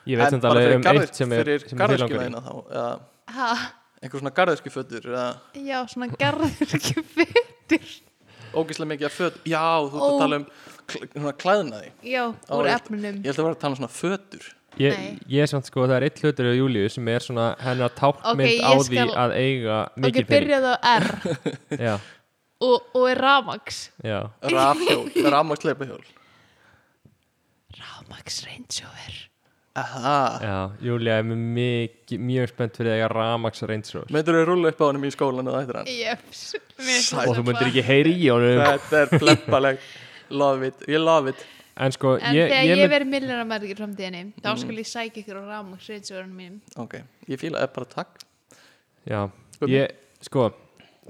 [SPEAKER 4] Ég veit
[SPEAKER 3] En
[SPEAKER 4] sem
[SPEAKER 3] bara
[SPEAKER 4] alveg
[SPEAKER 3] fyrir
[SPEAKER 4] um
[SPEAKER 3] garð-
[SPEAKER 4] eitt sem er
[SPEAKER 3] Fyrir
[SPEAKER 4] sem er þið langar í.
[SPEAKER 3] garðarskjöfina þá eða
[SPEAKER 1] Ha,
[SPEAKER 3] Einhver svona garðarskjöfötur eða
[SPEAKER 1] já, svona garður ekki fötur.
[SPEAKER 3] Ógislega mikið af föt Já, þú ert
[SPEAKER 1] Ó.
[SPEAKER 3] að tala um kl- svona klæðnaði
[SPEAKER 1] Já,
[SPEAKER 3] Ó,
[SPEAKER 1] úr efnunum.
[SPEAKER 3] Ég held að vera að tala um svona fötur
[SPEAKER 4] Ég,
[SPEAKER 1] Nei.
[SPEAKER 4] ég samt sko, það er eitt hlutur á Júliu sem er svona hennar tákmynd
[SPEAKER 1] Ok, ég
[SPEAKER 4] á því
[SPEAKER 1] skal-
[SPEAKER 4] að eiga
[SPEAKER 1] Ok,
[SPEAKER 4] mikil pening
[SPEAKER 1] byrjaðu á R
[SPEAKER 4] Já,
[SPEAKER 1] og, og er ramax.
[SPEAKER 4] já
[SPEAKER 3] Rafhjól, rafmagsleipahjól
[SPEAKER 1] Ramax Range Rover.
[SPEAKER 3] Aha
[SPEAKER 4] Já, Júlia er mjög, miki- mjög spennt fyrir að eiga Ramax Reynsrós
[SPEAKER 3] Myndur þú rúla upp á honum í skólan og ættir hann?
[SPEAKER 1] Jöps.
[SPEAKER 3] Sæt.
[SPEAKER 4] og þú myndir ekki heyri í honum
[SPEAKER 3] Þetta er pleppaleg Love it, ég love it
[SPEAKER 4] En sko,
[SPEAKER 1] En
[SPEAKER 4] ég,
[SPEAKER 1] þegar ég,
[SPEAKER 4] ég, mynd, Mm.
[SPEAKER 1] verið millinarmæður í framtíðinni, þá skul ég sækja ykkur á ramax Range Roverum mínum.
[SPEAKER 3] Ok, ég fíla eða bara takk
[SPEAKER 4] já, ég, sko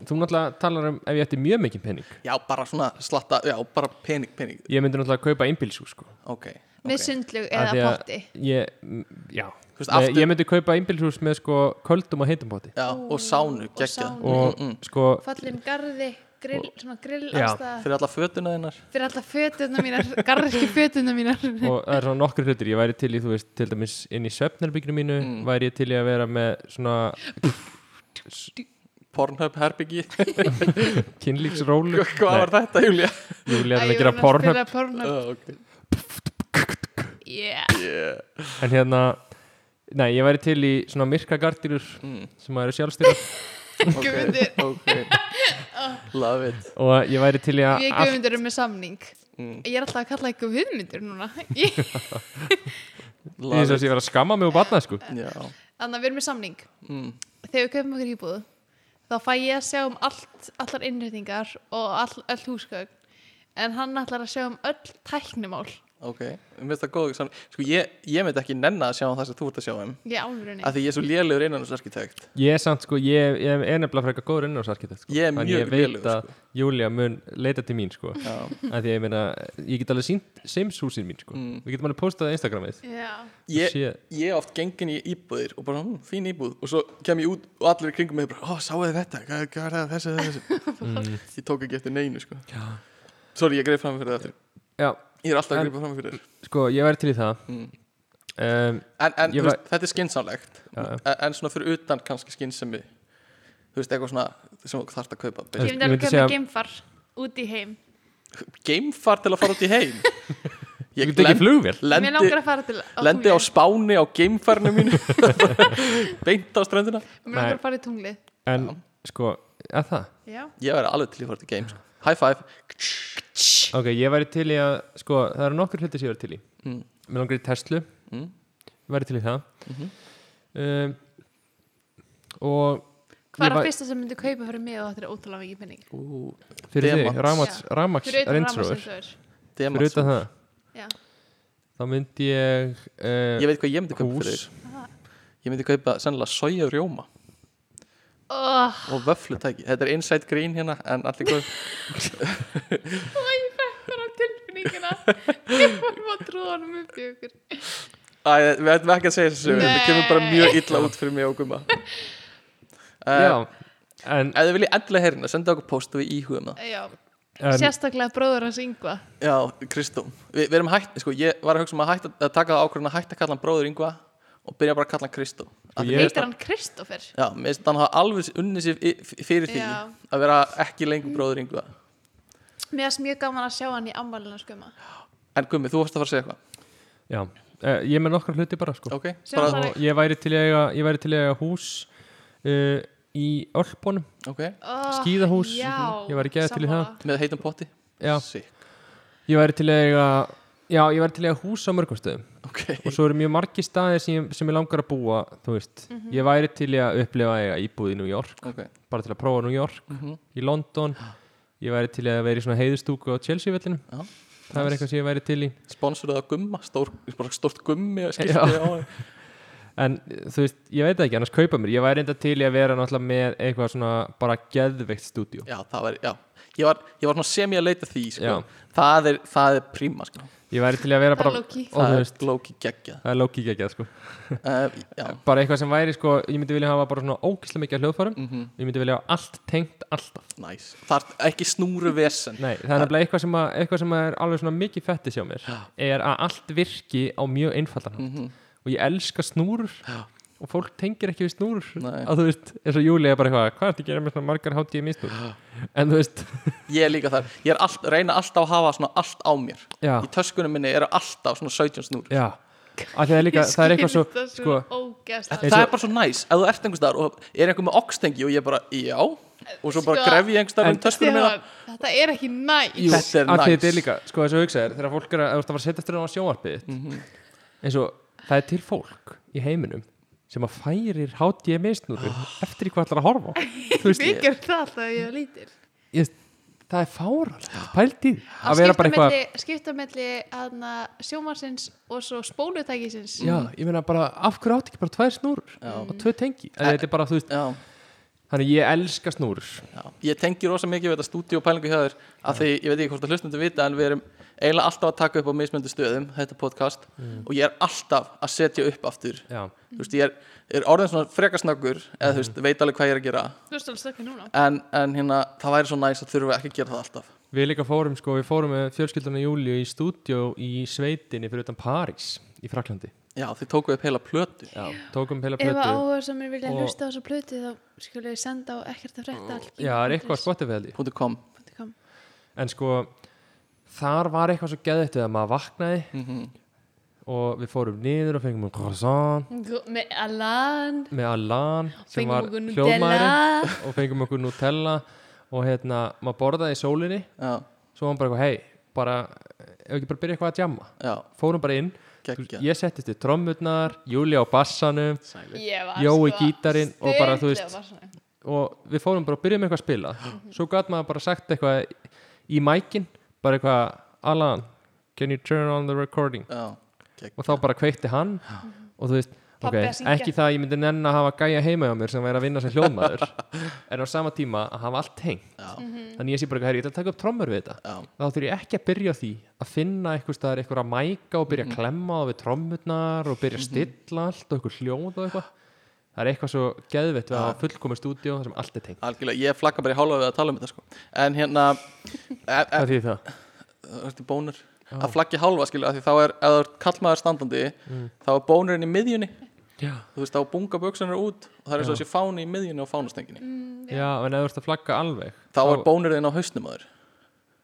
[SPEAKER 4] Þú náttúrulega talar um ef ég ætti mjög mikil pening
[SPEAKER 3] Já, bara svona slatta, já, bara pening, pening
[SPEAKER 4] Ég myndi náttúrulega kaupa einbílsú sko
[SPEAKER 3] Ok,
[SPEAKER 1] Með
[SPEAKER 3] ok
[SPEAKER 1] sundlug
[SPEAKER 4] Af því
[SPEAKER 1] eða
[SPEAKER 4] að
[SPEAKER 1] potti. um.
[SPEAKER 4] ég, m, já,
[SPEAKER 3] veist,
[SPEAKER 4] Nei,
[SPEAKER 3] aftur-
[SPEAKER 4] ég myndi kaupa einbílshús með sko köldum og heitum bóti
[SPEAKER 3] Já, og sánu, Mm,
[SPEAKER 1] og
[SPEAKER 3] geggja
[SPEAKER 1] sánu.
[SPEAKER 4] og sko,
[SPEAKER 1] Fallin garði, grill, svona grill
[SPEAKER 4] Já.
[SPEAKER 1] allstað.
[SPEAKER 3] Fyrir alla fötuna þinnar
[SPEAKER 1] Fyrir alltaf fötuna mínar, garðiski fötuna mínar.
[SPEAKER 4] og það er svona nokkur hlutir ég væri til í, þú veist, til dæmis inn í svefnherbygginu mínu
[SPEAKER 1] Mm.
[SPEAKER 4] væri ég til í að vera með svona
[SPEAKER 3] Pornhub herbyggi
[SPEAKER 4] kynlíksrólu
[SPEAKER 3] Hvað var þetta, Júlia?
[SPEAKER 4] Júli
[SPEAKER 1] Æ,
[SPEAKER 4] er að
[SPEAKER 1] ég
[SPEAKER 4] gera
[SPEAKER 1] var að
[SPEAKER 4] pornhöp
[SPEAKER 1] spila Pornhub.
[SPEAKER 3] Uh, okay.
[SPEAKER 1] Yeah.
[SPEAKER 3] yeah.
[SPEAKER 4] en hérna, nei, ég væri til í svona myrka gardinur
[SPEAKER 3] Mm,
[SPEAKER 4] sem eru sjálfstyrur
[SPEAKER 1] Guðmundur.
[SPEAKER 3] okay. Love it Mm,
[SPEAKER 4] og ég væri til í að
[SPEAKER 1] Við
[SPEAKER 4] allt-
[SPEAKER 1] guðmyndur erum með samning Ég er alltaf að kalla eitthvað viðmyndur núna Þannig
[SPEAKER 4] eins
[SPEAKER 3] Love
[SPEAKER 4] og þess að
[SPEAKER 3] it
[SPEAKER 4] ég vera að skamma mig og batna sko
[SPEAKER 3] Já,
[SPEAKER 1] að við erum með samning
[SPEAKER 3] mm.
[SPEAKER 1] Þegar við köpum okkur íbúðu Þá fæ ég að sjá um allt, allar innréttingar Og all, öll húsgögn En hann ætlar að sjá um öll tæknimál
[SPEAKER 3] ok Mér finnst það góð sam- Sko, ég, ég myndi ekki nenna að sjá um það sem þú ert að sjá um
[SPEAKER 1] Ég álfurinn
[SPEAKER 3] Af því ég er svo lélegur innanúsarkitekt
[SPEAKER 4] ég er samt sko, ég, ég er nefnilega frekar góður innráðsarkitekt sko.
[SPEAKER 3] Ég er
[SPEAKER 4] Þannig
[SPEAKER 3] mjög
[SPEAKER 4] ég veit
[SPEAKER 3] lélegur,
[SPEAKER 4] að
[SPEAKER 3] sko.
[SPEAKER 4] Júlia mun leita til mín sko af því að ég meina, ég get alveg sínt Sims húsin mín sko, við getum alveg postað á Instagramið
[SPEAKER 1] Já,
[SPEAKER 3] Mm. ég,
[SPEAKER 4] Sé-
[SPEAKER 3] ég hef oft gengin í íbúðir og bara, hm, fín íbúð og svo kem ég út og allir í kringum mig bara, ó, sáu þið þetta, hvað, hvað er það, þessi, þessi
[SPEAKER 4] Mm.
[SPEAKER 3] þessi ég tók ekki eftir neinu, sko Já. sorry, ég greið fram fyrir það aftur.
[SPEAKER 4] já,
[SPEAKER 3] ég er alltaf að
[SPEAKER 4] En-
[SPEAKER 3] greiða fram fyrir þér
[SPEAKER 4] sko, ég væri til í það
[SPEAKER 3] Mm.
[SPEAKER 4] um,
[SPEAKER 3] en, en
[SPEAKER 4] Ég
[SPEAKER 3] þú veist, þetta er skinsamlegt
[SPEAKER 4] Já, já.
[SPEAKER 3] en, en svona fyrir utan kannski skinsemi þú veist, eitthvað svona sem þú þarft að kaupa
[SPEAKER 1] ég
[SPEAKER 4] Ég
[SPEAKER 1] myndi alveg
[SPEAKER 4] myndi
[SPEAKER 1] að
[SPEAKER 4] segja-
[SPEAKER 1] köpa geimfar Út í heim
[SPEAKER 3] geimfar til að fara út í heim
[SPEAKER 4] Þú getur ekki flugvél
[SPEAKER 1] Mér langar
[SPEAKER 3] lendi,
[SPEAKER 1] að fara til á
[SPEAKER 3] lendi á
[SPEAKER 1] tunglið.
[SPEAKER 3] spáni á geimfarinu mínu beint á ströndina
[SPEAKER 1] Mér langar að fara í tunglið
[SPEAKER 4] En sko, eða það
[SPEAKER 1] Já,
[SPEAKER 3] ég væri alveg til í að fara út í geim sko. high five
[SPEAKER 4] Ok, ég væri til í að, sko, það eru nokkur hlutir sem ég væri til í
[SPEAKER 3] Mm.
[SPEAKER 4] Mér langar í Tesla
[SPEAKER 3] Mm. Mhm.
[SPEAKER 4] Ég væri til í það um, Og
[SPEAKER 1] hvað er
[SPEAKER 4] Ég
[SPEAKER 1] að
[SPEAKER 4] væ-
[SPEAKER 1] fyrsta sem myndi kaupa fyrir mig og þetta er ótrúlega mikið penning
[SPEAKER 3] Ú,
[SPEAKER 4] fyrir
[SPEAKER 3] Demant.
[SPEAKER 4] þig, Ramats, Ramaks
[SPEAKER 1] Fyrir auðvitað
[SPEAKER 4] Reynsróður
[SPEAKER 1] ramaksins
[SPEAKER 4] fyrir
[SPEAKER 3] demant
[SPEAKER 4] utan það
[SPEAKER 1] já,
[SPEAKER 4] þá myndi ég, uh,
[SPEAKER 3] Ég veit hvað ég myndi kaupa
[SPEAKER 4] Hús.
[SPEAKER 3] fyrir þig. Ég myndi kaupa sennilega soja rjóma
[SPEAKER 1] oh,
[SPEAKER 3] og vöflutæki Þetta er inside green hérna en allir góð
[SPEAKER 1] ég fekk bara tilfinningina ég var bara að trúa honum upp í ykkur
[SPEAKER 3] Æ, Við ætlum ekki að segja þessu sögu, Þetta
[SPEAKER 1] Nei.
[SPEAKER 3] kemur bara mjög illa út fyrir mig og gumma
[SPEAKER 4] já
[SPEAKER 3] uh,
[SPEAKER 4] en,
[SPEAKER 3] Ef þið viljið endilega heyrna, senda okkur post og við íhugum það
[SPEAKER 1] já,
[SPEAKER 4] en
[SPEAKER 1] sérstaklega bróður hans yngva
[SPEAKER 3] Já, Kristó Vi, Við erum hætt, sko, ég var að hugsa um að, hætta, að taka það ákvörðin að hætta að kalla hann bróður yngva og byrja bara að kalla hann Kristó Af því mér
[SPEAKER 4] Ég-
[SPEAKER 3] finnst
[SPEAKER 1] heitir hann Kristoffer
[SPEAKER 3] Já, mér finnst hann hafa alveg unnið sér í- f- fyrir því
[SPEAKER 1] Já.
[SPEAKER 3] að vera ekki lengur bróður yngva
[SPEAKER 1] mér erst mjög gaman að sjá hann í sko, ammælinu skumma
[SPEAKER 3] En Gummi, þú varst að fara að segja eitthvað
[SPEAKER 4] já, uh, ég er með nokkra hluti bara sko
[SPEAKER 3] Ok,
[SPEAKER 1] Sem
[SPEAKER 3] bara,
[SPEAKER 1] var-
[SPEAKER 4] og ég væri til í að eiga- ég væri til í að eiga hús uh, í Ölpunum
[SPEAKER 3] ok
[SPEAKER 1] oh,
[SPEAKER 4] Skíðahús, Mhm,
[SPEAKER 1] já,
[SPEAKER 4] ég var ekki eða til í
[SPEAKER 1] sammála.
[SPEAKER 3] Með heitum potti
[SPEAKER 4] já,
[SPEAKER 3] Sick.
[SPEAKER 4] ég væri til í að eiga já, ég væri til í að eiga hús á mörgum stöðum
[SPEAKER 3] Ok,
[SPEAKER 4] og svo eru mjög margi staðir sem, ég- sem ég langar að búa þú veist, ég væri til í að upplifa að eiga íbúð í New York,
[SPEAKER 3] ok Mhm.
[SPEAKER 4] bara til að prófa New York í London, ég væri til í að vera í svona heiðustúku á Chelsea vellinu
[SPEAKER 3] Já.
[SPEAKER 4] það verður eitthvað sem ég væri til í
[SPEAKER 3] Sponsoruð af gumma, stór, bara stort gummi að skilti
[SPEAKER 4] Já.
[SPEAKER 3] á þeim.
[SPEAKER 4] en þú veist, ég veit það ekki, annars kaupa mér ég væri enda til í að vera náttúrulega með eitthvað svona bara geðveikt stúdíu
[SPEAKER 3] Já, það var, já Ég var, ég var svona semi að leita því, sko
[SPEAKER 4] Já.
[SPEAKER 3] Það er, það er príma, sko
[SPEAKER 4] ég væri til í að vera
[SPEAKER 1] Það er
[SPEAKER 4] bara
[SPEAKER 1] low-key.
[SPEAKER 4] og
[SPEAKER 3] Það
[SPEAKER 4] þú
[SPEAKER 3] er
[SPEAKER 4] veist,
[SPEAKER 3] glóki geggjað
[SPEAKER 4] það er lóki ekki sko.
[SPEAKER 3] uh, Já,
[SPEAKER 4] bara eitthvað sem væri, sko, ég myndi vilja hafa bara svona ógislega mikið af hljóðfærum,
[SPEAKER 3] Mhm.
[SPEAKER 4] ég myndi vilja hafa allt tengt alltaf
[SPEAKER 3] næs Það er ekki snúru vesen
[SPEAKER 4] Nei, það er nefnilega eitthvað sem, að, eitthvað sem að er alveg svona mikið fætti sjá mér er að allt virki á mjög einfaldan hátt og ég elska snúrur
[SPEAKER 3] Mhm. Já.
[SPEAKER 4] og fólk tengir ekki við snúrur
[SPEAKER 3] Nei.
[SPEAKER 4] að þú veist, eins og Júli er bara eitthvað hvað er þetta að gera með svona margar hátíði mistúr en þú veist,
[SPEAKER 3] Ég er líka þar Ég er allt, reyna alltaf að hafa svona allt á mér
[SPEAKER 4] já,
[SPEAKER 3] Í töskunum minni eru alltaf svona 17 snúru
[SPEAKER 4] já að það er líka,
[SPEAKER 1] Ég
[SPEAKER 4] það er eitthvað
[SPEAKER 1] skil
[SPEAKER 4] svo
[SPEAKER 1] þetta
[SPEAKER 4] sko,
[SPEAKER 1] ógeðslega.
[SPEAKER 4] Eins
[SPEAKER 3] Það
[SPEAKER 4] og-
[SPEAKER 3] er bara svo næs, ef þú ert einhvers staðar og er einhver með oxtengi og ég bara, já og svo bara
[SPEAKER 1] Sko-
[SPEAKER 3] gref ég einhvers staðar um
[SPEAKER 4] En-
[SPEAKER 3] töskunum minna
[SPEAKER 1] Stefán, þetta er ekki næs
[SPEAKER 3] Jú. Þetta er
[SPEAKER 4] Af því
[SPEAKER 3] nice.
[SPEAKER 4] þetta er líka, sko þess að hugsa þér þegar fólk er að, ef þú ert að fara að setja eftir á sjónvarpið þitt eins og það er til fólk í heiminum sem að færir hátíði mistúru eftir í hvað ætlar að horfa á. Þú veist,
[SPEAKER 1] við gerum það alltaf að ég er lítil
[SPEAKER 4] ég, það er fáralegt, pæltið að
[SPEAKER 1] að
[SPEAKER 4] vera bara eitthvað
[SPEAKER 1] skipta melli hana, sjómansins og svo spólutækisins
[SPEAKER 4] já, ég meina bara, af hverju átt ekki bara tvær snúrur og tvö tengi, en þetta er bara, þú veist
[SPEAKER 3] Já,
[SPEAKER 4] þannig ég elska snúrur
[SPEAKER 3] Já, ég tengi rosa mikið við þetta stúdíu og pælingu hjá þér af því ég veit ekki hvort að hlustnandi vita en við erum eiginlega alltaf að taka upp á mismöndu stöðum þetta podcast
[SPEAKER 4] Mm.
[SPEAKER 3] og ég er alltaf að setja upp aftur
[SPEAKER 4] já,
[SPEAKER 3] þú veist, ég er, er orðin svona frekasnöggur eða þú
[SPEAKER 4] Mm.
[SPEAKER 3] veist, veit alveg hvað ég er að gera
[SPEAKER 1] þú veist alveg stökkur núna
[SPEAKER 3] en, en hérna, það væri svo næs að þurfa ekki að gera það alltaf
[SPEAKER 4] við líka fórum sko, við fórum með fjölskyldunni Júli í stúdjó í sveitinni fyrir utan París í Fraklandi,
[SPEAKER 3] Já, þið tókuðu upp heila plötu
[SPEAKER 4] já, tókum heila
[SPEAKER 1] ef að
[SPEAKER 4] plötu
[SPEAKER 1] áhuga sem er vilja
[SPEAKER 4] Og-
[SPEAKER 1] hlusta á þessu plötu þá skulle ég senda á ekkert að frekta
[SPEAKER 4] já, það er eitthvað sko. spottifæði
[SPEAKER 3] punktur .com
[SPEAKER 1] spott
[SPEAKER 4] en sko, þar var eitthvað svo geðvægt við að maður vaknaði og við fórum niður og fengum um croissant
[SPEAKER 1] með Alan
[SPEAKER 4] með Alan sem var
[SPEAKER 1] fengum okkur
[SPEAKER 4] hljóðmæri
[SPEAKER 1] Nutella
[SPEAKER 4] og fengum okkur Nutella og hérna, maður borðaði í sólinni
[SPEAKER 3] Já,
[SPEAKER 4] svo var hann bara eitthvað, hei, bara ef ekki bara byrja eitthvað að jamma
[SPEAKER 3] já,
[SPEAKER 4] fórum bara inn,
[SPEAKER 3] geggja
[SPEAKER 4] ég settist í trommurnar Júlia á bassanum
[SPEAKER 1] Ég var
[SPEAKER 4] Jói
[SPEAKER 1] sko
[SPEAKER 4] gítarinn og bara, þú veist-
[SPEAKER 1] sturluð var svona.
[SPEAKER 4] og við fórum bara og byrjum eitthvað að spila svo gæt maður bara sagt eitthvað í mækin, bara eitthvað Alan, can you turn on the recording
[SPEAKER 3] Já, geggja
[SPEAKER 4] og þá bara kveikti hann og þú veist, ok,
[SPEAKER 1] Pabbi að syngja.
[SPEAKER 4] ekki það að ég myndi nenn að hafa gæja heima hjá mér sem væri að vinna sem hljóðmaður en á sama tíma að hafa allt hengt
[SPEAKER 3] Já.
[SPEAKER 1] Mhm.
[SPEAKER 4] þannig ég sé bara eitthvað, "Herri, ég ætla að taka upp trommur við þetta
[SPEAKER 3] Já.
[SPEAKER 4] þá þurfi ég ekki að byrja á því að finna eitthvað staðar eitthvað að mæka og
[SPEAKER 3] Mhm.
[SPEAKER 4] byrja að klemma á við trommurnar og byrja að stilla allt og eitthvað hljóð og eitthvað það er eitthvað svo geðvett við
[SPEAKER 3] Ah.
[SPEAKER 4] að fullkomi stúdíó þar sem allt er tengt
[SPEAKER 3] Algjörlega, ég flagga bara í hálfa við að tala um þetta sko. en hérna e- e-
[SPEAKER 4] hvað því það?
[SPEAKER 3] Það ertu bónur að flaggi hálfa skilur af því þá er, ef það er kallmaður standandi þá er bónurinn í miðjunni
[SPEAKER 4] Já.
[SPEAKER 3] þú veist þá bunga buksunar út og það er svo þessi fáni í miðjunni og fánastenginni
[SPEAKER 1] Mm.
[SPEAKER 4] Já, en ef þú ert að flagga alveg
[SPEAKER 3] þá er bónurinn á hausnum aður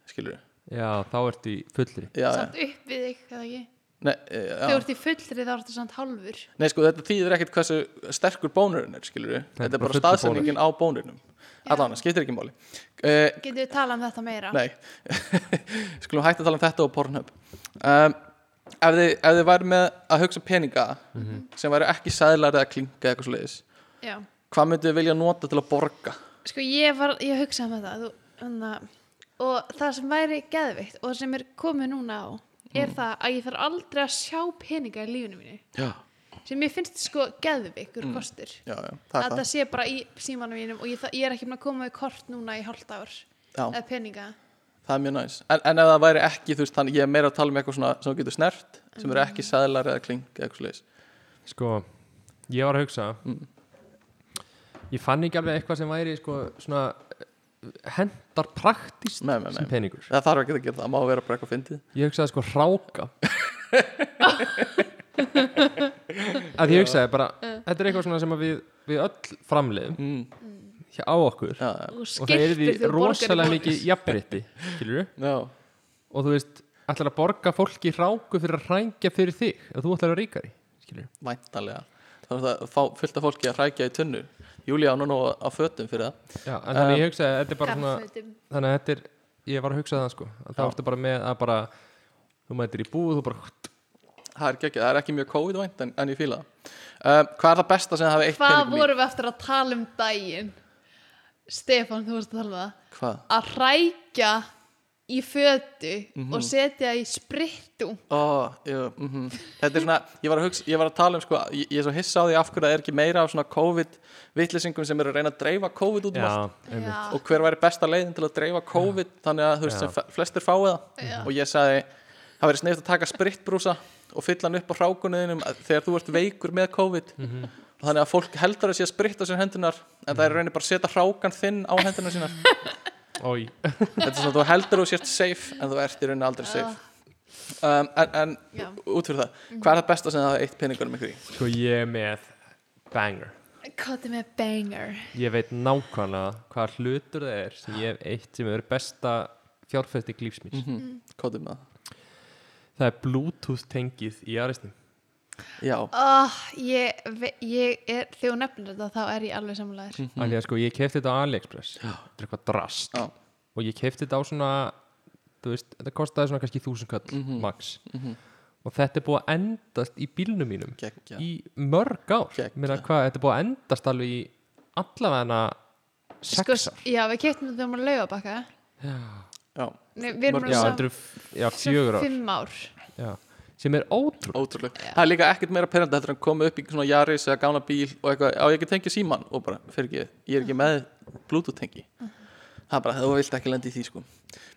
[SPEAKER 3] skilur
[SPEAKER 4] Já, þá ertu í fullri
[SPEAKER 3] já, já.
[SPEAKER 1] samt upp við þig eða ekki
[SPEAKER 3] Nei, e,
[SPEAKER 1] Þegar þú
[SPEAKER 3] já.
[SPEAKER 1] ert í fullri þá ertu samt hálfur
[SPEAKER 3] Nei sko þetta þýðir ekkert hversu sterkur bónurinn er skilur þetta er
[SPEAKER 4] bara
[SPEAKER 3] bara
[SPEAKER 4] fullur
[SPEAKER 3] staðsendingin á bónurinnum allan, það skiptir ekki máli uh,
[SPEAKER 1] Getum við talað um þetta meira?
[SPEAKER 3] Nei, skulum hægt að tala um þetta og Pornhub um, ef, þið, ef þið væri með að hugsa peninga sem væri ekki sæðlar eða klinka eða eitthvað svoleiðis
[SPEAKER 1] Já.
[SPEAKER 3] hvað myndu þið vilja nota til að borga
[SPEAKER 1] Sko ég var, ég hugsaði um þetta þú, anna, og það sem væri geðveikt og sem er komið núna á
[SPEAKER 3] Mm.
[SPEAKER 1] er það að ég þarf aldrei að sjá peninga í lífinu mínu
[SPEAKER 3] já,
[SPEAKER 1] sem ég finnst sko geðveikur kostur
[SPEAKER 3] já, já, Mm. það
[SPEAKER 1] að
[SPEAKER 3] er
[SPEAKER 1] það
[SPEAKER 3] það
[SPEAKER 1] sé bara í símanum mínum og ég, þa- ég er ekki búin að koma við kort núna í hálft ár
[SPEAKER 3] já,
[SPEAKER 1] eða peninga
[SPEAKER 3] það er mjög næs en, en ef það væri ekki, þú veist, þannig ég er meira að tala um eitthvað svona sem þú getur snert, sem eru ekki sæðlar eða kling, eða eitthvað leis
[SPEAKER 4] Sko, ég var að hugsa
[SPEAKER 3] Mm.
[SPEAKER 4] Ég fann ekki alveg eitthvað sem væri sko, svona eh, hendar praktist
[SPEAKER 3] Nei, nei, nei.
[SPEAKER 4] sem peningur
[SPEAKER 3] það þarf ekki að gera það, það má vera bara eitthvað fyndið
[SPEAKER 4] Ég hugsaði sko hráka að ég hugsaði bara þetta er eitthvað svona sem að við, við öll framleiðum
[SPEAKER 3] mm.
[SPEAKER 4] hjá á okkur
[SPEAKER 3] já, já,
[SPEAKER 1] og
[SPEAKER 4] og það
[SPEAKER 1] skiltir
[SPEAKER 4] er því rosalega mikið jafnrétti skilur
[SPEAKER 3] já,
[SPEAKER 4] og þú veist, ætlar að borga fólki hráku fyrir að hrænga fyrir þig að þú ætlar að vera ríkari skilur
[SPEAKER 3] væntanlega þá er það fá, fullt af fólki að hrækja í tunnu Júlía á núna á- á fötum fyrir það
[SPEAKER 4] Já, en þannig
[SPEAKER 3] Um,
[SPEAKER 4] ég hugsaði að þetta er bara svona
[SPEAKER 1] garðfötum
[SPEAKER 4] þannig að þetta er, ég var að hugsa það sko að það
[SPEAKER 3] Já.
[SPEAKER 4] ertu bara með að bara þú mætir í búð, þú bara
[SPEAKER 3] það er, ekki, það er ekki mjög COVID-vænt en, en ég fíla það um, hvað er það besta sem það hafi eitt
[SPEAKER 1] hvað vorum við eftir að tala um daginn Stefán, þú vorst að tala um það
[SPEAKER 3] hvað?
[SPEAKER 1] að hrækja í fötu
[SPEAKER 4] Mhm.
[SPEAKER 1] og setja í sprittu
[SPEAKER 3] Oh, mm Þetta er svona, ég var að, hugsa, ég var að tala um sko, ég, ég er svo hissa á því af hverju það er ekki meira af svona COVID-vitlisingum sem eru að reyna að dreifa COVID út um allt
[SPEAKER 4] einmitt.
[SPEAKER 3] og hver væri besta leiðin til að dreifa COVID þannig að þú veist
[SPEAKER 4] Já.
[SPEAKER 3] sem fe- flestir fái það
[SPEAKER 1] Já.
[SPEAKER 3] og ég sagði, það verið sniðt að taka spritbrúsa og fylla hann upp á hrákunniðinum þegar þú ert veikur með COVID
[SPEAKER 4] Mhm.
[SPEAKER 3] og þannig að fólk heldur að sé að spritta sér hendunar en það er reynir bara að setja hrákan þinn á hendunar sínar
[SPEAKER 4] Ói,
[SPEAKER 3] þetta er svona að þú heldur að þú sért safe en þú ert í rauninni aldrei safe um, en, en
[SPEAKER 1] Já.
[SPEAKER 3] út fyrir það hvað er það besta sem það hafa eitt peningunum ykkur í?
[SPEAKER 4] sko ég er með banger
[SPEAKER 1] hvað er með banger
[SPEAKER 4] ég veit nákvæmlega hvað hlutur það er sem ég hef eitt sem er besta fjárfæsting lífsmýrs
[SPEAKER 3] Kóðum með það
[SPEAKER 4] það er bluetooth tengið í aðreistnum
[SPEAKER 3] Já,
[SPEAKER 1] oh, ég, ve- ég er, þegar þú nefnir þetta þá er ég alveg samlæður
[SPEAKER 4] mm. alveg að sko ég kefti þetta á AliExpress þetta er eitthvað drast
[SPEAKER 3] já,
[SPEAKER 4] og ég kefti þetta á svona þú veist, þetta kostaði svona kannski þúsund kall max og þetta er búið að endast í bílnum mínum
[SPEAKER 3] geggja
[SPEAKER 4] í mörg ár
[SPEAKER 3] Geggjað.
[SPEAKER 4] Meina, hvað, þetta er búið að endast alveg í allavega
[SPEAKER 1] sko,
[SPEAKER 4] sex ár
[SPEAKER 1] já, við keftum þetta um að lauga bakka
[SPEAKER 3] Já,
[SPEAKER 1] Nei, við erum
[SPEAKER 3] Mörg-
[SPEAKER 1] búin
[SPEAKER 4] já,
[SPEAKER 1] að
[SPEAKER 4] þetta
[SPEAKER 1] sá-
[SPEAKER 4] eru f- já,
[SPEAKER 1] svo
[SPEAKER 4] fjögur ár
[SPEAKER 1] fimm ár
[SPEAKER 4] já. sem er ótrú
[SPEAKER 3] ótrúlega Það er líka ekkert meira perandi heldur en koma upp í svona Jaris eða gána bíl og eitthvað á ég ekki tengja síman og bara, fyrir ekki, ég er ekki með Bluetooth tengi Það er bara, þú vilt ekki lenda í því sko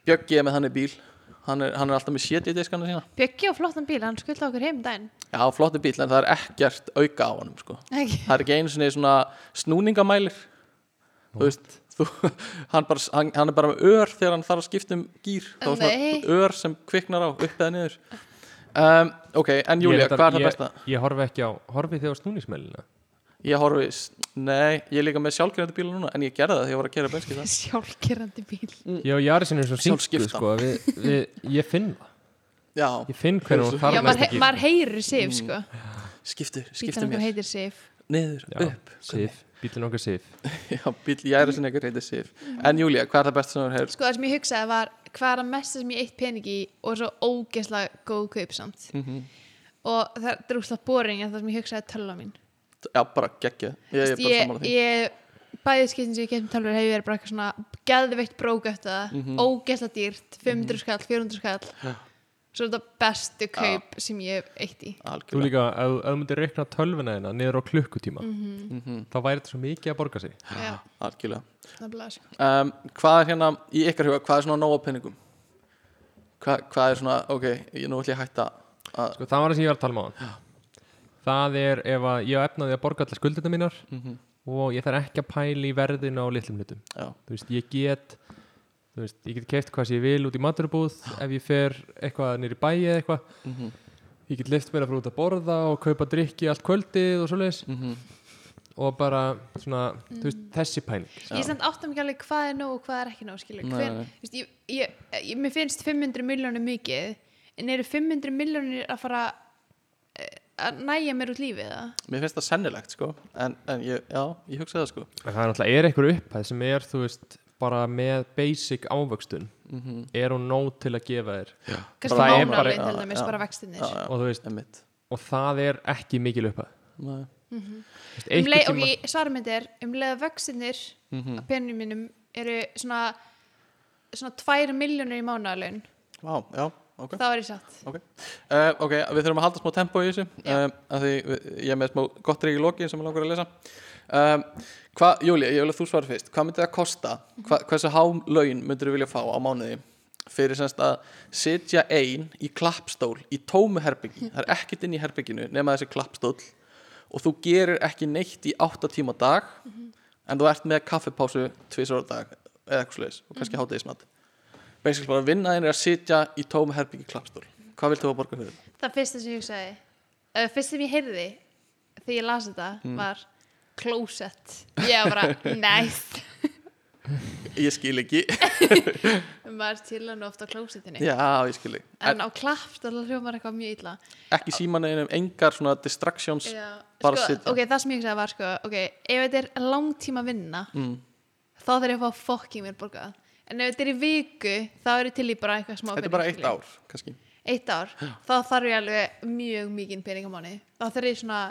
[SPEAKER 3] Bjöggi er með hann er bíl Hann er, hann er alltaf með CD-diskana sína
[SPEAKER 1] Bjöggi á flottan bíl, hann skulda okkur heim daginn
[SPEAKER 3] Já, flottu bíl, en það er ekkert auka á honum sko
[SPEAKER 1] ekki
[SPEAKER 3] það er ekki einu sinni svona snúningamælir þú veist þú, hann, bara, hann, hann er bara með ör þegar hann þarf að skipta um gýr þá er
[SPEAKER 1] Nei.
[SPEAKER 3] svona ör sem kviknar á upp eða niður um, ok, en Júlia,
[SPEAKER 4] Ég reyndar-
[SPEAKER 3] hvað er það
[SPEAKER 4] ég,
[SPEAKER 3] besta?
[SPEAKER 4] ég horfi ekki á, horfi þið á snúningsmælina
[SPEAKER 3] ég horfi, s- nei, ég er líka með sjálfgerðandi bíla núna en ég gerði það þegar ég var að gera benski það
[SPEAKER 1] sjálfkerrandi bíl
[SPEAKER 4] ég og Jarisinn er svo syngu
[SPEAKER 3] Sjálfskipta.
[SPEAKER 4] sko, við, við, ég finn það
[SPEAKER 3] já,
[SPEAKER 4] ég finn hvernig hún
[SPEAKER 1] já,
[SPEAKER 4] þarf
[SPEAKER 1] maður,
[SPEAKER 4] næst
[SPEAKER 1] he
[SPEAKER 4] ekki Mm,
[SPEAKER 1] maður heyrir Sif, sko
[SPEAKER 3] skiptu, skiptu
[SPEAKER 1] bílan okkur
[SPEAKER 3] mér
[SPEAKER 1] heitir Sif
[SPEAKER 3] niður,
[SPEAKER 4] Já,
[SPEAKER 3] upp,
[SPEAKER 4] Sif, bílun okkar Sif
[SPEAKER 3] já, bíl, ég er sinni eitthvað heitir Sif en Júlia, hvað er það besta sem þú hefur
[SPEAKER 1] sko það sem ég hugsaði var hvað er að mesta sem ég eitt pening í og svo ógeðslega góð kaup samt
[SPEAKER 3] Mhm.
[SPEAKER 1] og það er drúslega boring en það sem ég hugsaði er tölva mín
[SPEAKER 3] já, bara geggja, ég
[SPEAKER 1] Þú
[SPEAKER 3] er
[SPEAKER 1] veist,
[SPEAKER 3] bara sammála því
[SPEAKER 1] ég, bæðið skiptin sem ég keftum tölvur hefur verið bara eitthvað svona geðveitt brók eftir það,
[SPEAKER 3] Mhm.
[SPEAKER 1] ógeðslega dýrt 500 skall, 400 skall svo er þetta bestu kaup sem ég hef eitt í
[SPEAKER 4] þú
[SPEAKER 3] algjörlega,
[SPEAKER 4] líka, ef ef þú myndir reikna tölvuna þina niður á klukkutíma
[SPEAKER 1] Mhm.
[SPEAKER 4] þá væri þetta svo mikið að borga sig
[SPEAKER 1] já,
[SPEAKER 3] algjörlega.
[SPEAKER 1] nefnilega sko.
[SPEAKER 3] um, hvað er hérna í ykkar huga, hvað er svona nóg á penningum Hva, hvað er svona, ok ég, nú ætlum ég að hætta að,
[SPEAKER 4] sko, það var það sem ég var að tala um á það er ef að ég á efnaði að borga allar skuldina mínar
[SPEAKER 1] Mhm.
[SPEAKER 4] og ég þarf ekki að pæla í verðinu á litlum hlutum
[SPEAKER 3] já,
[SPEAKER 4] þú veist, ég get þú veist, ég get keift hvað sem ég vil út í maturubúð ef ég fer eitthvað nýri bæi eða eitthvað ég get lift mér að fara út að borða og kaupa drikki allt kvöldið og svoleiðis og bara svona, þú veist,
[SPEAKER 1] Mm.
[SPEAKER 4] þessi pæling
[SPEAKER 1] ég samt áttum ekki alveg hvað er nóg og hvað er ekki nóg skilur,
[SPEAKER 3] Nei,
[SPEAKER 1] hver,
[SPEAKER 3] nei.
[SPEAKER 1] þú veist, ég, ég, ég, mér finnst 500 miljónir mikið en eru 500 miljónir að fara eh, að næja mér út lífið það
[SPEAKER 3] mér finnst það sennilegt sko en, en ég, já, ég hugsa það sko
[SPEAKER 4] en það er náttúrulega er einhver upphæð sem er, þú veist bara með basic ávöxtun er hún nóg til að gefa þér
[SPEAKER 1] kannski
[SPEAKER 4] Það er
[SPEAKER 1] mánaleg
[SPEAKER 3] bara-
[SPEAKER 1] til
[SPEAKER 3] já,
[SPEAKER 1] dæmis
[SPEAKER 3] já.
[SPEAKER 1] bara Um vextinir
[SPEAKER 3] já, já,
[SPEAKER 4] og þú veist,
[SPEAKER 3] emitt
[SPEAKER 4] og það er ekki mikil upphæð
[SPEAKER 3] Nei.
[SPEAKER 4] Mhm. Þú
[SPEAKER 1] um
[SPEAKER 4] veist, einhvern
[SPEAKER 1] leið,
[SPEAKER 4] tíma-
[SPEAKER 1] ok, svarmynd er um leið að vextinir mm -hmm. að penjum mínum eru svona svona 2 miljónur í mánuðalun
[SPEAKER 3] Vá, já, ok
[SPEAKER 1] það var ég satt
[SPEAKER 3] Uh, ok, við þurfum að halda smá tempo í þessu
[SPEAKER 1] Já.
[SPEAKER 3] um, að því við, ég er með smá gott rík í loki sem ég langar að lesa um, hva, Júli, ég vil að þú svara fyrst hvað myndi það kosta, hva, hversu há laun myndir þú vilja fá á mánuði fyrir semst að sitja ein í klappstól í tómu herbyggi það er ekkert inn í herbygginu nema þessi klappstól og þú gerir ekki neitt í átta tíma á dag en þú ert með kaffipásu tvisar á dag eða eitthvað slags og kannski mm -hmm. hátegismat basically bara vinnaðin er að sitja í tómu herbyggi í klappstól hvað vilt þú að borga fyrir?
[SPEAKER 1] það fyrsta sem ég hugsaði uh, fyrst sem ég heyrði þegar ég las þetta
[SPEAKER 3] Mm.
[SPEAKER 1] var closet ég var bara, nice
[SPEAKER 3] Ég skil ekki
[SPEAKER 1] maður chillar nú oft á closetinu
[SPEAKER 3] Já, ég skil ekki
[SPEAKER 1] en á klapt það hljómar eitthvað mjög illa
[SPEAKER 3] Ekki símaneginum, engar svona distractions
[SPEAKER 1] Já,
[SPEAKER 3] bara
[SPEAKER 1] sko,
[SPEAKER 3] sitja.
[SPEAKER 1] ok, það sem ég hugsaði var sko, ok, ef þetta er langtíma vinna
[SPEAKER 3] Mm.
[SPEAKER 1] þá þarf ég að fá fokking mér borgað en ef þetta er í viku, þá er ég til í bara eitthvað smá
[SPEAKER 3] Þetta er bara
[SPEAKER 1] pening,
[SPEAKER 3] eitt
[SPEAKER 1] skilur.
[SPEAKER 3] ár, kannski
[SPEAKER 1] eitt ár, þá þarf ég alveg mjög mikið peningamáni þá þarf ég svona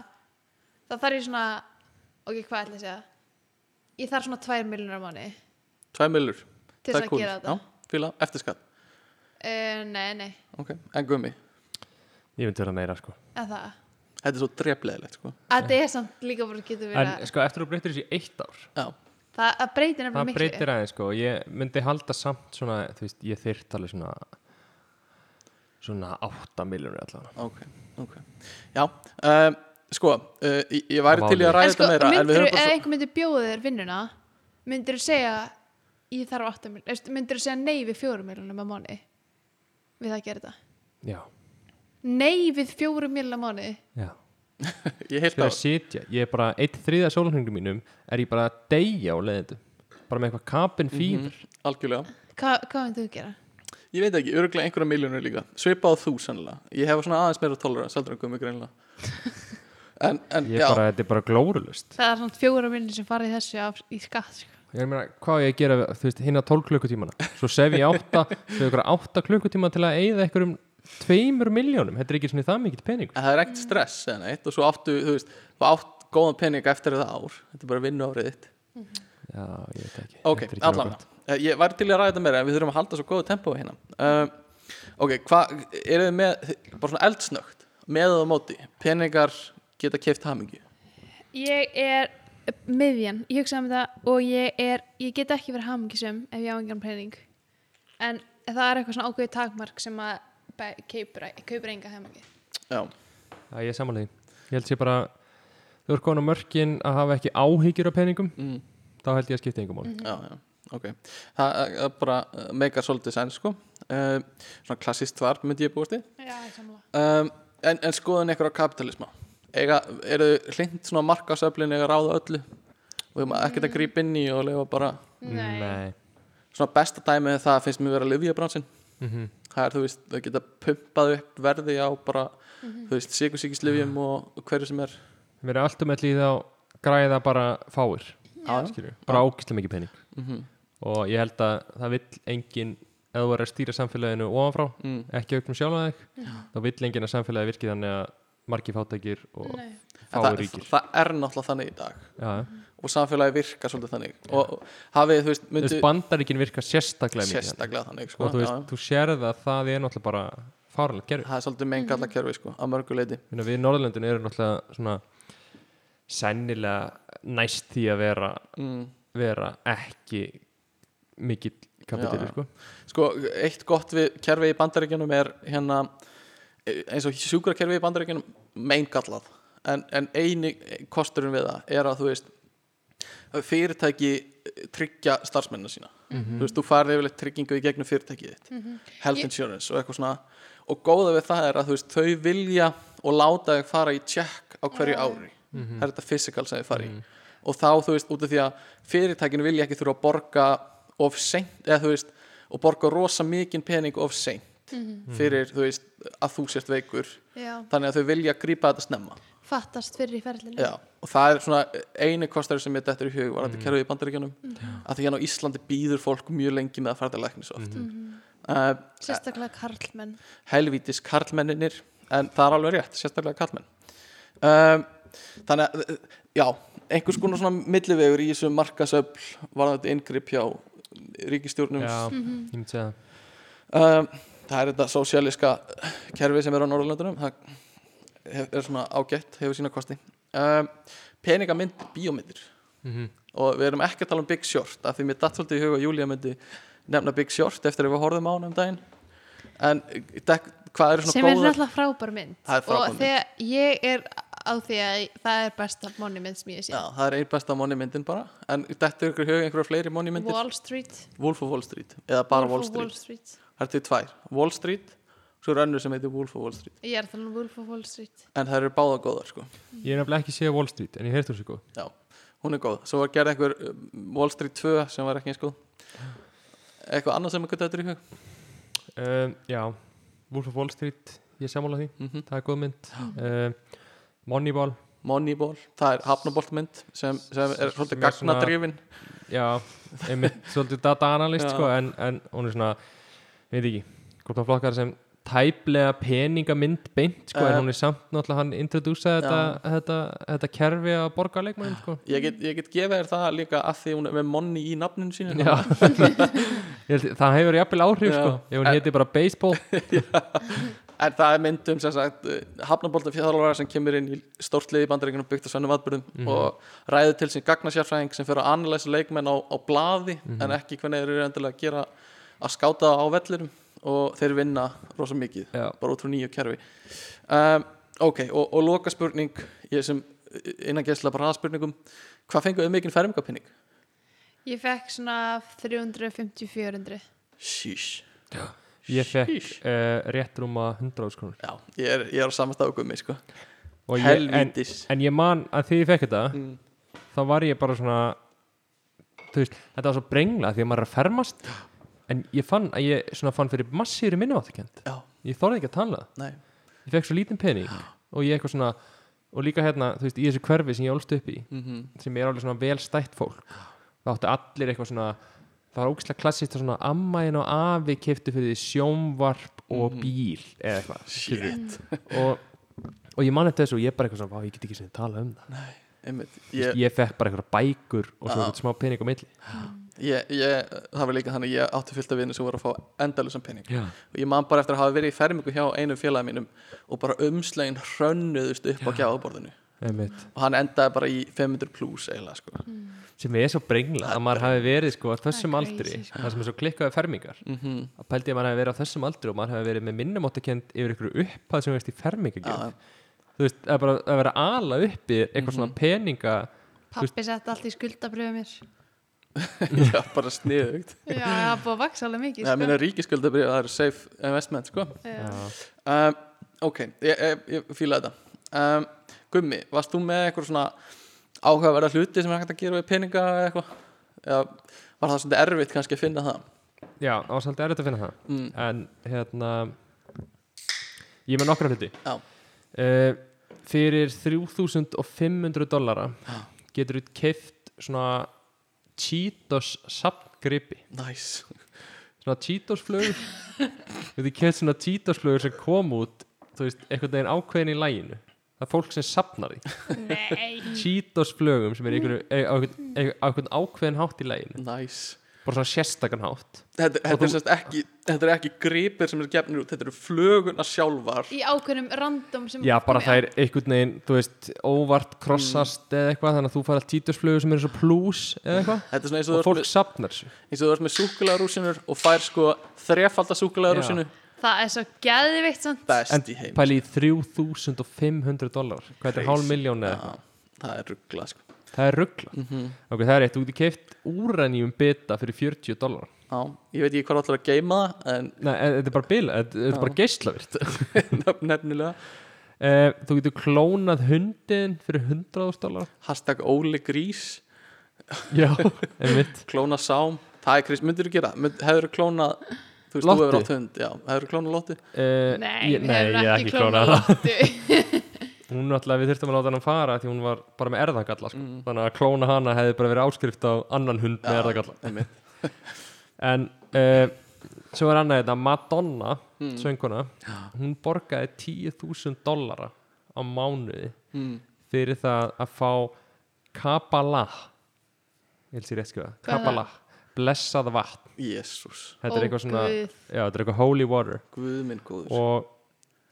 [SPEAKER 1] þá þarf ég svona, ok, hvað ætla ég að segja ég þarf svona 2 miljonar mánu uh,
[SPEAKER 3] Tvæ millur
[SPEAKER 1] Til
[SPEAKER 3] Það
[SPEAKER 1] þess
[SPEAKER 3] er
[SPEAKER 1] að
[SPEAKER 3] kúl.
[SPEAKER 1] gera þetta. Eh,
[SPEAKER 3] Já, fíla, eftir skatt
[SPEAKER 1] nei, nei,
[SPEAKER 3] Ok, en gummi
[SPEAKER 4] Ég myndi vera meira sko
[SPEAKER 1] að það
[SPEAKER 3] Þetta er svo dreflegilegt, sko
[SPEAKER 1] að þetta er samt líka bara getur verið
[SPEAKER 4] En
[SPEAKER 1] að
[SPEAKER 4] sko eftir að þú breytir þessu í eitt ár
[SPEAKER 3] Já,
[SPEAKER 1] það það breytir nefnilega
[SPEAKER 4] Það
[SPEAKER 1] miklu
[SPEAKER 4] breytir aðeins sko Ég myndi halda samt svona Þú veist, ég þyrt alveg svona Svona 8 miljónir allavega
[SPEAKER 3] ok, ok Já, um, sko uh, Ég ég væri
[SPEAKER 4] Það
[SPEAKER 3] til í
[SPEAKER 4] máli.
[SPEAKER 3] að ræða
[SPEAKER 1] en sko,
[SPEAKER 3] þetta meira En við
[SPEAKER 1] myndir,
[SPEAKER 3] höfum
[SPEAKER 1] ef
[SPEAKER 3] bara svo
[SPEAKER 1] einhver myndir bjóða þér vinnuna myndir þú segja ég þarf 8 miljonum, myndir þú segja nei við 4 miljonum á mánu við það að gera þetta
[SPEAKER 4] Já,
[SPEAKER 1] nei við 4 miljonum á mánu
[SPEAKER 4] já
[SPEAKER 3] Ég heilt
[SPEAKER 4] Fyrir
[SPEAKER 3] ár
[SPEAKER 4] að sitja Ég er bara Eitt þriða sólhengnum mínum Er ég bara að deyja á leiðindu Bara með eitthvað kapin
[SPEAKER 3] Mhm.
[SPEAKER 4] fýður
[SPEAKER 3] Algjörlega
[SPEAKER 1] Hva, hvað myndir þú gera?
[SPEAKER 3] Ég veit ekki, örgulega einhverja miljónur líka Svipað á þú sannlega Ég hefa svona aðeins meira tolerance heldur en gummi greinlega En, en,
[SPEAKER 4] Ég
[SPEAKER 3] já,
[SPEAKER 4] er bara, þetta er bara glórulust
[SPEAKER 1] það er svona 4 miljonum sem farið þessu af, í skatt sko.
[SPEAKER 4] Ég meina, hvað á ég að gera, við- þú veist, hinn að 12 klukkutímana Svo sef ég átta, svo ykkur átta klukkutíma til að eyða ykkur um tveimur miljónum Þetta er ekki svona það mikill pening
[SPEAKER 3] en það er ekkert stress eða neitt og svo áttu, þú veist, þú átt góðan pening eftir það ár, þetta er bara vinnu árið þitt
[SPEAKER 4] Já, ég veit ekki
[SPEAKER 3] ok,
[SPEAKER 4] Þetta er ekki nógu
[SPEAKER 3] allavega,
[SPEAKER 4] gott.
[SPEAKER 3] Eh, ég væri til í að ræða þetta meira en við þurfum að halda svo góðu tempói hérna uh, ok, hvað, eru þið með bara svona eldsnögt, með og á móti peningar geta keft hamingju
[SPEAKER 1] ég er miðjan, ég hugsaði um það og ég er, ég get ekki verið hamingisum ef ég á engan pening en það er eitthvað svona ákveðið takmark sem að be- kaupir, kaupir enga hamingi
[SPEAKER 3] já,
[SPEAKER 4] Já, ég er samanlega Ég held sé bara, þú ert komin á mörkin að hafa ekki áhyggjur af peningum
[SPEAKER 3] mm,
[SPEAKER 4] Þá held ég að skipta engum mál
[SPEAKER 3] já, já ok, það það er bara eh, mega svolítið sæn, sko uh, svona klassist þvar myndi ég búast í
[SPEAKER 1] já, ég samla
[SPEAKER 3] um, en, en skoðan ykkur á kapitalisma Ega, eru þið hlind svona markasöflin eiga að ráða öllu og þið maður ekkert að grípa inn í og leifa bara
[SPEAKER 1] Mhm.
[SPEAKER 4] Nei.
[SPEAKER 3] svona besta dæmið það finnst mér vera að lifja bransin
[SPEAKER 4] Mhm.
[SPEAKER 3] það er þú veist, þau geta pumpað upp verði á bara þú veist, sikursíkis lifjum og hverju sem er
[SPEAKER 4] Mér er um alltaf með líða á græða bara fáir
[SPEAKER 3] Já, Mhm. já.
[SPEAKER 4] Skilju, bara ákislega mikið pening Og ég held að það vill engin Ef þú er að stýra samfélaginu ofanfrá
[SPEAKER 3] mm.
[SPEAKER 4] ekki auknum sjálfa þig þá vill enginn að samfélagi virki þannig að margi fátækir og
[SPEAKER 1] Nei.
[SPEAKER 3] En
[SPEAKER 4] fáir
[SPEAKER 3] það,
[SPEAKER 4] ríkir
[SPEAKER 3] það er náttúrulega þannig í dag
[SPEAKER 4] Já,
[SPEAKER 3] og samfélagi virkar svolítið þannig og og hafið, þú veist,
[SPEAKER 4] þú veist,
[SPEAKER 3] myndi
[SPEAKER 4] bandaríkin virka sérstaklega mikið þannig.
[SPEAKER 3] sérstaklega þannig, sko
[SPEAKER 4] og
[SPEAKER 3] já,
[SPEAKER 4] þú, veist, þú sérð að það er náttúrulega bara farulegt
[SPEAKER 3] já.
[SPEAKER 4] gerfi
[SPEAKER 3] það er svolítið mengalla kerfi, sko, að mörgu leiti
[SPEAKER 4] Minna, við Norðurlöndin eru náttúrulega svona sennilega næst því að vera,
[SPEAKER 3] mm.
[SPEAKER 4] vera ekki mikill kapitýri
[SPEAKER 3] Já,
[SPEAKER 4] sko.
[SPEAKER 3] Sko, eitt gott við kerfi í bandaríkjunum er hérna eins og sjúkrakerfi í bandaríkjunum meingallað, en, en eini kosturinn við það er að þú veist fyrirtæki eh, tryggja starfsmennina sína þú veist, þú farið yfirleitt tryggingu í gegnum fyrirtækið þitt health
[SPEAKER 1] Ég-
[SPEAKER 3] insurance og eitthvað svona og góða við það er að þú veist, þau vilja og láta þau fara í check á hverju ári það er þetta physical sem þau fara í og þá þú veist út af því að fyrirtækinu vilja ekki þurfa að borga of seint eða þú veist og borga rosa mikinn pening of seint
[SPEAKER 1] Mhm.
[SPEAKER 3] fyrir þú veist að þú sért veikur
[SPEAKER 1] já,
[SPEAKER 3] þannig að þau vilja grípa þetta snemma
[SPEAKER 1] fattast fyrir í ferlinu
[SPEAKER 3] Já, og það er svona eini kostar sem ég dettur í hug var þetta kerfið í bandaríkjunum
[SPEAKER 1] Mm.
[SPEAKER 3] að því hérna á Íslandi býður fólk mjög lengi með að fara til læknis
[SPEAKER 1] Mhm.
[SPEAKER 3] oft uh,
[SPEAKER 1] sérstaklega karlmenn
[SPEAKER 3] helvítis karlmenninir en það er alveg rétt, sérstaklega karlmenn um, þannig eh, að já, einhers konar svona millivegur í þessu markasöfl var þetta inngrip hjá ríkistjórnum
[SPEAKER 4] Já, ég myndi segja það
[SPEAKER 3] um, það er þetta sósialíska kerfi sem er á Norðurlöndunum það hef- er svona ágætt, hefur sína kosti um, peningamynd, bíómyndir
[SPEAKER 4] Mhm.
[SPEAKER 3] og við erum ekki að tala um Big Short af því mér datt svolítið í huga að Júlía myndi nefna Big Short eftir að við horfðum á hann um daginn en eh, dekk, hvað eru
[SPEAKER 1] sem
[SPEAKER 3] svona
[SPEAKER 1] er
[SPEAKER 3] góðar
[SPEAKER 1] náttúrulega frábær mynd
[SPEAKER 3] Það er frábær
[SPEAKER 1] og þegar ég er á því að það er besta money mynd sem ég sé
[SPEAKER 3] Já, það er einn besta money myndin bara en þetta er ykkur huga einhverja fleiri money myndir
[SPEAKER 1] Wall Street,
[SPEAKER 3] Wolf of Wall Street eða bara
[SPEAKER 1] Wolf of
[SPEAKER 3] Wall, Street.
[SPEAKER 1] Wall Street
[SPEAKER 3] það er til tvær, Wall Street svo er önnur sem heitir Wolf of Wall Street
[SPEAKER 1] ég er þannig Wolf of Wall Street
[SPEAKER 3] en það eru báða góðar sko
[SPEAKER 4] Ég er nefnilega ekki séð Wall Street, en ég heyrði þessu góð
[SPEAKER 3] Já, hún er góð Svo var gerð einhver um, Wall Street 2 sem var ekki eins góð Eitthvað annað sem eitthvað þetta er í hug
[SPEAKER 4] um, Já, Wolf of Wall Street, ég samála því
[SPEAKER 3] Mhm.
[SPEAKER 4] Það er góð mynd um, Moneyball,
[SPEAKER 3] Moneyball, það er hafnaboltmynd sem, sem er svolítið
[SPEAKER 4] Sem er svona-
[SPEAKER 3] gagnadrifin
[SPEAKER 4] já einmitt, Svolítið data analyst
[SPEAKER 3] Já.
[SPEAKER 4] sko, en, en hún er svona, veit ekki Hvort hann flokkar sem tæplega peningamynd beint sko,
[SPEAKER 3] Eh.
[SPEAKER 4] En hún er samt náttúrulega hann introduceði þetta, þetta, þetta kerfi að borga leikmann sko.
[SPEAKER 3] ég get, ég get gefið þér það líka að því hún er með money í nafninu sínu
[SPEAKER 4] Já Ég held- Það hefur jafnvel áhrif
[SPEAKER 3] Já. Eh.
[SPEAKER 4] sko Ef hún heiti bara baseball
[SPEAKER 3] En það er mynd um sem sagt hafnabolta fjöðalvara sem kemur inn í stórt liði bandaríkunum byggt á sönnum atbyrðum og ræður til sín gagnasjárfræðing sem fyrir að analysa leikmenn á, á blaði en ekki hvernig þeir eru endilega að gera að skáta á vellirum og þeir vinna rosa mikið
[SPEAKER 4] Já.
[SPEAKER 3] bara út frá nýju kerfi um, Ok, og, og loka spurning ég sem eh, innan gæsla bara hraðspurningum hvað fenguðu mikinn fermingapinning?
[SPEAKER 1] ég fekk svona 350-400
[SPEAKER 3] Sheesh
[SPEAKER 4] Ég
[SPEAKER 3] Sheesh.
[SPEAKER 4] fekk uh, rétt rúma 100 skrúnur
[SPEAKER 3] Já, ég er, ég er á samastafu gummi sko.
[SPEAKER 4] Og ég- en,
[SPEAKER 3] Helvítis
[SPEAKER 4] en ég man að því ég fekk þetta
[SPEAKER 3] Mm.
[SPEAKER 4] Þá var ég bara svona þú veist, Þetta var svo brengla Því að maður er að fermast En ég fann að ég svona fann fyrir massíri minnumáttakend
[SPEAKER 3] Já,
[SPEAKER 4] Ég þorði ekki að tala
[SPEAKER 3] nei
[SPEAKER 4] Ég fekk svo lítinn pening Og ég eitthvað svona Og líka hérna, þú veist, í þessu hverfi sem ég ólst upp í
[SPEAKER 3] mm -hmm.
[SPEAKER 4] sem er alveg svona vel stætt fólk það áttu allir eitthvað svona það var ógislega klassist að svona ammaðin og afi keftu fyrir því sjónvarp og bíl eða eitthvað skilurðu. og, og ég man eftir þessu og ég bara eitthvað svona, "Vá, ég get ekki sem tala um það
[SPEAKER 3] ég,
[SPEAKER 4] ég, ég fekk bara eitthvað bækur og svo
[SPEAKER 3] Já.
[SPEAKER 4] eitthvað smá pening á milli
[SPEAKER 3] ég, ég, það var líka þannig að ég átti fullt af vinnu sem voru að fá endalusan pening
[SPEAKER 4] já,
[SPEAKER 3] og ég man bara eftir að hafa verið í fermingu hjá einum félagi mínum og bara umslegin hrönnuðust upp á gjáðborðinu
[SPEAKER 4] einmitt,
[SPEAKER 3] og hann endaði bara í 500 pluss eiginlega sko. mm.
[SPEAKER 4] sem er svo brengla að maður hafi verið sko á þessum
[SPEAKER 1] Það er crazy,
[SPEAKER 4] aldri það sem er svo klikkaði fermingar
[SPEAKER 3] -hmm.
[SPEAKER 4] að pældi að maður hafi verið á þessum aldri og maður hafi verið með minnumáttakend yfir ykkur upphæð sem veist í fermingagjöf
[SPEAKER 3] Já.
[SPEAKER 4] þú veist, að bara að vera að ala uppi eitthvað svona peninga
[SPEAKER 1] pappi sett allt í skuldabröðu mér
[SPEAKER 3] já, bara sniðugt
[SPEAKER 1] já, það er búið að vaksa alveg mikið
[SPEAKER 3] það
[SPEAKER 1] sko.
[SPEAKER 3] minna ríkiskuldabrið það eru safe investment sko.
[SPEAKER 1] Já.
[SPEAKER 3] um, ok, ég, ég, ég fíla þetta um, Gummi, varst þú með eitthvað svona áhugaverða hluti sem er hægt að gera við peninga eða eitthvað eða var það svolítið erfitt kannski að finna það
[SPEAKER 4] já, það var svolítið erfitt að finna það
[SPEAKER 3] Mm.
[SPEAKER 4] en hérna ég er með nokkra hluti
[SPEAKER 3] Já.
[SPEAKER 4] uh, fyrir 3500 dollara getur þú keift svona Cheetos sapngripi
[SPEAKER 3] Nice.
[SPEAKER 4] svona Cheetos flugur getur keift svona Cheetos flugur sem kom út þú veist, einhvern veginn ákveðin í læginu það er fólk sem sapnar því
[SPEAKER 1] nei,
[SPEAKER 4] Cheetos flugum sem er einhverju, e, á einhvern e, á einhvern ákveðin hátt í læginu
[SPEAKER 3] Nice.
[SPEAKER 4] bara svona sérstakann hátt
[SPEAKER 3] Þetta, þetta, er
[SPEAKER 4] þú-
[SPEAKER 3] semst ekki, þetta er ekki gripir sem eru gefnir út, þetta eru fluguna sjálfar
[SPEAKER 1] í ákveðnum random sem
[SPEAKER 4] já bara
[SPEAKER 1] komi
[SPEAKER 4] það er einhvern veginn þú veist óvart krossast eða eitthvað þannig að þú fara Cheetos flugur sem eru svo plús eða eitthvað
[SPEAKER 3] Þetta er svona eins og þú
[SPEAKER 4] og
[SPEAKER 3] ert
[SPEAKER 4] fólk
[SPEAKER 3] með,
[SPEAKER 4] sapnar þessu
[SPEAKER 3] eins og þú ert með súkulegarúsinur og fær sko þrefalda súkulegarúsinu
[SPEAKER 1] á. það er svo geðvikt samt
[SPEAKER 3] best
[SPEAKER 4] en
[SPEAKER 3] í heim
[SPEAKER 4] pæli í 3500 dólar hvað þetta er hálf miljón eða eitthvað
[SPEAKER 3] Já, Það er ruggla sko. Mhm.
[SPEAKER 4] það er ruggla ok það er eitt þú getur keift úrannjum beta fyrir 40 dólar
[SPEAKER 3] Já, ég veit ekki hvað allar að geima það en
[SPEAKER 4] nei en þetta er bara bila þetta, þetta er bara geislavirt
[SPEAKER 3] nefn- nefnilega
[SPEAKER 4] Eh, þú getur klónað hundin fyrir 100 dólar
[SPEAKER 3] hashtag Óli Grís
[SPEAKER 4] já einmitt
[SPEAKER 3] klóna Sám, það er Krist, myndir þú gera það? Mynd, hefur þú klónað þú veist,
[SPEAKER 4] Lottu?
[SPEAKER 3] þú hefur átt hund, já, hefur þú klónað Lotti
[SPEAKER 4] Uh,
[SPEAKER 1] nei,
[SPEAKER 4] ég,
[SPEAKER 1] við
[SPEAKER 4] nei,
[SPEAKER 1] hefum
[SPEAKER 4] ég hef
[SPEAKER 1] ekki
[SPEAKER 4] ekki
[SPEAKER 1] klónað
[SPEAKER 4] klónað það
[SPEAKER 1] Lottu.
[SPEAKER 4] Hún náttúrulega, við þurftum að láta hann fara því hún var bara með erðagalla sko. Þannig að klóna hana hefði bara verið áskrift á annan hund með erðagalla
[SPEAKER 3] einmitt.
[SPEAKER 4] En uh, svo er annað þetta, Madonna, sönguna Hún borgaði 10.000 dollara á mánuði
[SPEAKER 3] mm.
[SPEAKER 4] Hmm. fyrir það að fá Kabbalah Ég held sér rétt skrifa,
[SPEAKER 1] Hvað er það?
[SPEAKER 4] Kabbalah blessað vatn
[SPEAKER 3] Jésús,
[SPEAKER 4] þetta er eitthvað
[SPEAKER 1] Ó,
[SPEAKER 4] svona,
[SPEAKER 1] guð.
[SPEAKER 4] já, þetta er eitthvað holy water
[SPEAKER 3] guð minn góður
[SPEAKER 4] og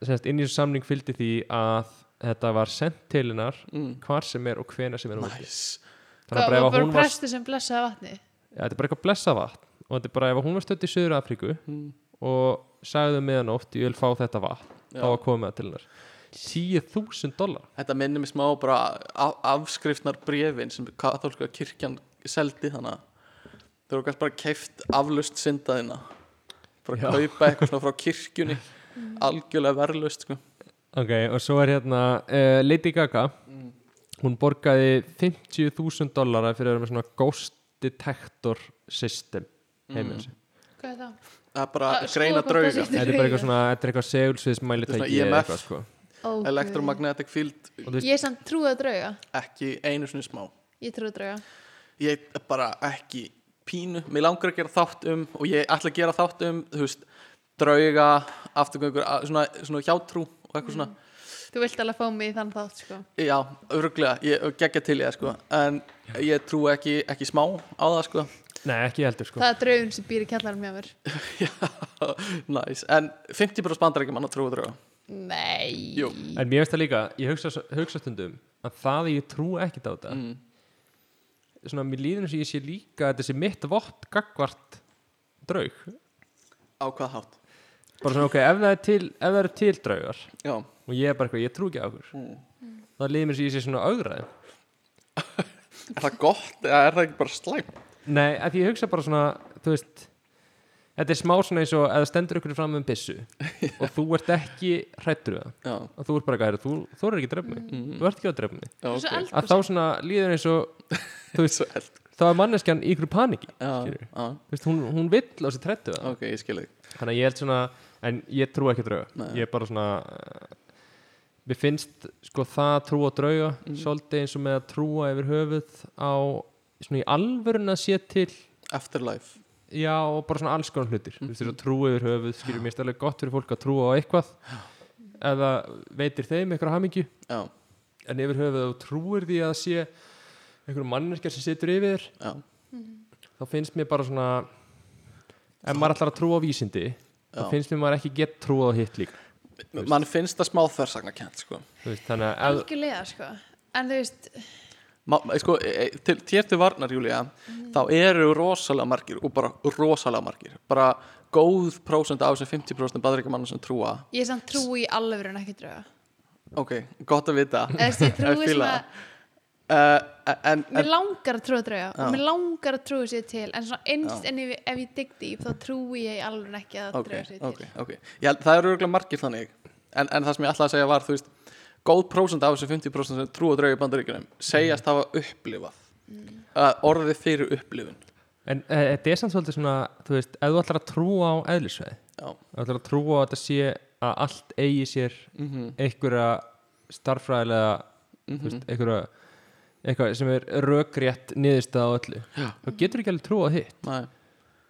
[SPEAKER 4] semst, inn í þessu samning fylgdi því að þetta var sendt til hennar hvar sem er og hvena sem er á
[SPEAKER 3] Næs,
[SPEAKER 4] milli.
[SPEAKER 3] Hmm. nice.
[SPEAKER 4] þannig að bara ef
[SPEAKER 1] var
[SPEAKER 4] að
[SPEAKER 1] bara
[SPEAKER 4] hún var
[SPEAKER 1] prestur sem blessaði vatni
[SPEAKER 4] Já, þetta er bara eitthvað blessað vatn og þetta er bara ef hún var stödd í Suður Afríku og sagði meðanótt ég vil fá þetta vatn þá var komið með það til hennar 10.000 dólar
[SPEAKER 3] þetta minnir mig smá bara af, afskrifnar brefin sem katholska kirkjan seldi þannig þau eru kannski bara keift aflust syndaðina bara
[SPEAKER 4] Já.
[SPEAKER 3] kaupa eitthvað svona frá kirkjunni
[SPEAKER 1] Hmm.
[SPEAKER 3] algjörlega verðlust sko.
[SPEAKER 4] ok, og svo er hérna uh, Lady Gaga hún borgaði 50.000 dólar fyrir að vera með svona ghost detector system heimins mm.
[SPEAKER 1] hvað er það?
[SPEAKER 3] það er bara
[SPEAKER 1] Að
[SPEAKER 3] að greina
[SPEAKER 1] skoða hvort það sé
[SPEAKER 3] drauga
[SPEAKER 1] til.
[SPEAKER 4] þetta er bara eitthvað svona þetta er eitthvað
[SPEAKER 3] Þetta er svona
[SPEAKER 4] segulsviðsmælitæki eða
[SPEAKER 3] IMF.
[SPEAKER 4] eitthvað, sko.
[SPEAKER 1] Ó, guð.
[SPEAKER 3] Electromagnetic field
[SPEAKER 4] Og þú veist-
[SPEAKER 1] ég er samt trúið að drauga
[SPEAKER 3] ekki einu svona smá
[SPEAKER 1] ég trúið að drauga
[SPEAKER 3] ég er bara ekki pínu mér langar að gera þátt um og ég ætla að gera þátt um þú veist, drauga, afturgöngur að- svona, svona hjátrú og eitthvað svona
[SPEAKER 1] þú vilt alveg fá mig í þann þátt sko
[SPEAKER 3] já, öruglega, ég geggja til ég sko. en ég trú ekki, ekki smá á það sko
[SPEAKER 4] nei, ekki heldur sko
[SPEAKER 1] það er draugun sem býr í kjallarum hjá mér
[SPEAKER 3] já, nice. en 50% bandar ekki manna trú og drauga
[SPEAKER 1] nei
[SPEAKER 3] Jú.
[SPEAKER 4] en mér veist það líka, ég hugsa, hugsa stundum að það að ég trú ekkit á þetta
[SPEAKER 3] Mm.
[SPEAKER 4] svona mér líður eins og ég sé líka að þessi mitt vott gagvart draug
[SPEAKER 3] á hvað hátt
[SPEAKER 4] bara svona ok, ef það er til, ef það er til draugar
[SPEAKER 3] já,
[SPEAKER 4] og ég er bara eitthvað, ég trú ekki á okkur
[SPEAKER 3] Mm.
[SPEAKER 4] það líður mér eins og ég sé svona augraði
[SPEAKER 3] er það gott eða er það ekki bara slæm
[SPEAKER 4] nei, að því ég hugsa bara svona, þú veist þetta er smá svona eins og að það stendur ykkur fram með byssu og þú ert ekki hrættur við það
[SPEAKER 3] já,
[SPEAKER 4] og þú ert bara eitthvað, "Heyrðu, þú, þú er ekki að drepa mig þú ert ekki að drepa mig
[SPEAKER 3] Mm. já,
[SPEAKER 1] Þú er svo
[SPEAKER 3] ok
[SPEAKER 1] eldgos.
[SPEAKER 4] að þá svona líður eins og þú veist,
[SPEAKER 3] Svo eld.
[SPEAKER 4] þá er manneskjan í ykkur paniki
[SPEAKER 3] já,
[SPEAKER 4] skilurðu.
[SPEAKER 3] já,
[SPEAKER 4] Þú veist, hún, hún vill á sér trættu það
[SPEAKER 3] ok, ég skil þig
[SPEAKER 4] þannig að ég held svona, en ég trú ekki á drauga
[SPEAKER 3] Nei.
[SPEAKER 4] ég er bara svona eh, mér finnst sko það að trúa á drauga
[SPEAKER 3] Mhm.
[SPEAKER 4] svolítið eins og með að trúa yfir höfuð á svona í alvörun að sé til
[SPEAKER 3] afterlife
[SPEAKER 4] já og bara svona alls konar hlutir
[SPEAKER 3] Mhm.
[SPEAKER 4] þú veist þess að trúa yfir höfuð skilur mér stærlega gott fyrir fólk að trúa á eitthvað eða veitir þeim eitthvað hamingju
[SPEAKER 3] já,
[SPEAKER 4] en yfir höfuð að þú trúir því að það sé einhverjum manneskja sem situr yfir þér,
[SPEAKER 3] já,
[SPEAKER 4] þá finnst mér bara svona ef maður ætlar að trúa á vísindi þá
[SPEAKER 3] Já.
[SPEAKER 4] finnst mér maður ekki gett trúa á hitt líka
[SPEAKER 3] mann finnst það smá þversagnakent sko
[SPEAKER 4] Þú veist, þannig að ef,
[SPEAKER 1] algjörlega sko en þú veist
[SPEAKER 3] Ma- ma- sko, e- e- til, þér til varnar Júlía þá eru rosalega margir og bara rosalega margir bara góð prósent af þessum 50% bandaríkjamanna sem trúa
[SPEAKER 1] ég er samt trúi í alveg en ekki drauga
[SPEAKER 3] ok, gott að
[SPEAKER 1] eða
[SPEAKER 3] vita
[SPEAKER 1] þú veist, ég
[SPEAKER 3] Ég
[SPEAKER 1] trúi
[SPEAKER 3] fíla
[SPEAKER 1] svona
[SPEAKER 3] það. uh, en, en,
[SPEAKER 1] mér langar að trúa að drauga og mér langar að trúa sér til en svona einst en ef, ef ég digg dýp þá trúi ég alveg ekki að
[SPEAKER 3] ok,
[SPEAKER 1] drauga sér til
[SPEAKER 3] ok, ok Ég held, það eru örgulega margir þannig en, en það sem ég ætlaði að segja var þú veist, góð prósent af þessum 50% sem trúa draugi bandaríkjunum segjast hafa upplifað mm. orðið fyrir upplifun
[SPEAKER 4] en e, þetta er samt svolítið svona þú veist, ef þú ætlar að trúa á eðlisfæði ef
[SPEAKER 3] já,
[SPEAKER 4] þú ætlar að trúa á að þetta sé að allt eigi sér
[SPEAKER 3] Mhm,
[SPEAKER 4] einhverja starffræðilega þú veist, einhverja eitthvað sem er rökrétt niðurstað á öllu
[SPEAKER 3] Já.
[SPEAKER 4] þá getur ekki alveg trúa á hitt
[SPEAKER 3] næ,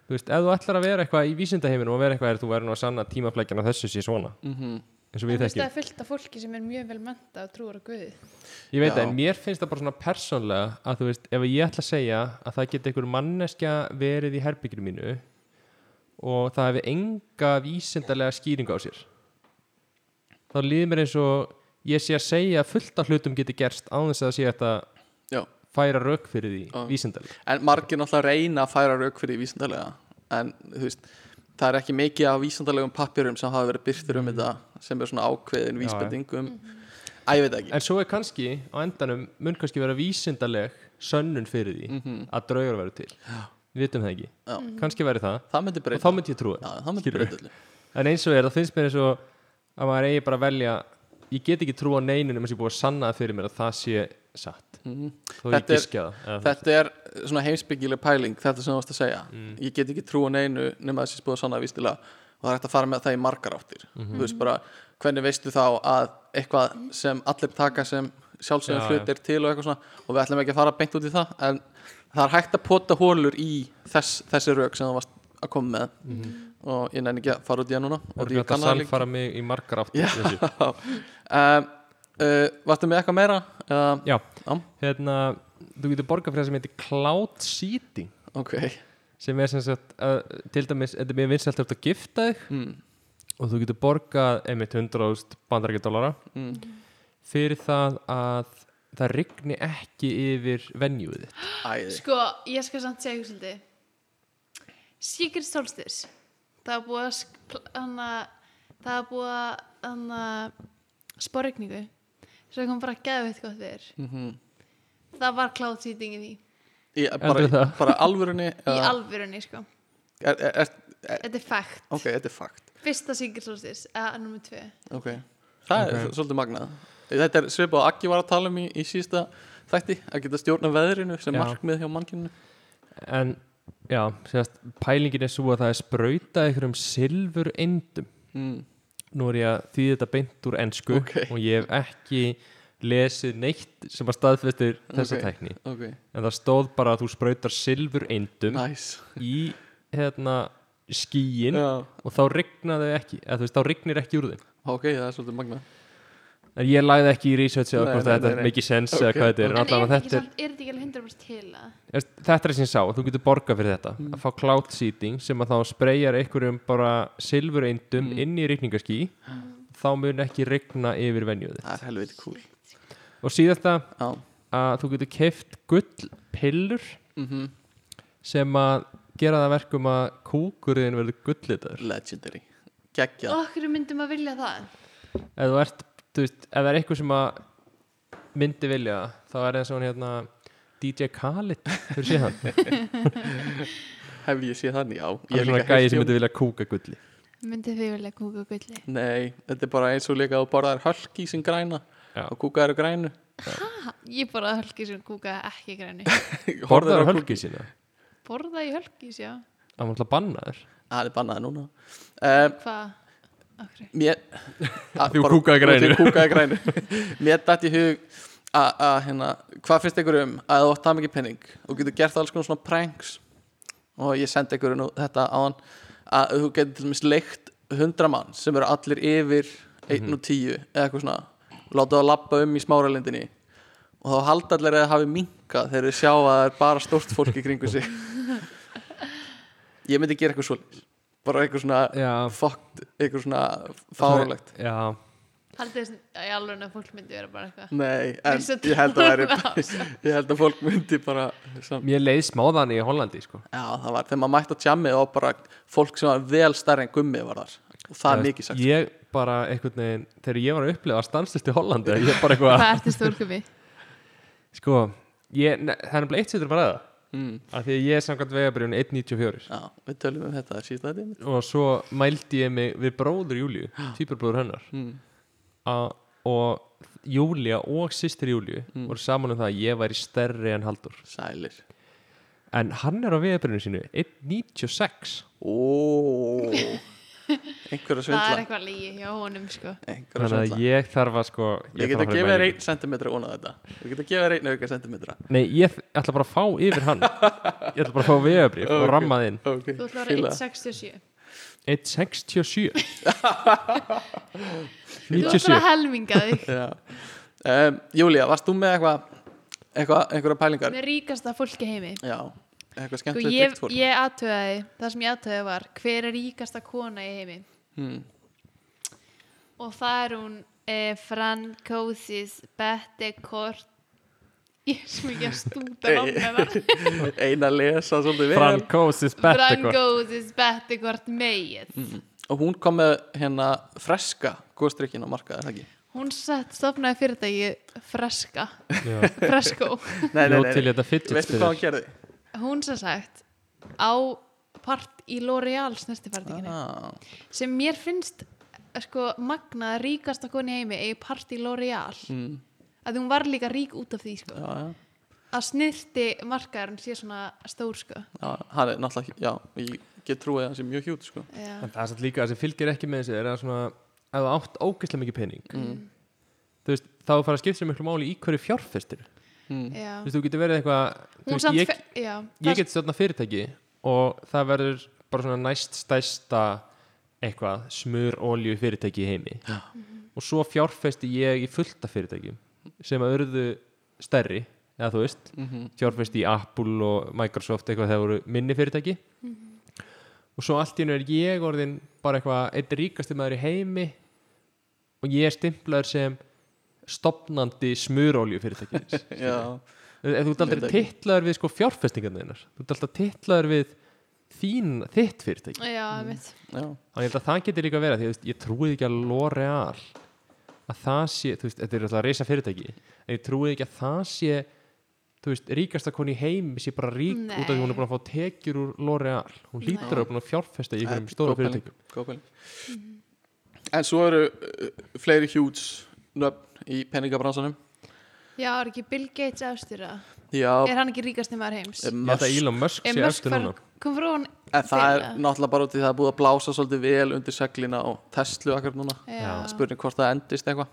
[SPEAKER 4] þú veist, ef þú ætlar að vera eitthvað í vísindaheiminum og vera eitthvað er þú verður nú að sanna að tímaflækjan á þessu sé svona
[SPEAKER 3] mhm,
[SPEAKER 4] eins og
[SPEAKER 1] En
[SPEAKER 4] við
[SPEAKER 1] þú veist
[SPEAKER 4] þekkjum
[SPEAKER 1] það er fullt af fólki sem er mjög vel menta og trúar á Guði
[SPEAKER 4] Ég veit
[SPEAKER 3] Já.
[SPEAKER 4] það, en mér finnst það bara svona persónlega að þú veist, ef ég ætla að segja að það geti einhver manneskja verið í herbyggjum mínu og það hefði enga vísindarlega skýring á sér þá líður mér eins og ég sé að segja að fullt af hlutum geti gerst án þess að það sé hægt að
[SPEAKER 3] já
[SPEAKER 4] færa rauk fyrir því
[SPEAKER 3] Já.
[SPEAKER 4] vísindarlega
[SPEAKER 3] en margir náttúrulega reyna að færa rauk fyrir því vísindalega en þú veist það er ekki mikið af vísindalegum pappirum sem hafa verið byrtir um þetta sem er svona ákveðin
[SPEAKER 4] Mm. Já, já.
[SPEAKER 3] vísbendingum að ég veit það ekki
[SPEAKER 4] En svo er kannski á endanum mun kannski vera vísindarleg sönnun fyrir því að draugar verður til Við vitum það ekki,
[SPEAKER 3] Mhm. Já.
[SPEAKER 4] kannski verður það
[SPEAKER 3] það myndi
[SPEAKER 4] og þá
[SPEAKER 3] breyta,
[SPEAKER 4] myndi ég trúa
[SPEAKER 3] já, það myndi
[SPEAKER 4] Skilurðu?
[SPEAKER 3] breyta öllu
[SPEAKER 4] En eins og er, það finnst mér eins og að maður eigi bara að velja ég get ekki trú á neinunum eins og ég er búið að sanna það fyrir mér að það sé satt
[SPEAKER 3] Mhm.
[SPEAKER 4] þó ég
[SPEAKER 3] Þetta er-
[SPEAKER 4] gískja það eða það-
[SPEAKER 3] þetta er svona heimsbyggileg pæling þetta sem þú varst að segja
[SPEAKER 4] Mm.
[SPEAKER 3] ég get ekki trú á neinu nema þessi spúða sanna vístilega og það er hægt að fara með það í margar áttir
[SPEAKER 4] Mhm.
[SPEAKER 3] þú veist bara, hvernig veistu þá að eitthvað sem allir taka sem sjálfsögum
[SPEAKER 4] Já,
[SPEAKER 3] hlut er til og eitthvað svona og við ætlum ekki að fara beint út í það en það er hægt að pota hólur í þess, þessi rauk sem þú varst að koma með og ég nenni ekki að fara út í það núna
[SPEAKER 4] Það
[SPEAKER 3] og
[SPEAKER 4] er
[SPEAKER 3] því ég
[SPEAKER 4] gætt Mhm. að
[SPEAKER 3] kann það líka
[SPEAKER 4] salfara mig í margar átt
[SPEAKER 3] Já. um, uh, Vartu með eitthvað meira? Uh,
[SPEAKER 4] Já,
[SPEAKER 3] Já.
[SPEAKER 4] hérna þú getur borgað fyrir það sem heitir cloud seeding
[SPEAKER 3] ok,
[SPEAKER 4] sem er sem sagt að, til dæmis, þetta er mjög vinsælt að þú ert að gifta þig
[SPEAKER 3] mm,
[SPEAKER 4] og þú getur borgað einmitt 100.000 bandarækjadólara
[SPEAKER 3] mm.
[SPEAKER 4] fyrir það að það rigni ekki yfir venjúið þitt.
[SPEAKER 3] Æði
[SPEAKER 1] Sko, ég skal samt segja ykkur svolítið Secret Solstice Það er búið að sk- pl- hana, það er búið að hana, sporregningu svo kom bara að gefa þetta gott við
[SPEAKER 3] mm -hmm.
[SPEAKER 1] það var cloud seeding í því,
[SPEAKER 3] bara,
[SPEAKER 4] Heldur það?
[SPEAKER 3] bara alvörunni
[SPEAKER 1] í
[SPEAKER 3] eða-
[SPEAKER 1] alvörunni sko.
[SPEAKER 3] er, er, er,
[SPEAKER 1] þetta er fact
[SPEAKER 3] Ok, þetta er fakt
[SPEAKER 1] fyrsta Secret Solstice, eða nummer tvö
[SPEAKER 3] okay. Það er
[SPEAKER 4] Ok.
[SPEAKER 3] svolítið magnað Þetta er svipað að Akki var að tala um í, í sísta þætti að geta stjórna veðrinu sem
[SPEAKER 4] Já.
[SPEAKER 3] markmið hjá mannkinu
[SPEAKER 4] En já, sérst, pælingin er svo að það er sprauta einhverjum silfur eindum.
[SPEAKER 3] mm.
[SPEAKER 4] Nú er ég að þýða þetta beint úr ennsku
[SPEAKER 3] Ok.
[SPEAKER 4] og ég hef ekki lesið neitt sem að staðfestir þessa
[SPEAKER 3] Ok.
[SPEAKER 4] tækni.
[SPEAKER 3] Ok,
[SPEAKER 4] En það stóð bara að þú sprautar silfur eindum
[SPEAKER 3] næs
[SPEAKER 4] í hérna skíin
[SPEAKER 3] Já.
[SPEAKER 4] og þá rigna þau ekki, eða þú veist, þá rignir ekki úr þeim.
[SPEAKER 3] Ok, það er svolítið magnað
[SPEAKER 4] En ég lagði ekki í researchi á
[SPEAKER 3] Nei,
[SPEAKER 4] hvort
[SPEAKER 3] nei,
[SPEAKER 4] þetta
[SPEAKER 3] nei, nei.
[SPEAKER 4] mikið sens eða
[SPEAKER 3] Ok.
[SPEAKER 4] hvað þetta er.
[SPEAKER 1] en
[SPEAKER 4] En
[SPEAKER 1] er
[SPEAKER 4] allavega
[SPEAKER 1] þetta ekki,
[SPEAKER 4] þetta er-
[SPEAKER 1] samt, er þetta ekki alveg 100% til að
[SPEAKER 4] Veist, þetta er sem ég sá, þú getur borgað fyrir þetta að fá cloud seeding sem að þá spreyjar einhverjum bara silfureindum inn í rigningaskí þá mun ekki rigna yfir venjuði
[SPEAKER 3] Það er helviti cool
[SPEAKER 4] og síðasta
[SPEAKER 3] Já,
[SPEAKER 4] að þú getur keift gullpillur
[SPEAKER 3] mhm,
[SPEAKER 4] sem að gera það verkum að kúkurinn verður gullitaður
[SPEAKER 3] legendary Gekja
[SPEAKER 1] okkur myndum að vilja það
[SPEAKER 4] ef þú ert, þú veist, ef það er eitthvað sem að myndi vilja það, þá er það svona hérna DJ Khaled, þú sé hann það
[SPEAKER 3] Hef ég séð þannig, já Ég
[SPEAKER 4] er
[SPEAKER 3] hef
[SPEAKER 4] svona
[SPEAKER 3] líka
[SPEAKER 4] gæði
[SPEAKER 3] heyrt í
[SPEAKER 4] sem
[SPEAKER 3] um-
[SPEAKER 4] myndi vilja kúka gulli
[SPEAKER 1] myndum við vilja kúka gulli
[SPEAKER 3] Nei, þetta er bara eins og líka að þú borðar hölki sem græna
[SPEAKER 4] Já.
[SPEAKER 3] og kúkaðar og grænu
[SPEAKER 1] ha, Ah, ég bara hölki sem kúka ekki græni
[SPEAKER 4] borðar á hölki sína,
[SPEAKER 1] borða í hölki, sjá
[SPEAKER 4] það var alltaf bannaður
[SPEAKER 3] Það er bannaði núna um,
[SPEAKER 1] hvað, okkur
[SPEAKER 3] Mér að-
[SPEAKER 4] Því hún
[SPEAKER 3] bara-
[SPEAKER 4] kúkaði grænu.
[SPEAKER 3] Því hún kúkaði grænu Mér dætt í hug að, að hérna, hvað finnst ykkur um að þú átt það mikið penning og getur gert alls konar svona pranks og ég sendi ykkur nú þetta á hann að þú getur til dæmis leikt 100 mann sem eru allir yfir 1 og 10 eða eitthvað svona láta það að lappa um í smáralindinni og þá halda allir að það hafi minkað þegar þau sjá að það er bara stórt fólk í kringu sig ég myndi gera eitthvað svolítið bara eitthvað svona
[SPEAKER 4] Já,
[SPEAKER 3] fucked, eitthvað svona fáralegt
[SPEAKER 4] Já,
[SPEAKER 1] Haldið þess í alveg að fólk myndi vera bara eitthvað
[SPEAKER 3] Nei, en
[SPEAKER 1] Eins og
[SPEAKER 3] ég held að
[SPEAKER 1] tölvuna á
[SPEAKER 3] væri ég held að fólk myndi bara sam...
[SPEAKER 4] mér leið smáðan í Hollandi sko.
[SPEAKER 3] Já, það var, þegar maður mætti á tjammi og bara fólk sem var vel stærri en gummi var þar og það er
[SPEAKER 4] Þú veist,
[SPEAKER 3] mikið sagt
[SPEAKER 4] Ég bara einhvern veginn, þegar ég var að upplifa stanslist í Hollandi Ég bara eitthvað,
[SPEAKER 1] Hvað ertu stórkumi?
[SPEAKER 4] sko ég, ne, Það er nefnilega eitt sýttur bara það
[SPEAKER 3] mm.
[SPEAKER 4] Af því að ég er samkvæmt vegabrjónu 1.94
[SPEAKER 3] Já, við tölum um þetta síðan þetta einmitt.
[SPEAKER 4] Og svo mældi ég mig við bróður Júlíu Týpurbróður hennar
[SPEAKER 3] Mm.
[SPEAKER 4] a, Og Júlía og sýstir Júlíu
[SPEAKER 3] Mm.
[SPEAKER 4] voru saman um það að ég væri stærri en Haldur
[SPEAKER 3] Sælir
[SPEAKER 4] En hann er á vegabrjónu sínu 1.96
[SPEAKER 3] Ó
[SPEAKER 1] Það
[SPEAKER 3] Einhver að
[SPEAKER 1] er
[SPEAKER 3] svindla
[SPEAKER 1] eitthvað lígi hjá honum sko
[SPEAKER 3] Einhver að
[SPEAKER 4] Þannig
[SPEAKER 3] svindla
[SPEAKER 4] að ég þarf að sko
[SPEAKER 3] Ég get að
[SPEAKER 4] þarf fara í
[SPEAKER 3] gefa þér
[SPEAKER 4] mælingu.
[SPEAKER 3] einn sentimetra ón á þetta Ég get að gefa þér einn auka sentimetra
[SPEAKER 4] Nei, ég þ- ætla bara að fá yfir hann Ég ætla bara að fá vegabrif og
[SPEAKER 3] Ok.
[SPEAKER 4] rammað inn
[SPEAKER 3] okay.
[SPEAKER 1] Þú ætlar að
[SPEAKER 3] fíla.
[SPEAKER 1] vera 167
[SPEAKER 4] 167
[SPEAKER 1] Þú ætlar að
[SPEAKER 4] 97
[SPEAKER 1] helminga þig
[SPEAKER 3] Já. um, Júlía, varst þú með eitthvað eitthva, einhverja pælingar?
[SPEAKER 1] með ríkasta fólki í heimi
[SPEAKER 3] Já, eitthvað
[SPEAKER 1] Sko,
[SPEAKER 3] skemmtilegt
[SPEAKER 1] ég,
[SPEAKER 3] ríkt fólk
[SPEAKER 1] ég aðtöðaði, það sem ég aðtöðaði var hver er ríkasta kona í heimi
[SPEAKER 3] hmm.
[SPEAKER 1] og það er hún eh, Francosis Bette Kort Ég er sem ekki að stúta
[SPEAKER 3] Nei.
[SPEAKER 1] námið
[SPEAKER 3] Eina að lesa svolítið vel
[SPEAKER 4] Francosis Bettekort
[SPEAKER 1] Francosis Bette Kort Meyet
[SPEAKER 3] Og hún kom með hérna freska góðstrykkin á markaði, er það ekki?
[SPEAKER 1] Hún sett stofnaði fyrirtæki Freska,
[SPEAKER 4] Jó
[SPEAKER 1] Fresco
[SPEAKER 4] til þetta fidget
[SPEAKER 3] Veistu hvað hún gerði?
[SPEAKER 1] hún sem sagt á part í L'Oreal snertifartinginu
[SPEAKER 3] Ah,
[SPEAKER 1] sem mér finnst sko magnað að ríkasta koni heimi eigi part í L'Oreal
[SPEAKER 3] mm,
[SPEAKER 1] að hún var líka rík út af því sko
[SPEAKER 3] já, já,
[SPEAKER 1] að snirti markaðurinn sé svona stór sko
[SPEAKER 3] já, hann er náttúrulega ekki- Já, ég get trúið að hann sé mjög hjút sko.
[SPEAKER 1] Já.
[SPEAKER 4] Það er satt líka að sem fylgir ekki með þessi er að svona ef þú átt ógeðslega mikið pening
[SPEAKER 3] Mm.
[SPEAKER 1] Mm,
[SPEAKER 4] þú veist, þá fara að skipta sér miklu máli í hverju fjárfestir þú
[SPEAKER 3] mm,
[SPEAKER 1] Já.
[SPEAKER 4] veist, þú getur verið eitthvað þú
[SPEAKER 1] hún
[SPEAKER 4] veist,
[SPEAKER 1] samt
[SPEAKER 4] ég,
[SPEAKER 1] fe- já, það-
[SPEAKER 4] ég get stjórna fyrirtæki og það verður bara svona næst stæsta eitthvað smur olju fyrirtæki í heimi
[SPEAKER 3] Já.
[SPEAKER 4] og svo fjárfesti ég í fullta fyrirtæki sem að urðu stærri eða þú veist
[SPEAKER 3] Eh. mm-hmm.
[SPEAKER 4] fjárfest í Apple og Microsoft eitthvað þegar voru minni fyrirtæki og svo allt í hennu er ég orðin bara eitthvað eitt ríkasti maður í heimi og ég er stimplaður sem stopnandi smurólju fyrirtækis
[SPEAKER 3] Já,
[SPEAKER 4] ef þú ert aldrei
[SPEAKER 3] Fyrirtæki.
[SPEAKER 4] titlaður við sko fjárfestingarna þeinar þú ert alltaf titlaður við þín, þitt fyrirtæki
[SPEAKER 1] já, mitt
[SPEAKER 3] já,
[SPEAKER 4] Þannig ég held að það getur líka að vera því að þú veist, ég trúið ekki að L'Oreal að það sé, þú veist, þetta er alltaf að reysa fyrirtæki en ég trúið ekki að það sé þú veist, ríkasta koni í heim sé bara rík
[SPEAKER 1] Nei.
[SPEAKER 4] út af því hún er búin að fá tekjur úr L'Oreal, hún
[SPEAKER 1] Nei.
[SPEAKER 4] lítur að búin að fjárfesta í einhverjum
[SPEAKER 3] Nei,
[SPEAKER 4] um stóra
[SPEAKER 3] góð pæling,
[SPEAKER 4] fyrirtækum
[SPEAKER 3] góð pæling. Eh, Mm-hmm. En svo eru uh, fleiri hjúts nöfn í penningabransanum
[SPEAKER 1] já, er ekki Bill Gates efstýra
[SPEAKER 3] Já,
[SPEAKER 1] er hann ekki ríkast nema heims
[SPEAKER 3] eh,
[SPEAKER 4] Ég held að
[SPEAKER 3] Musk-
[SPEAKER 4] Elon Musk
[SPEAKER 1] er
[SPEAKER 4] sé
[SPEAKER 1] mörg
[SPEAKER 4] eftir núna
[SPEAKER 1] kom frá hann
[SPEAKER 3] En það er
[SPEAKER 1] Þeirra.
[SPEAKER 3] náttúrulega bara út í það að búið að blása svolítið vel undir seglina og Tesla akkur núna.
[SPEAKER 4] Já.
[SPEAKER 1] já.
[SPEAKER 3] Spurning hvort það endist eitthvað.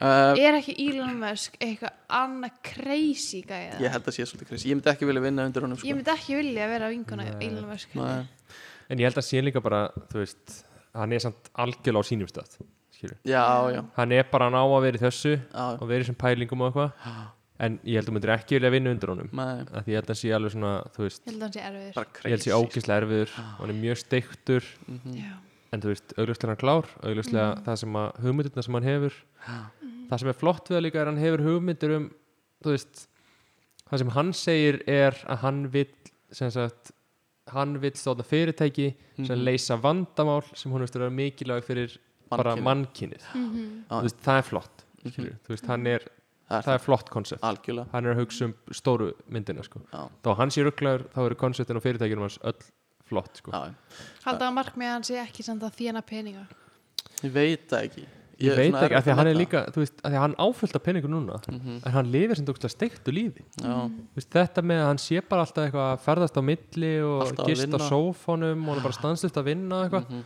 [SPEAKER 3] Uh,
[SPEAKER 1] er ekki Elon Musk eitthvað annað crazy gæða
[SPEAKER 3] ég held að sé svolítið krisi. Ég myndi ekki vilja vinna undir honum sko.
[SPEAKER 1] Ég myndi ekki vilja vera vinkona
[SPEAKER 4] Nei.
[SPEAKER 1] Elon Musk
[SPEAKER 3] Nei.
[SPEAKER 4] En ég held að sé líka bara, þú veist hann er samt algjörlega á sínum stað skilur.
[SPEAKER 3] Já, já,
[SPEAKER 4] hann er bara að ná að vera í þessu
[SPEAKER 3] já.
[SPEAKER 4] og verið sem pælingum og eitthvað en ég held að þú myndir ekki vilja vinna undir honum
[SPEAKER 3] Nei,
[SPEAKER 4] af því ég held að hann sé alveg svona, þú veist
[SPEAKER 1] Ég held að hann sé erfiður
[SPEAKER 3] bara
[SPEAKER 4] ég held
[SPEAKER 3] krisi.
[SPEAKER 4] sér ógislega erfiður og hann er mjög steiktur
[SPEAKER 3] Mhm.
[SPEAKER 1] Já.
[SPEAKER 4] en þú veist, augljóslega er hann klár augljóslega það sem að hugmyndirna sem hann hefur það sem er flott við það líka er að hann hefur hugmyndir um þú veist, það sem hann segir er að hann vill sem sagt, hann vill stóðna fyrirtæki sem
[SPEAKER 3] Mhm.
[SPEAKER 4] leysa vandamál sem hún veist er mikilvæg fyrir bara
[SPEAKER 3] Mannkynið.
[SPEAKER 4] mannkynið
[SPEAKER 3] Já.
[SPEAKER 4] þú veist, það er flott skilurðu. þú veist, hann er,
[SPEAKER 3] Mhm. Það
[SPEAKER 4] það
[SPEAKER 3] er
[SPEAKER 4] er flott konsept
[SPEAKER 3] algjörlega.
[SPEAKER 4] hann er að hugsa um stóru myndina sko.
[SPEAKER 3] Já.
[SPEAKER 4] þá hann sé rugglaður, þá eru konceptin og fyrirtækjum hans öll flott sko.
[SPEAKER 3] Já, já.
[SPEAKER 1] Halda að markmið að hann sé ekki samt að þjána peninga
[SPEAKER 3] ég veit það ekki.
[SPEAKER 4] ég,
[SPEAKER 3] er
[SPEAKER 4] veit
[SPEAKER 3] svona
[SPEAKER 4] ekki, af því
[SPEAKER 3] erfitt
[SPEAKER 4] að hann er
[SPEAKER 3] meta.
[SPEAKER 4] líka þú veist, af því að hann áfyllt af peningur núna en hann lifir sem tókslega steiktu lífi
[SPEAKER 3] Já,
[SPEAKER 4] Þú veist, þetta með að hann sé bara alltaf eitthvað að ferðast á milli og
[SPEAKER 3] Alltaf að
[SPEAKER 4] gist á
[SPEAKER 3] vinna.
[SPEAKER 4] sófónum og hann er bara stanslust að vinna og eitthvað
[SPEAKER 3] Mhm.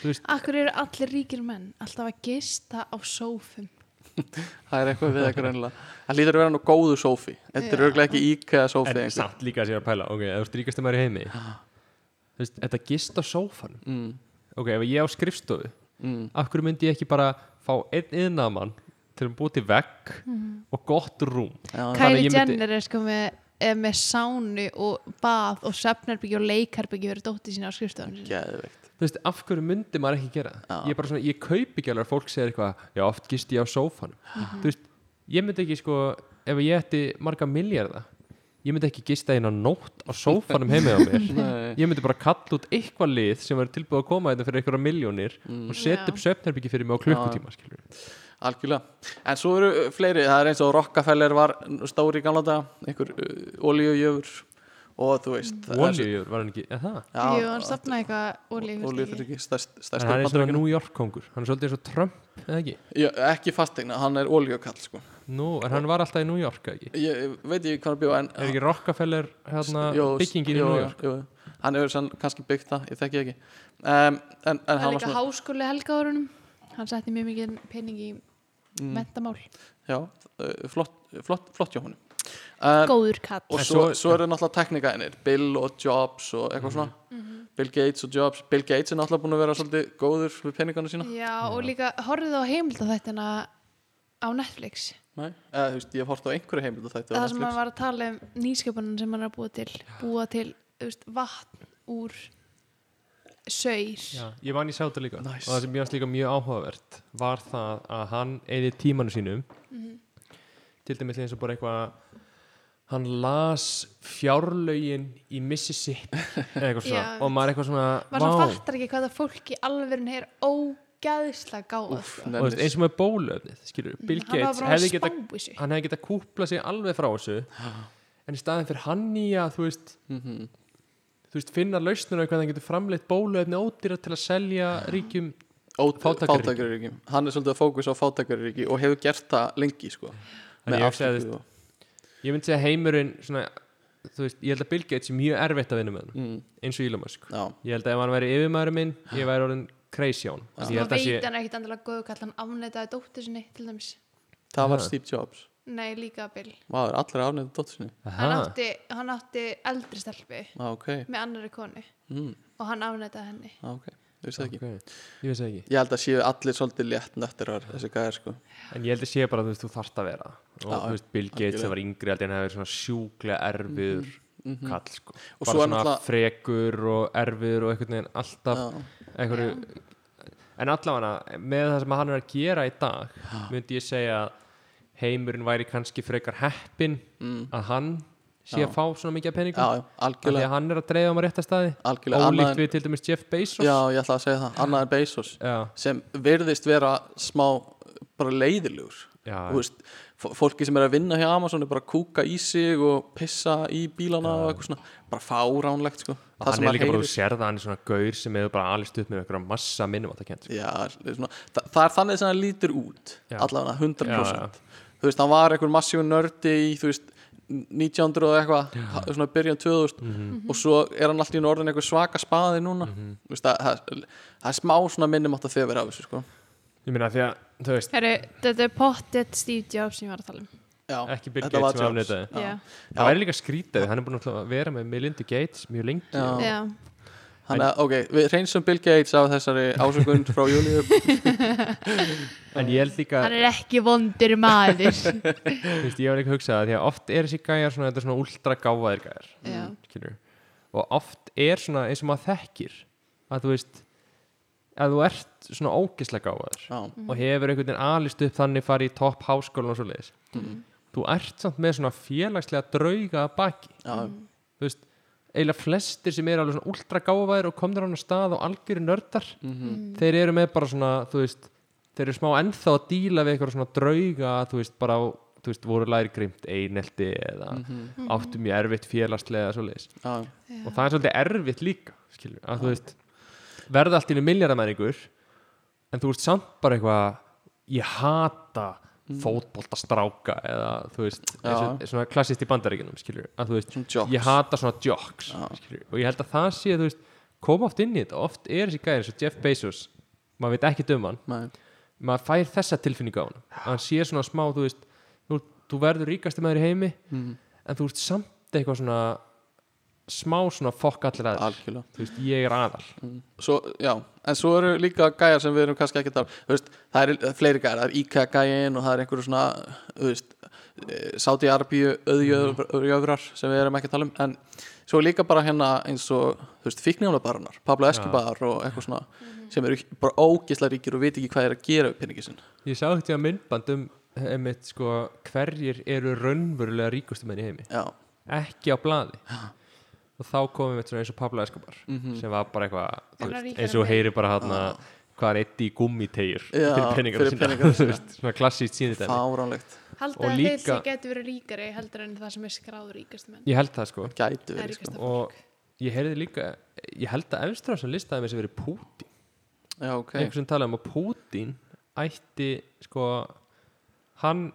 [SPEAKER 4] þú veist,
[SPEAKER 1] Akkur eru allir ríkir menn alltaf að gista á sófum
[SPEAKER 3] það er eitthvað við eitthvað reynilega. Það lítur að vera nú góðu sófi. Þetta er
[SPEAKER 1] Já.
[SPEAKER 3] örglega ekki íkæða sófi
[SPEAKER 4] en
[SPEAKER 3] einhver.
[SPEAKER 4] samt líka að sér að pæla ok, ef þú strykast þeim að er heimi þú veist, þetta gist á sófónum
[SPEAKER 3] Mm,
[SPEAKER 4] ok, ef ég á skrifstofu,
[SPEAKER 3] mm,
[SPEAKER 4] af hverju myndi ég ekki bara fá einn yðnaðamann til að búið til vegg og gott rúm
[SPEAKER 3] já,
[SPEAKER 4] Þannig að
[SPEAKER 1] Kylie
[SPEAKER 4] ég myndi-
[SPEAKER 1] Jenner er sko með er með sánu og bað og svefnherbyggju og leikherbyggju verið dótti sína á skrifstofunum sinni.
[SPEAKER 3] geðveikt.
[SPEAKER 4] þú veist, af hverju myndi maður ekki gera það?
[SPEAKER 3] Já.
[SPEAKER 4] ég er bara svona, ég kaup ekki alveg að fólk segir eitthvað, já, oft gist ég á sófanum
[SPEAKER 3] Mhm.
[SPEAKER 4] þú veist, ég myndi ekki sko ef ég ætti marga miljardar ég myndi ekki gista eina nótt á sófanum heimið á mér
[SPEAKER 3] Nei.
[SPEAKER 4] ég myndi bara kalla út eitthvað lið sem er tilbúið að koma þetta fyrir einhverja miljónir
[SPEAKER 3] Mhm. Mm.
[SPEAKER 4] og setja
[SPEAKER 1] Já.
[SPEAKER 4] upp söfnherbyggi fyrir mig á klukkutíma skilur.
[SPEAKER 3] Algjörlega, en svo eru uh, fleiri það er eins og Rockefeller var stóri í gamla daga, einhver uh, olíujöfur og þú veist það er-
[SPEAKER 4] olíu var hann ekki, eða það
[SPEAKER 3] Já,
[SPEAKER 1] Jú, hann stopnaði eitthvað olífyrtingi
[SPEAKER 3] olíufyrirtæki, stærst-
[SPEAKER 4] en
[SPEAKER 3] stærstu
[SPEAKER 4] hann er svona
[SPEAKER 3] bandaríkjanna.
[SPEAKER 4] New York kongur, hann er svolítið eins og Trump eða ekki,
[SPEAKER 3] Já, ekki fastegna, hann er olíukall sko.
[SPEAKER 4] nú, en hann var alltaf í New York eða ekki,
[SPEAKER 3] ég ég veit ekki hvað hann bjó en,
[SPEAKER 4] er ekki Rockefeller hérna,
[SPEAKER 3] Jó,
[SPEAKER 4] byggingin í
[SPEAKER 3] jó,
[SPEAKER 4] New York
[SPEAKER 3] jó, jó. hann hefur sann kannski byggt það, ég þekki ekki um, en, en
[SPEAKER 1] Það er
[SPEAKER 3] hann var
[SPEAKER 1] líka
[SPEAKER 3] svona
[SPEAKER 1] háskóli helgáðurunum Hann setti mjög mikið pening í mentamál
[SPEAKER 3] Mm, já, uh, flott, flott, flott hjá honum um,
[SPEAKER 1] Góður kall
[SPEAKER 3] og
[SPEAKER 4] En
[SPEAKER 3] svo,
[SPEAKER 4] svo- Mm.
[SPEAKER 3] svo eru náttúrulega teknikaðinir Bill og Jobs og eitthvað svona Bill Gates og Jobs Bill Gates er náttúrulega búin að vera svolítið góður við peningana
[SPEAKER 4] Hérna.
[SPEAKER 3] sína
[SPEAKER 1] Já, og líka horfið á heimildaþættina á Netflix
[SPEAKER 3] Nei. Mm. eða þú veist, ég hef hort á einhverju heimild og þetta
[SPEAKER 1] það sem hann var að tala um nýsköpunin sem hann er að búa til búa til þú veist, vatn úr saur
[SPEAKER 4] Já, ég man ég sá þetta líka
[SPEAKER 3] Nice.
[SPEAKER 4] og það sem mér fannst líka mjög áhugavert var það að hann eigði tímanu sínum
[SPEAKER 1] Mhm.
[SPEAKER 4] til dæmis eins og bara eitthvað hann las fjárlögin í Mississippi eða eitthvað svona
[SPEAKER 1] Já,
[SPEAKER 4] og maður eitthvað svona,
[SPEAKER 1] maður svo
[SPEAKER 4] vá.
[SPEAKER 1] fattar ekki hvað það fólk í alverðin er ógæðslega gáð
[SPEAKER 3] Úff,
[SPEAKER 1] sko.
[SPEAKER 4] og þú veist, eins og með bólöfnið skilur, Bill
[SPEAKER 1] Mhm. Mm, hann var
[SPEAKER 4] Gates
[SPEAKER 1] bara að
[SPEAKER 4] hefði geta,
[SPEAKER 1] spá í sig
[SPEAKER 4] hann hefði geta kúplað sig alveg frá þessu en í staðin fyrir hann í að þú veist
[SPEAKER 3] Mhm.
[SPEAKER 4] þú veist, finna lausnur á hvað hann getur framleitt bólöfni ódýra til að selja ríkjum Fátækraríki.
[SPEAKER 3] fátækjaríki hann er svolítið að fókus á fátækjaríki og hefur gert það lengi sko, með
[SPEAKER 4] ég hugsaði,
[SPEAKER 3] afstöku
[SPEAKER 4] þú
[SPEAKER 3] og,
[SPEAKER 4] ég myndi segja heimurinn svona, þú veist, ég held að Bill Gates er mjög erfitt að vinna með hann,
[SPEAKER 3] mm,
[SPEAKER 4] eins og Elon Musk
[SPEAKER 3] já,
[SPEAKER 4] ég held að ef hann væri yfirmaðurinn minn, ég væri orðin crazy á hann, Því ég
[SPEAKER 1] maður
[SPEAKER 4] held að
[SPEAKER 1] veit
[SPEAKER 4] sé
[SPEAKER 1] hann ekkit endilega góðu kall hann afneitaði dóttur sinni til dæmis
[SPEAKER 3] það var
[SPEAKER 4] Aha.
[SPEAKER 3] Steve Jobs
[SPEAKER 1] nei líka Bill
[SPEAKER 3] maður, allir afnefðu dóttur sinni
[SPEAKER 1] hann
[SPEAKER 4] Aha,
[SPEAKER 1] átti, hann átti eldri stelpu
[SPEAKER 3] ah, ok,
[SPEAKER 1] með annari konu
[SPEAKER 3] mm,
[SPEAKER 4] Hmm.
[SPEAKER 1] og hann afneitaði henni
[SPEAKER 3] ah, okay. þú veist það ekki
[SPEAKER 4] Ok, Ég veist það ekki
[SPEAKER 3] Ég held að séu allir svolítið létt nöttirar þessi gæðir sko
[SPEAKER 4] En ég held að sé bara að þú veist, þú þarft að vera það. og
[SPEAKER 3] Já,
[SPEAKER 4] þú veist, Bill Gates
[SPEAKER 3] algjörlega. Mhm,
[SPEAKER 4] sem var yngri aldrei en það er svona sjúklega erfiður kall sko.
[SPEAKER 3] Og
[SPEAKER 4] bara
[SPEAKER 3] svo er
[SPEAKER 4] svona
[SPEAKER 3] náttúrulega-
[SPEAKER 4] frekur og erfiður og einhvern veginn alltaf
[SPEAKER 3] Já.
[SPEAKER 4] einhverju en allavega með það sem hann er að gera í dag myndi ég segja að heimurinn væri kannski frekar heppin að hann sé
[SPEAKER 3] Mm. Já.
[SPEAKER 4] að fá svona mikið af peningum
[SPEAKER 3] Já, já,
[SPEAKER 4] af því að
[SPEAKER 3] algjörlega,
[SPEAKER 4] hann er að dreifa um að rétta staði
[SPEAKER 3] algjörlega
[SPEAKER 4] ólíkt
[SPEAKER 3] Annað en-
[SPEAKER 4] við til dæmis Jeff Bezos
[SPEAKER 3] Já, ég ætla að segja það, annað en Bezos
[SPEAKER 4] já,
[SPEAKER 3] sem virðist vera smá bara leiðilegur
[SPEAKER 4] já,
[SPEAKER 3] Þú veist, fó- fólki sem er að vinna hjá Amazon er bara að kúka í sig og pissa í bílana og eitthvað svona, bara fáránlegt sko.
[SPEAKER 4] og hann er líka bara, þú
[SPEAKER 3] heyrist-
[SPEAKER 4] sér það, hann er svona gaur sem hefur bara alist upp með einhverja massa sko. minnum að það kent
[SPEAKER 3] Já, það er svona, þa það er þannig sem hann lítur út
[SPEAKER 4] Já.
[SPEAKER 3] allavega 100%
[SPEAKER 4] Já, já.
[SPEAKER 3] þú veist, hann var einhver massíu nördi í þú veist, 1900 og eitthvað ha- svona byrjan 2000
[SPEAKER 4] Mhm.
[SPEAKER 3] og svo er hann alltaf í norðin einhver svaka spaði núna þú veist, það, það, það er smá svona minnum átt að þau vera af þessu sko.
[SPEAKER 4] Ég meina því að, þú veist,
[SPEAKER 1] Herru, þetta er pottet Steve Jobs sem ég var að tala um.
[SPEAKER 3] já,
[SPEAKER 4] ekki Bill
[SPEAKER 3] þetta var
[SPEAKER 4] Gates sem
[SPEAKER 3] Jobs.
[SPEAKER 4] afneitaði
[SPEAKER 1] Já,
[SPEAKER 4] Það væri líka skrítið, hann er búin að vera með Melinda Gates mjög lengi
[SPEAKER 3] Já.
[SPEAKER 1] já.
[SPEAKER 3] þannig að, ok, við reynsum Bill Gates af þessari ásökun frá Júlíu
[SPEAKER 4] En ég held líka,
[SPEAKER 1] Hann er ekki vondur maður.
[SPEAKER 4] Mm. þú veist, ég var líka að hugsa það Því að oft er þessi gæjar svona, þetta er svona ultra gáfaðir gæjar
[SPEAKER 1] já.
[SPEAKER 4] skilur. Og oft er svona eins og maður þekkir Að þú veist, að þú ert svona ógislega gáfaður
[SPEAKER 3] já,
[SPEAKER 1] Mm.
[SPEAKER 4] Og hefur einhvern veginn alist upp þannig farið í topp háskólan og svo leiðis
[SPEAKER 1] Mm.
[SPEAKER 3] Mhm.
[SPEAKER 4] Þú ert samt með svona félagslega drauga að baki
[SPEAKER 3] já,
[SPEAKER 1] Mm.
[SPEAKER 4] þú veist, eiginlega flestir sem eru alveg svona ultra gáfaðir og komnir á hann stað og algjörir nördar
[SPEAKER 3] Mhm.
[SPEAKER 1] Mm.
[SPEAKER 4] Mm. þeir eru með bara svona, þú veist þeir eru smá ennþá að díla við eitthvað svona drauga, þú veist, bara á- þú veist, voru læri grimt einelti eða áttu mjög erfitt félagslega svoleiðis.
[SPEAKER 3] Mhm. já,
[SPEAKER 4] og það er svolítið erfitt líka skilur, að þú veist verða allt í einu miljardamæningur en þú veist samt bara eitthvað ég hata fótboltastráka eða þú veist
[SPEAKER 3] Mhm. Já.
[SPEAKER 4] eins og, svona klassist í bandaríkinum skilur, að þú veist
[SPEAKER 3] svona jokes
[SPEAKER 4] ég hata svona jocks
[SPEAKER 3] Já.
[SPEAKER 4] skilur, og ég held að það sé, þú veist, koma oft inn í þetta oft er þessi gæri eins og Jeff Bezos maður veit ekki döman,
[SPEAKER 3] Nei.
[SPEAKER 4] maður fær þessa tilfinningu á hann að hann sé svona smá, þú veist þú, þú verður ríkasti maður í heimi
[SPEAKER 3] Mhm.
[SPEAKER 4] en þú ert samt eitthvað svona smá svona fokk allir aðeins
[SPEAKER 3] algjörlega Mhm.
[SPEAKER 4] þú veist, ég er aðal
[SPEAKER 3] svo, já, en svo eru líka gæjar sem við erum kannski ekki að tala um. það eru fleiri gæjar, það er IKEA gæjin og það er einhverju svona þú veist, e, Saudi Arabíu Mhm. öðjöfrar sem við erum ekki að tala um en svo er líka bara hérna eins og þú veist, fíknjálabarunar, Pablo Escobar og eitthvað svona sem eru bara ógislega ríkir og veit ekki hvað er að gera upp peningi sinn
[SPEAKER 4] ég sá þetta á myndband um einmitt, sko, hverjir eru raunverulega ríkustu menn í heimi
[SPEAKER 3] já,
[SPEAKER 4] ekki á blaði og þá komum við svona eins og Pablo Escobar
[SPEAKER 3] Mhm.
[SPEAKER 4] sem var bara eitthvað þú
[SPEAKER 1] Bara
[SPEAKER 4] veist,
[SPEAKER 1] ríkari
[SPEAKER 4] eins og
[SPEAKER 1] en
[SPEAKER 4] heyri bara hann hvað er eitt í gummitegjur
[SPEAKER 3] Ah. Já,
[SPEAKER 4] fyrir peningar
[SPEAKER 3] fyrir peningana sína.
[SPEAKER 4] svona klassíst sínitæmi
[SPEAKER 3] fáránlegt
[SPEAKER 1] Haldið
[SPEAKER 4] Og
[SPEAKER 1] að
[SPEAKER 4] líka-
[SPEAKER 1] þeir sem getur verið ríkari heldur en það sem er skráð ríkast menn.
[SPEAKER 4] ég held það sko
[SPEAKER 3] gætu
[SPEAKER 1] Það er
[SPEAKER 3] verið sko.
[SPEAKER 1] ríkasta
[SPEAKER 4] og
[SPEAKER 1] fólk.
[SPEAKER 4] ég heyrði líka ég held að efstra sem listaði með sem verið Pútín
[SPEAKER 3] já, ok,
[SPEAKER 4] einhver sem talaði um að Pútín ætti sko hann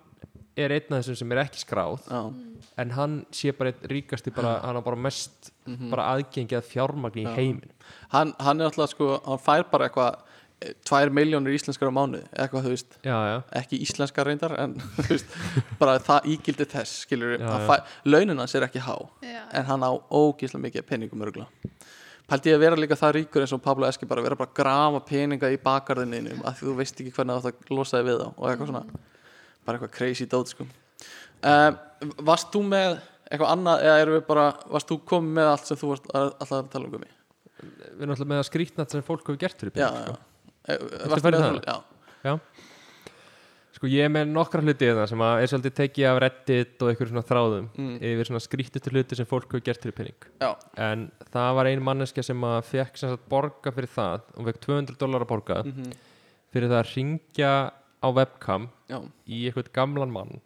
[SPEAKER 4] er einn af þessum sem er ekki skráð
[SPEAKER 3] já,
[SPEAKER 4] en hann sé bara einn ríkasti bara,
[SPEAKER 3] Ah.
[SPEAKER 4] hann á bara mest
[SPEAKER 3] Mhm.
[SPEAKER 4] bara aðgengið að fjármagni í heimin
[SPEAKER 3] hann, hann er alltaf sko hann fær bara eitthvað eh, tvær miljónir íslenskar á mánuði, eitthvað þú veist
[SPEAKER 4] já, já,
[SPEAKER 3] ekki íslenska reyndar en þú veist, bara það ígildi þess skilur,
[SPEAKER 4] Já, já.
[SPEAKER 3] já, launin hans er ekki há
[SPEAKER 1] Já.
[SPEAKER 3] en hann á ógíslega mikið af peningum örgla pældi ég að vera líka það ríkur eins og Pablo Eski bara vera bara að grafa peninga í bakarðinni af því þú veist ekki hvernig þú átt að losa þig við þá og eitthvað svona, bara eitthvað crazy dót sko. um, varst þú með eitthvað annað eða erum við bara varst þú komið með allt sem þú varst að- alltaf að tala um gumi?
[SPEAKER 4] við erum alltaf með að skrýtna sem fólk hefur gert fyrir
[SPEAKER 3] já,
[SPEAKER 4] pening
[SPEAKER 3] já,
[SPEAKER 4] sko.
[SPEAKER 3] Eh, varstu
[SPEAKER 4] farið
[SPEAKER 3] með
[SPEAKER 4] það?
[SPEAKER 3] það? já,
[SPEAKER 4] sko ég er með nokkra hluti í það sem að er svolítið tekið af reddit og einhverjum svona þráðum
[SPEAKER 3] Mm.
[SPEAKER 4] yfir svona skrýttustu hluti sem fólk hefur gert fyrir pening
[SPEAKER 3] já,
[SPEAKER 4] en það var ein manneska sem að fekk sem sagt borga fyrir það hún fekk 200 dólar að borga
[SPEAKER 3] Mhm.
[SPEAKER 4] fyrir það að ringja á webcam
[SPEAKER 3] já,
[SPEAKER 4] í einhvern gamlan mann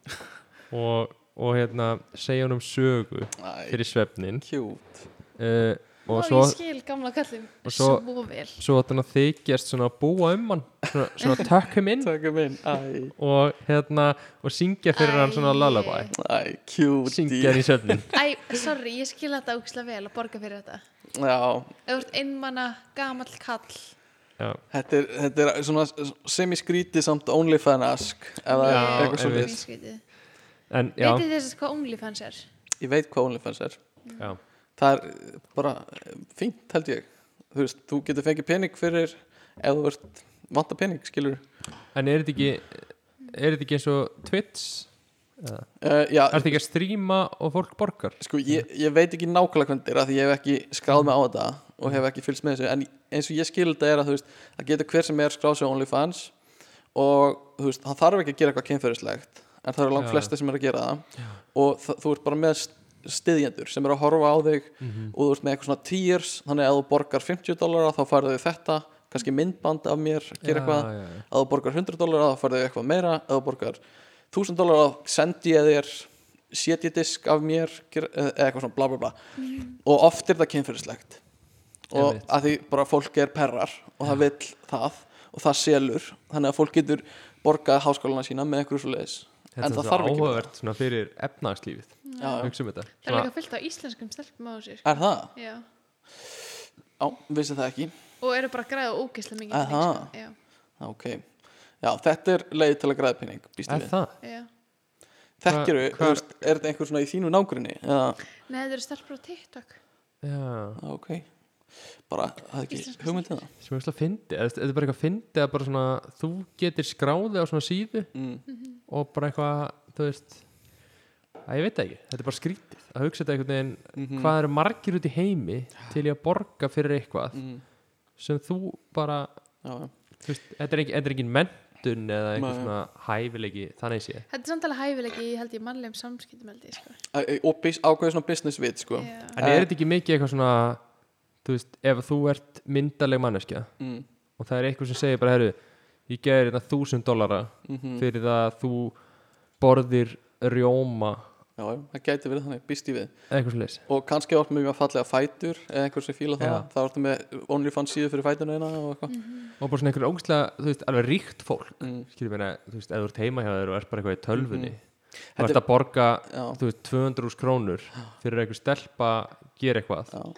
[SPEAKER 4] og, og hérna segja honum sögu
[SPEAKER 3] næ,
[SPEAKER 4] fyrir svefnin
[SPEAKER 3] cute
[SPEAKER 4] uh, og
[SPEAKER 1] Og
[SPEAKER 4] svo
[SPEAKER 1] ég skil gamla kallin
[SPEAKER 4] og
[SPEAKER 1] svo
[SPEAKER 4] svo-
[SPEAKER 1] vel.
[SPEAKER 4] svo þannig að þykjast svona búa um hann svona, svona tökk um inn
[SPEAKER 3] tökum inn, æ
[SPEAKER 4] og hérna og syngja fyrir hann svona
[SPEAKER 1] Æi.
[SPEAKER 4] lullaby
[SPEAKER 3] Æ, cute
[SPEAKER 4] syngja hann í söfnin
[SPEAKER 1] Æ, sorry, ég skil þetta ógislega vel að borga fyrir þetta.
[SPEAKER 3] Já,
[SPEAKER 1] Ef þú ert einmana, gamall kall.
[SPEAKER 4] já,
[SPEAKER 3] þetta er, þetta er svona semiskríti samt OnlyFans-ask eða
[SPEAKER 4] Já,
[SPEAKER 3] eitthvað svo
[SPEAKER 4] einmitt.
[SPEAKER 3] við
[SPEAKER 1] skrítið.
[SPEAKER 4] en já,
[SPEAKER 1] Vitið þess hvað OnlyFans er?
[SPEAKER 3] Ég veit hvað OnlyFans er
[SPEAKER 4] já
[SPEAKER 3] Það er eh, bara eh, fínt held ég þú veist, þú getur fengið pening fyrir ef þú ert vanta pening, skilur
[SPEAKER 4] En er þetta ekki Er þetta ekki eins og Twitch? Eða?
[SPEAKER 3] uh, Já,
[SPEAKER 4] Er þetta ekki að stríma og fólk borgar?
[SPEAKER 3] sko, ég, ég veit ekki nákvæmlega hvernig þetta er að því ég hef ekki skráð mig á þetta og hef ekki fylgst með þessu, en eins og ég skil þetta er að þú veist, það getur hver sem er skráð sig á OnlyFans og þú veist, það þarf ekki að gera eitthvað kynferðislegt en það eru langt
[SPEAKER 4] Já.
[SPEAKER 3] flesta sem er að gera það og það, þú ert bara með stiðjendur sem eru að horfa á þig
[SPEAKER 4] Mhm.
[SPEAKER 3] og þú ert með eitthvað svona tiers, þannig að ef þú borgar 50 dollara þá færðu þau þetta kannski myndband af mér, gera eitthvað
[SPEAKER 4] já, já.
[SPEAKER 3] að þú borgar 100 dólar þá færðu eitthvað meira að þú borgar 1000 dólar þá sendi ég þér setjidisk af mér ger- eða eitthvað svona bla bla bla og oft er það kynferðislegt og
[SPEAKER 4] Einmitt.
[SPEAKER 3] að því bara fólk er perrar og það vill það og það selur þannig að fólk getur borgað háskólana sína með eitthvað svo leiðis
[SPEAKER 4] Þetta
[SPEAKER 3] en
[SPEAKER 4] er
[SPEAKER 3] það
[SPEAKER 4] svo
[SPEAKER 3] þarf ekki með
[SPEAKER 4] áhugavert svona fyrir efnagslífið
[SPEAKER 3] það. Já,
[SPEAKER 4] Hugsa um þetta
[SPEAKER 1] Það er
[SPEAKER 4] Svona-
[SPEAKER 1] líka fullt á íslenskum stelpum á þessu sko.
[SPEAKER 3] já. er það?
[SPEAKER 1] Já.
[SPEAKER 3] Já, vissi það ekki
[SPEAKER 1] Og eru bara að græða ógeðslega mikið
[SPEAKER 3] Aha.
[SPEAKER 1] pening, sko. Já,
[SPEAKER 3] Já, ok Já, þetta er leið til að græða penning býstu
[SPEAKER 4] Er
[SPEAKER 3] við
[SPEAKER 4] það?
[SPEAKER 1] já.
[SPEAKER 3] Þekkir
[SPEAKER 4] Hva- hvar-
[SPEAKER 3] er þetta einhver svona í þínu nágrinni? Já,
[SPEAKER 1] Nei, þetta eru stelpur á TikTok
[SPEAKER 4] Já
[SPEAKER 3] Já, ok bara, það er ekki
[SPEAKER 1] Íslenska
[SPEAKER 3] hugmyndið það
[SPEAKER 4] sem ég ætla að fyndi eða þetta er bara eitthvað að fyndi að bara svona þú getur skráðið á svona síðu
[SPEAKER 3] mm.
[SPEAKER 4] og bara eitthvað, þú veist að ég veit það ekki, þetta er bara skrítið að hugsa þetta einhvern veginn,
[SPEAKER 3] Mhm.
[SPEAKER 4] hvað eru margir út í heimi til ég að borga fyrir eitthvað
[SPEAKER 3] Mm.
[SPEAKER 4] sem þú bara
[SPEAKER 3] Já, já.
[SPEAKER 4] þú veist, þetta er ekki- þetta er engin mentun eða einhver
[SPEAKER 3] Nei.
[SPEAKER 4] svona hæfileiki þannig sé
[SPEAKER 1] Þetta er samtala hæfilegi, ég held ég mannlegum samskiptum held ég, sko.
[SPEAKER 3] Æ, æ, og bis- ákveðið svona business vit sko.
[SPEAKER 1] Já.
[SPEAKER 4] en er þetta ekki mikið eitthvað svona þú veist, ef þú ert myndaleg manneskja
[SPEAKER 3] mm.
[SPEAKER 4] og það er eitthvað sem segir bara, herru ég gerir þetta þúsund dollara
[SPEAKER 3] Mm
[SPEAKER 4] fyrir það að þú borðir rjóma
[SPEAKER 3] já, já, það gæti verið þannig, býst í við
[SPEAKER 4] eða eitthvað slags
[SPEAKER 3] og kannski áttum við mjög fallega fætur eða einhver sem fíla það,
[SPEAKER 4] Já.
[SPEAKER 3] það áttum við OnlyFans síðu fyrir fætuna eina og eitthvað mm.
[SPEAKER 4] og bara svona einhver ógstlega, þú veist, alveg ríkt fólk skilur meina, þú veist, eða þú ert heima hjá þér og ert bara eitthvað í tölvunni mm
[SPEAKER 3] Mhm. Þetta
[SPEAKER 4] -hmm. þú ert að borga,
[SPEAKER 3] Já,
[SPEAKER 4] þú veist, 200 úr krónur fyrir að einhver stelpa gera eitthvað
[SPEAKER 3] já.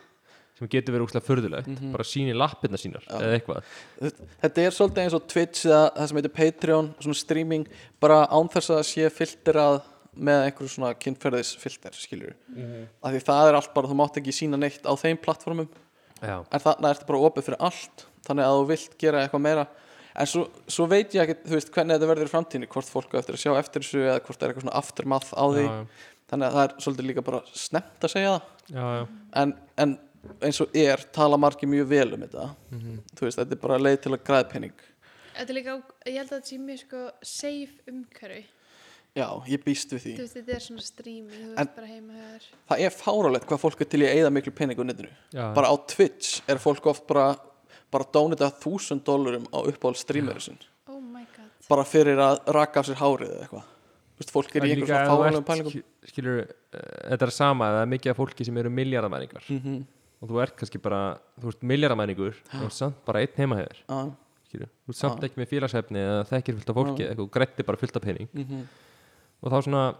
[SPEAKER 4] sem getur verið ógstlega förðulegt bara síni lappirna sínar
[SPEAKER 3] Mhm. Já.
[SPEAKER 4] eða eitthvað
[SPEAKER 3] Þetta- Þetta er svolítið eins og Twitch eða það sem heitir Patreon, svona streaming bara án þess að það sé filterað með einhverju svona kynferðisfilter skilur,
[SPEAKER 4] Mhm.
[SPEAKER 3] af því það er allt bara þú mátt ekki sína neitt á þeim plattformum
[SPEAKER 4] já,
[SPEAKER 3] en þarna ertu bara opið fyrir allt þannig að þú vilt gera eitthvað meira en svo, svo veit ég ekki, þú veist, hvernig þetta verður í framtíðinni, hvort fólk á eftir að sjá eftir þessu eða hvort það er eitthvað svona aftermath á því
[SPEAKER 4] já, já,
[SPEAKER 3] þannig að það er svolítið líka bara snemt að segja það
[SPEAKER 4] já, já.
[SPEAKER 3] en, en eins og er tala margir mjög vel um þetta
[SPEAKER 4] Mhm.
[SPEAKER 3] þú veist, þetta er bara leið til að græða penning
[SPEAKER 1] Þetta er líka, á- ég held að þetta sé mjög sko safe umhverfi.
[SPEAKER 3] já, ég býst við því
[SPEAKER 1] Þú veist, þetta er svona streaming, þú
[SPEAKER 3] En-
[SPEAKER 1] veist bara heima hjá þér.
[SPEAKER 3] það er fáralegt hvað fólk er til í að eyða miklu penning á netinu
[SPEAKER 4] já.
[SPEAKER 3] bara á Twitch er fólk oft bara bara dónita þúsund dólarum á uppáhald streameru sinn
[SPEAKER 1] Oh my god.
[SPEAKER 3] bara fyrir að raka af sér hárið eða eitthvað Þú veist, fólk er í
[SPEAKER 4] En
[SPEAKER 3] einhverjum
[SPEAKER 4] líka
[SPEAKER 3] svona
[SPEAKER 4] ef þú
[SPEAKER 3] fáanlegum
[SPEAKER 4] ert,
[SPEAKER 3] pælingum
[SPEAKER 4] sk- skilur, uh, þetta er sama það er mikið af fólki sem eru miljardamæningar
[SPEAKER 3] Mhm.
[SPEAKER 4] og þú ert kannski bara, þú ert miljardamæningur og ert samt bara einn heima hefur
[SPEAKER 3] Já,
[SPEAKER 4] skilur. þú ert samt ekki með félagshefni eða þekkir fullt af fólki eða eitthvað, þú grættir bara fullt af pening
[SPEAKER 3] mhm.
[SPEAKER 4] og þá svona,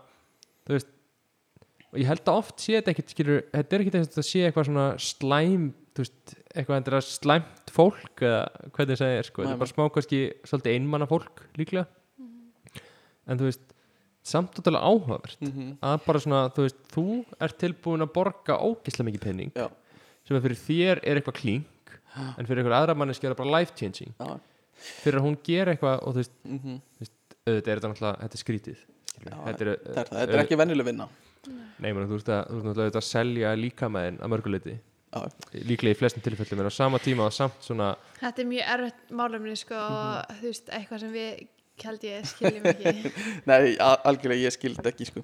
[SPEAKER 4] þú veist og ég held að oft sé þetta ekkit skilur, þetta er ekkit eins og þetta sé eitthvað svona slæm þú veist, eitthvað endur að slæmt fólk eða hvernig það segir, sko, þetta
[SPEAKER 3] Nei, Mhm.
[SPEAKER 4] er bara smá kannski svolítið einmanna fólk líklega en þú veist samt áttúrulega áhugavert
[SPEAKER 3] mhm,
[SPEAKER 4] að bara svona, þú veist, þú ert tilbúin að borga ógislega mikið pening
[SPEAKER 3] Já.
[SPEAKER 4] sem að fyrir þér er eitthvað klink en fyrir einhver aðra manneski er það bara life changing
[SPEAKER 3] Já.
[SPEAKER 4] fyrir að hún gera eitthvað og þú veist,
[SPEAKER 3] Mhm.
[SPEAKER 4] auðvitað er þetta náttúrulega þetta er skrítið skilur.
[SPEAKER 3] Já,
[SPEAKER 4] þetta er,
[SPEAKER 3] Það er það,
[SPEAKER 4] Eh,
[SPEAKER 3] þetta er ekki venjuleg vinna
[SPEAKER 4] Nei, meni, þú veist að þú veist náttúrulega auðvitað að selja líkamæðin að mörguleiti
[SPEAKER 3] Já.
[SPEAKER 4] líklega í flestum tilfellum en á sama tíma og samt svona
[SPEAKER 1] Þetta er mjög erfitt málumni, sko,
[SPEAKER 3] Mhm.
[SPEAKER 1] og þú veist, eitthvað sem við held ég skiljum ekki.
[SPEAKER 3] Nei, a- algjörlega ég skildi ekki sko.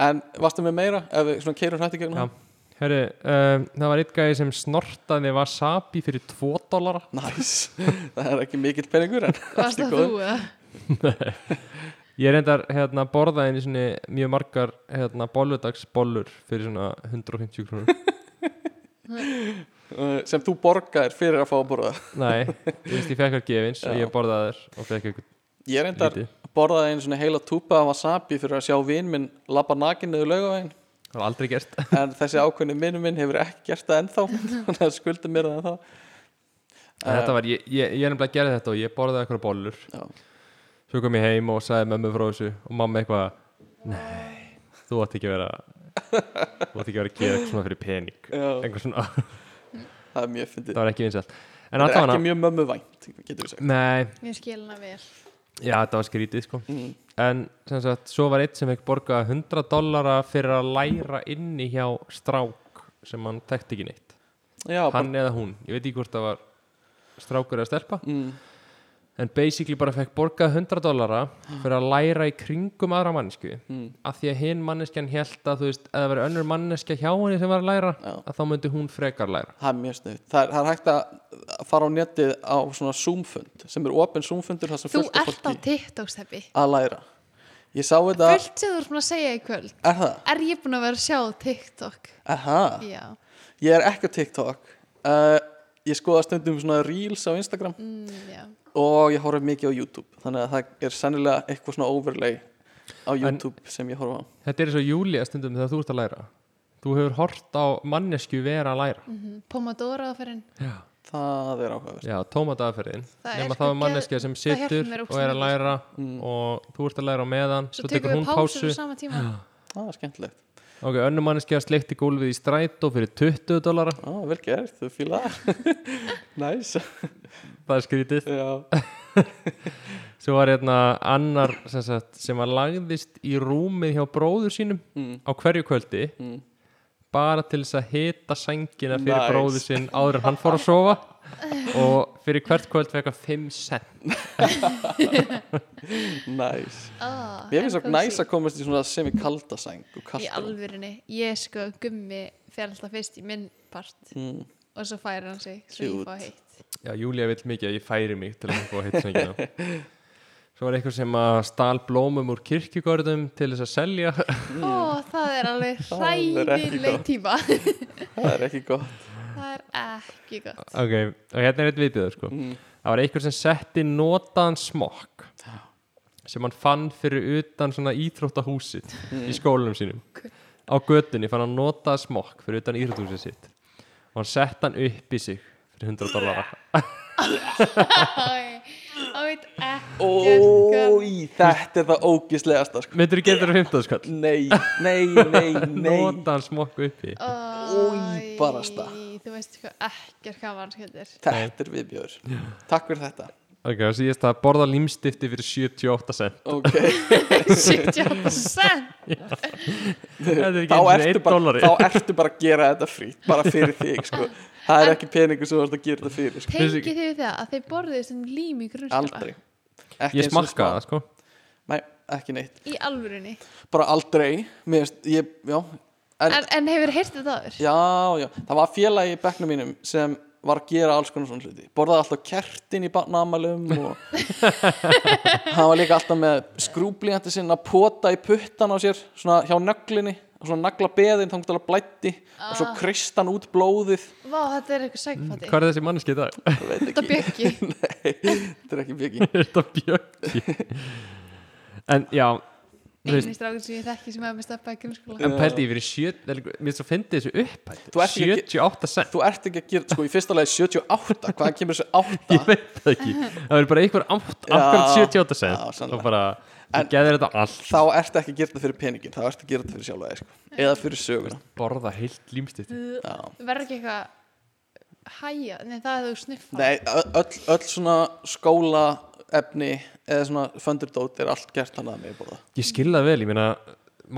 [SPEAKER 3] En varstu með meira ef við svona keirum hrætti gegn
[SPEAKER 4] já,
[SPEAKER 3] hann?
[SPEAKER 4] herri, um, það var einn gæði sem snortaði wasabi fyrir 2 dollara
[SPEAKER 3] Næs, það er ekki mikill peningur en
[SPEAKER 1] Varst það
[SPEAKER 3] góðu.
[SPEAKER 1] þú, eða?
[SPEAKER 4] ég reyndar hérna borðaði einu sinni mjög margar hérna bolludagsbollur fyrir svona 150 krónur
[SPEAKER 3] uh, sem þú borgaðir fyrir að fá að borða
[SPEAKER 4] nei, þú veist ég fekk að gefins og
[SPEAKER 3] Já.
[SPEAKER 4] ég borðaði þær og fekk eitthvað
[SPEAKER 3] Ég reyndar
[SPEAKER 4] lítið
[SPEAKER 3] borðaði einu svona heila túpa af wasabi fyrir að sjá vin minn labba nakin niður laugavegin
[SPEAKER 4] það var aldrei gert
[SPEAKER 3] en þessi ákveðni minn minn hefur ekki gert það ennþá þannig að skulda mér það ennþá
[SPEAKER 4] En
[SPEAKER 3] Eh.
[SPEAKER 4] þetta var, ég, ég, ég nefnilega gerði þetta og ég borðaði eitthvað bollur
[SPEAKER 3] Já.
[SPEAKER 4] Svo kom ég heim og sagði mömmu frá þessu og mamma eitthvað Nei, þú átt ekki að vera þú átt ekki að vera að gera eitthvað svona fyrir pening
[SPEAKER 3] Já.
[SPEAKER 4] eitthvað svona,
[SPEAKER 3] Það það er mjög fyndið
[SPEAKER 4] það var ekki vinsælt en
[SPEAKER 3] það er
[SPEAKER 4] allavega
[SPEAKER 3] ekki mjög mömmu vænt getur við sagt
[SPEAKER 4] nei,
[SPEAKER 1] Ég skil hana vel
[SPEAKER 4] já, þetta var skrítið sko
[SPEAKER 3] mm.
[SPEAKER 4] en sem sagt, svo var eitt sem fekk borga 100 dollara fyrir að læra inni hjá strák sem hann tekti ekki neitt
[SPEAKER 3] já,
[SPEAKER 4] hann eða hún, ég veit ekki hvort það var strákur eða stelpa
[SPEAKER 3] bara, mm,
[SPEAKER 4] en basically bara fekk borgað 100 dollara fyrir að læra í kringum aðra mannesku
[SPEAKER 3] Mm.
[SPEAKER 4] af því að hinn manneskjan held að þú veist, eða verið önnur manneska hjá henni sem var að læra
[SPEAKER 3] Já.
[SPEAKER 4] að þá myndi hún frekar læra
[SPEAKER 3] það er mjög snuð það, er- það er hægt að fara á netið á svona Zoom-fund sem er opinn Zoom-fundur þar sem
[SPEAKER 1] Þú
[SPEAKER 3] fullt
[SPEAKER 1] ert á
[SPEAKER 3] af fólki
[SPEAKER 1] TikTok-steppi
[SPEAKER 3] að læra ég sá þetta
[SPEAKER 1] Fullt sem þú ert búin að segja í kvöld
[SPEAKER 3] er það?
[SPEAKER 1] Er ég búin að vera að sjá á TikTok?
[SPEAKER 3] er það?
[SPEAKER 1] Já
[SPEAKER 3] Ég er ekki á TikTok uh, Ég skoða stundum svona reels á Instagram
[SPEAKER 1] Mm, já.
[SPEAKER 3] og ég horf mikið á YouTube þannig að það er sennilega eitthvað svona overlay á YouTube sem ég horf á
[SPEAKER 4] þetta er eins og Júlia stundum þegar þú ert að læra þú hefur hort á mannesku vera að læra
[SPEAKER 1] Mhm. Pomodoro aðferðin
[SPEAKER 4] já,
[SPEAKER 3] Það er áhugaverst
[SPEAKER 4] já tómataaferðin
[SPEAKER 1] Það er
[SPEAKER 4] nema
[SPEAKER 1] sko
[SPEAKER 4] það er
[SPEAKER 1] geð-
[SPEAKER 4] manneskja sem
[SPEAKER 1] það hjálpar
[SPEAKER 4] situr
[SPEAKER 1] mér
[SPEAKER 4] og er að
[SPEAKER 1] ógeðslega
[SPEAKER 4] læra
[SPEAKER 3] Mm.
[SPEAKER 4] og þú ert að læra á meðan
[SPEAKER 1] Svo tökum við pásur á sama tíma
[SPEAKER 3] Það er skemmtilegt
[SPEAKER 4] ok, önnur manneskja sleikti gólfið í strætó fyrir 20 dollara
[SPEAKER 3] Á, vel gert, þú fíla það Næs
[SPEAKER 4] það er skrítið
[SPEAKER 3] Já,
[SPEAKER 4] Svo var hérna annar sem, sagt, sem var lagðist í rúmið hjá bróður sínum
[SPEAKER 3] Mm.
[SPEAKER 4] á hverju kvöldi
[SPEAKER 3] Mm.
[SPEAKER 4] bara til þess að hita sængina fyrir
[SPEAKER 3] Nice.
[SPEAKER 4] bróður sinn áður en hann fór að sofa og fyrir hvert kvöld fekk hann 5 cent
[SPEAKER 3] næs
[SPEAKER 1] Ah,
[SPEAKER 3] Mér finnst það
[SPEAKER 1] en
[SPEAKER 3] næs
[SPEAKER 1] kósí.
[SPEAKER 3] að komast í svona sem í kalda sæng og
[SPEAKER 1] Í
[SPEAKER 3] kalda rúm.
[SPEAKER 1] alvörinni, ég sko gummi fer alltaf fyrst í minn part
[SPEAKER 3] mm,
[SPEAKER 1] og svo færir hann sig svo ég
[SPEAKER 3] Cute.
[SPEAKER 1] fá heitt
[SPEAKER 4] Já, Júlia vill mikið að ég færi mig til að fá að hita sængina Svo var eitthvað sem að stál blómum úr kirkjugörðum til þess að selja
[SPEAKER 1] Ó, það er alveg
[SPEAKER 3] Mm. Það er ekki
[SPEAKER 1] hræðileg
[SPEAKER 3] gott.
[SPEAKER 1] tíma
[SPEAKER 3] Það er ekki gott
[SPEAKER 1] Það er ekki gott
[SPEAKER 4] Ok, og hérna er eitt viðbjöður sko
[SPEAKER 3] mm.
[SPEAKER 4] Það var einhver sem setti notaðan smokk sem hann fann fyrir utan svona íþróttahúsið
[SPEAKER 3] Mm.
[SPEAKER 4] í skólanum sínum á götunni fann hann notaðan smokk fyrir utan íþróttahúsið sitt og hann sett hann upp í sig fyrir 100 dollara
[SPEAKER 1] Æ, Það veit ekkert hvað
[SPEAKER 3] Ói, þetta er það ógislegasta sko.
[SPEAKER 4] myndur þú getur að 50 skall
[SPEAKER 3] Nei, nei, nei, Oh. nei
[SPEAKER 4] notaðan smokk uppi
[SPEAKER 1] Æ,
[SPEAKER 3] Ói, barasta.
[SPEAKER 1] Þú veist sko ekkert hvað hann skildir
[SPEAKER 3] Þetta er viðbjör Takk fyrir þetta
[SPEAKER 4] ok, og síðast að borða límstifti fyrir 78 cent
[SPEAKER 3] Ok,
[SPEAKER 1] 70%
[SPEAKER 4] þetta er
[SPEAKER 3] þá
[SPEAKER 4] ekki einu
[SPEAKER 3] ertu,
[SPEAKER 4] eitt
[SPEAKER 3] bara,
[SPEAKER 4] dollari
[SPEAKER 3] þá ertu bara að gera þetta frýtt bara fyrir þig sko. það er ekki peningur sem þú ert að gera þetta fyrir sko.
[SPEAKER 1] Tengið þið við það að þeir borðið sem lím í grunnskóla
[SPEAKER 3] aldrei ekki
[SPEAKER 4] ég
[SPEAKER 3] eins og
[SPEAKER 4] smakkaði það sko
[SPEAKER 3] smá- Nei, ekki neitt,
[SPEAKER 1] Í alvörinni
[SPEAKER 3] bara aldrei Mér, finnst- ég, já, en,
[SPEAKER 1] En, en hefur heyrst þetta aður?
[SPEAKER 3] já, já það var félagi í bekknum mínum sem var að gera alls konar svona hluti borðaði alltaf kertin í barnamalum og hann var líka alltaf með skrúblíðandi sinna pota í puttan á sér svona hjá nöglinni og svona nagla beðin þangt alveg blætti og svo kristan út blóðið
[SPEAKER 1] Vá, þetta er eitthvað sækfati
[SPEAKER 4] hvað er þessi manneski í dag?
[SPEAKER 3] Ég veit
[SPEAKER 1] Þetta
[SPEAKER 3] ekki.
[SPEAKER 1] bjöggi
[SPEAKER 3] Nei, þetta er ekki byggi
[SPEAKER 4] þetta bjöggi en já þú veist,
[SPEAKER 1] Einnig strákun sem ég þekki sem hefur með stefnað í grunnskóla
[SPEAKER 4] En pældi ég fyrir sjö, vel, mér svo fyndi þessu upp
[SPEAKER 3] Þú ert ekki-
[SPEAKER 4] 78 cent,
[SPEAKER 3] Þú ert ekki að gera, sko í fyrsta lagi 78 Hvaðan kemur þessu 8?
[SPEAKER 4] ég veit það ekki Það verður bara einhver átt,
[SPEAKER 3] Já,
[SPEAKER 4] akkurat 78 cent
[SPEAKER 3] já, sannlega.
[SPEAKER 4] og bara,
[SPEAKER 3] En-
[SPEAKER 4] þú geðir þetta allt
[SPEAKER 3] Þá ertu ekki að gera þetta fyrir peningin Þá ertu að gera þetta fyrir sjálfa þig sko Eða fyrir söguna
[SPEAKER 4] borða heilt límstitt
[SPEAKER 3] Já.
[SPEAKER 1] Verður ekki eitthvað Hæja, nei það er þú sniffa
[SPEAKER 3] Nei, ö- öll, öll svona skóla efni Eða svona funderdót er allt gert hann að mig bóða
[SPEAKER 4] Ég skil það vel, ég meina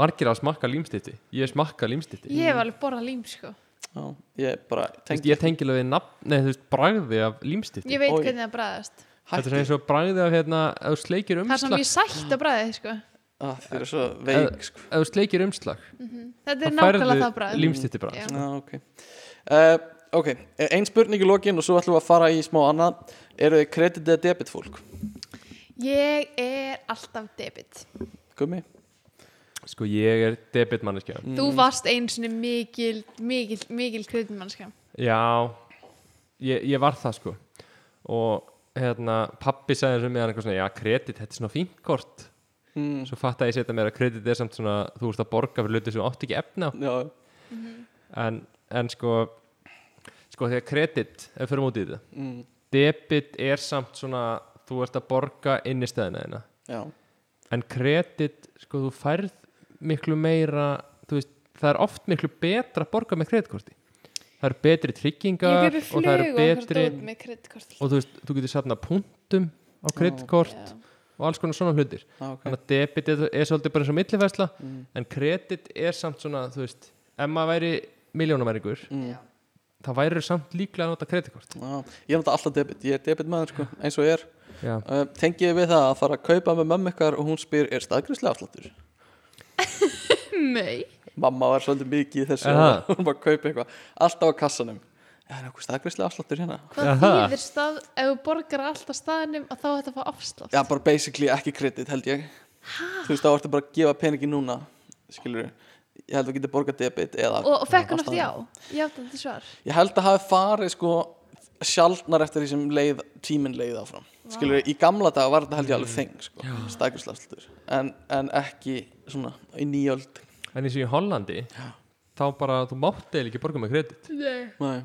[SPEAKER 4] margir að smakka límstitti, ég smakka límstitti
[SPEAKER 1] Ég hef alveg borðað lím sko
[SPEAKER 3] Já, ég bara
[SPEAKER 4] Tengi.
[SPEAKER 3] tengi
[SPEAKER 4] Ég tengi alveg nafn, nei þú veist, bragði af límstitti
[SPEAKER 1] Ég veit
[SPEAKER 3] Oj.
[SPEAKER 1] hvernig það bræðast
[SPEAKER 4] Þetta er eins og bragði af hérna, ef þú sleikir
[SPEAKER 1] Það er svona
[SPEAKER 4] umslag
[SPEAKER 1] mjög sætt að bræðið sko
[SPEAKER 3] ah, Þið eru svo veik sko
[SPEAKER 4] ef þú sleikir umslag,
[SPEAKER 1] Þetta er
[SPEAKER 4] þá
[SPEAKER 1] nákvæmlega
[SPEAKER 4] færðu
[SPEAKER 1] það bræð
[SPEAKER 4] límstitti bragð
[SPEAKER 1] Já.
[SPEAKER 3] Já, ok uh, Ok, ein spurning í lokin og svo ætlum við að fara í smá annað Eru þið kredit eða debit fólk?
[SPEAKER 1] Ég er alltaf debit
[SPEAKER 3] Gummi?
[SPEAKER 4] Sko ég er debitmanneskja
[SPEAKER 1] Þú varst einu sinni mikil, mikil, mikil kryddmannska
[SPEAKER 4] Já, ég, ég var það sko og hérna pappi sagði eins og meðan eitthvað svona já, kredit, þetta er svona fínt kort
[SPEAKER 3] Mm.
[SPEAKER 4] svo fatt að ég setja mér að kredit er samt svona þú ert að borga fyrir hluti sem þú átt ekki efna
[SPEAKER 3] Já,
[SPEAKER 4] en, en sko sko þegar kredit, ef við fyrir út í þetta
[SPEAKER 3] mm,
[SPEAKER 4] debit er samt svona þú ert að borga inn í stæðina þeina
[SPEAKER 3] já
[SPEAKER 4] en kredit, sko þú færð miklu meira, þú veist það er oft miklu betra að borga með kreditkorti það eru betri
[SPEAKER 1] Ég
[SPEAKER 4] tryggingar
[SPEAKER 1] kaupi
[SPEAKER 4] og það eru
[SPEAKER 1] flug og
[SPEAKER 4] betri
[SPEAKER 1] eitthvað með kreditkort
[SPEAKER 4] og þú veist, þú getur safna punktum á kreditkort
[SPEAKER 1] Já.
[SPEAKER 4] og alls konar svona hlutir
[SPEAKER 3] Ah, okay.
[SPEAKER 4] þannig að debit er, er svolítið bara eins og millifærsla
[SPEAKER 3] Mm.
[SPEAKER 4] en kredit er samt svona þú veist, ef maður væri miljónamæringur
[SPEAKER 3] mm.
[SPEAKER 1] Já.
[SPEAKER 4] þá væri samt líklega að nota kreditkort
[SPEAKER 3] Já, ég er náttúrulega alltaf debit, ég er debit maður sko, eins og ég er
[SPEAKER 4] já,
[SPEAKER 3] uh, Tengi ég við það að fara að kaupa með mömmu ykkar og hún spyr, er staðgrislega afsláttur?
[SPEAKER 1] Nei,
[SPEAKER 3] Mamma var svolítið mikið í þessu
[SPEAKER 4] Aha.
[SPEAKER 3] Hún var að kaupa eitthvað, alltaf á kassanum Já, er eitthvað staðgrislega afsláttur hérna?
[SPEAKER 1] hvað
[SPEAKER 4] Jaha.
[SPEAKER 1] þýðir stað ef þú borgar alltaf staðnum að þá þetta fá afslátt
[SPEAKER 3] Já, bara basically ekki kredit held ég Þú veist, þá ertu bara að gefa peningi núna Skilur Ég held að geta borgað debit eða
[SPEAKER 1] og, og fekk hún
[SPEAKER 3] á
[SPEAKER 1] oft já,
[SPEAKER 3] staðnum.
[SPEAKER 1] já þetta er svar
[SPEAKER 3] Ég held að hafi farið sko sjaldnar eftir því sem leið, tíminn leið áfram skilur í gamla daga var þetta held ég alveg þeng sko, stækurslafslutur en, en ekki svona í nýjöld
[SPEAKER 4] en eins og í Hollandi þá bara, þú mátti eiginlega ekki borga með kredit
[SPEAKER 1] Nei.
[SPEAKER 3] Nei,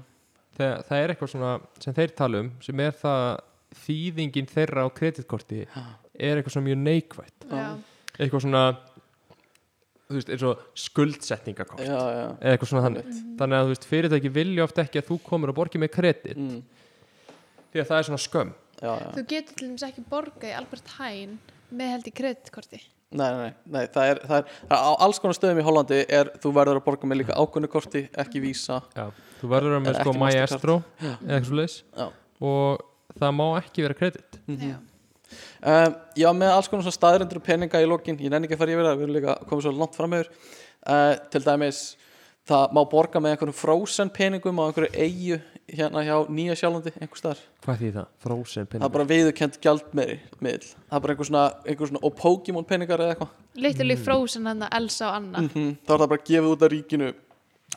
[SPEAKER 4] Þegar, það er eitthvað svona sem þeir tala um sem er það að þýðingin þeirra á kreditkorti er eitthvað svona mjög neikvætt
[SPEAKER 1] Já.
[SPEAKER 4] eitthvað svona þú veist, eins og skuldsetningakort
[SPEAKER 3] já, já
[SPEAKER 4] eða eitthvað svona þannig þannig að þú veist, fyrirtæki vilja oft ekki að þú komur og borgi með kredit
[SPEAKER 3] mm,
[SPEAKER 4] því að það er svona skömm
[SPEAKER 3] Já, já
[SPEAKER 1] þú getur til dæmis ekki borgað í Albert Hain með held í kreditkorti
[SPEAKER 3] Nei, nei, nei, nei það, er, það, er, það er á alls konar stöðum í Hollandi er þú verður að borga með líka ákvöndu korti ekki vísa
[SPEAKER 4] Já. þú verður að vera með
[SPEAKER 3] En
[SPEAKER 4] sko
[SPEAKER 3] ekki
[SPEAKER 4] maestro eða eitthvað svo
[SPEAKER 3] Já.
[SPEAKER 4] og það má ekki vera kredit
[SPEAKER 1] Já.
[SPEAKER 3] Um, já, með alls konar svona staðrindur og peninga í lokin, ég nenni ekki að fara yfir það, við erum líka komið svo langt fram yfir uh, til dæmis, það má borga með einhverjum frozen peningum á einhverju eigu hérna hjá Nýja Sjálandi einhver staðar,
[SPEAKER 4] hvað því það? frozen
[SPEAKER 3] það er bara viðurkend gjaldmeiri miðl, það er bara einhver svona, einhver svona og Pokémon peningar eða eitthvað
[SPEAKER 1] Literally frozen hann að Elsa og Anna
[SPEAKER 3] mm, þá er það bara gefið út af ríkinu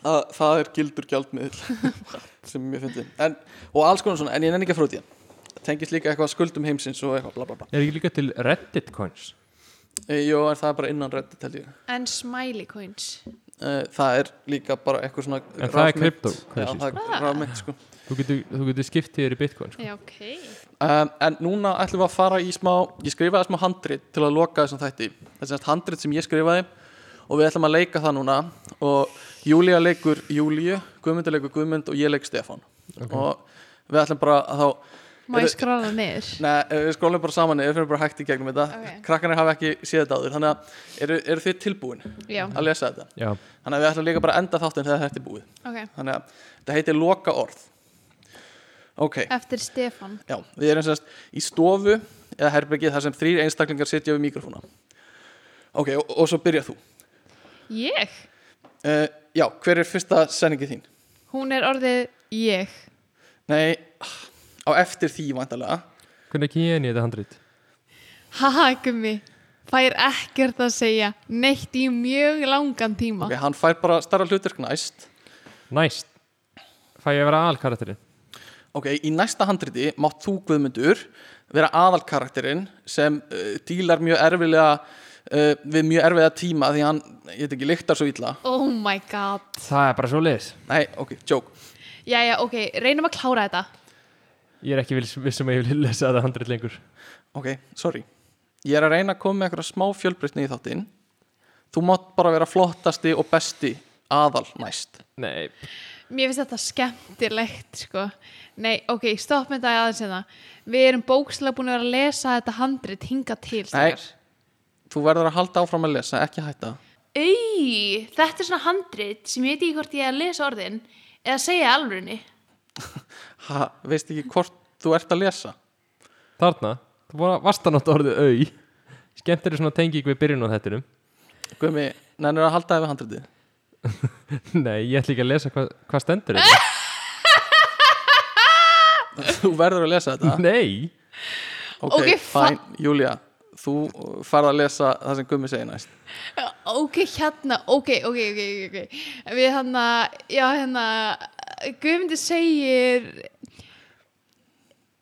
[SPEAKER 3] að það er gildur gjaldmiðl sem ég fyndi, en, og alls konar svona en ég nenni ekki að fara út í hann, tengist líka eitthvað skuldum heimsins og eitthvað bla bla bla
[SPEAKER 4] er ekki líka til reddit coins
[SPEAKER 3] e, Jó, en það er bara innan reddit held ég
[SPEAKER 1] en smiley coins
[SPEAKER 3] Eh, það er líka bara eitthvað svona
[SPEAKER 4] En það er
[SPEAKER 3] rafmynt.
[SPEAKER 4] cryptocurrency,
[SPEAKER 3] Já, það
[SPEAKER 1] Ah.
[SPEAKER 3] er rafmynd sko
[SPEAKER 4] þú getur, þú getur skipt þér í bitcoin sko.
[SPEAKER 1] já, ok
[SPEAKER 3] um, En núna ætlum við að fara í smá Ég skrifaði smá handrit til að loka þessum þætti Það er semst handrit sem ég skrifaði Og við ætlum að leika það núna Og Júlía leikur Júlíu Guðmundur leikur Guðmund og ég leik Stefán Og við ætlum bara að þá
[SPEAKER 1] má ég
[SPEAKER 3] Eru-
[SPEAKER 1] skrála niður
[SPEAKER 3] Nei, eh, við skrólum bara saman Við fyrir bara hægt í gegnum þetta
[SPEAKER 1] Ok.
[SPEAKER 3] Krakkarnir hafa ekki séð þetta áður Þannig að eru, eru þið tilbúin
[SPEAKER 1] já,
[SPEAKER 3] að lesa þetta
[SPEAKER 4] já,
[SPEAKER 3] Þannig að við ætlum líka bara að enda þáttin þegar þetta er búið
[SPEAKER 1] ok,
[SPEAKER 3] Þannig að þetta heitir loka orð Ok,
[SPEAKER 1] eftir Stefan
[SPEAKER 3] já, við erum semst í stofu eða herbergið þar sem þrýr einstaklingar sitja við mikrofóna Ok, og, og svo byrjar þú
[SPEAKER 1] ég,
[SPEAKER 3] uh, Já, hver er fyrsta sendingið þín?
[SPEAKER 1] hún er orðið ég
[SPEAKER 3] Nei, á eftir því vantarlega
[SPEAKER 4] hvernig ekki ég enn í þetta handrit
[SPEAKER 1] haha, gummi fær ekkert að segja neitt í mjög langan tíma
[SPEAKER 3] Ok, hann fær bara starra hlutverk næst
[SPEAKER 4] næst, fæ ég að vera alkarakterinn
[SPEAKER 3] Ok, í næsta handriti mátt þú Guðmundur vera aðalkarakterinn sem uh, dílar mjög erfilega uh, við mjög erfiða tíma því hann, ég veit ekki, lyktar svo illa
[SPEAKER 1] oh my god
[SPEAKER 4] það er bara svo leiðis
[SPEAKER 3] Nei, ok, joke
[SPEAKER 1] Jæja, ok, reynum að klára þetta
[SPEAKER 4] ég er ekki viss- viss um að ég vil lesa þetta handrit lengur
[SPEAKER 3] Ok, sorry Ég er að reyna að koma með eitthvað smá fjölbreytni í þáttinn Þú mátt bara vera flottasti og besti aðal næst
[SPEAKER 4] nei,
[SPEAKER 1] Mér finnst þetta skemmtilegt, sko Nei, ok, stopp með þetta aðeins hérna Við erum bókslega búin að vera að lesa þetta handrit hinga til
[SPEAKER 3] Nei, þú verður að halda áfram að lesa, ekki hætta
[SPEAKER 1] Í, þetta er svona handrit sem ég veit ekki hvort ég er að lesa orðin eða segja alvörunni
[SPEAKER 3] ha, Veist ekki hvort þú ert að lesa
[SPEAKER 4] þarna þú bara vastanátt orðið au skemmt er svona tengið við byrjun á þettinum
[SPEAKER 3] Guðmi, nennir að halda yfir handritið
[SPEAKER 4] nei, ég ætla ekki að lesa hvað hva stendur hérna. þetta
[SPEAKER 3] Þú verður að lesa þetta
[SPEAKER 4] nei,
[SPEAKER 3] Ok,
[SPEAKER 1] Ok, fa-
[SPEAKER 3] fæn, Júlía Þú farð að lesa það sem Guðmi segir næst
[SPEAKER 1] Ok, hérna, ok, ok, ok, ok, ok Við hann að, já, hérna Guðmundi segir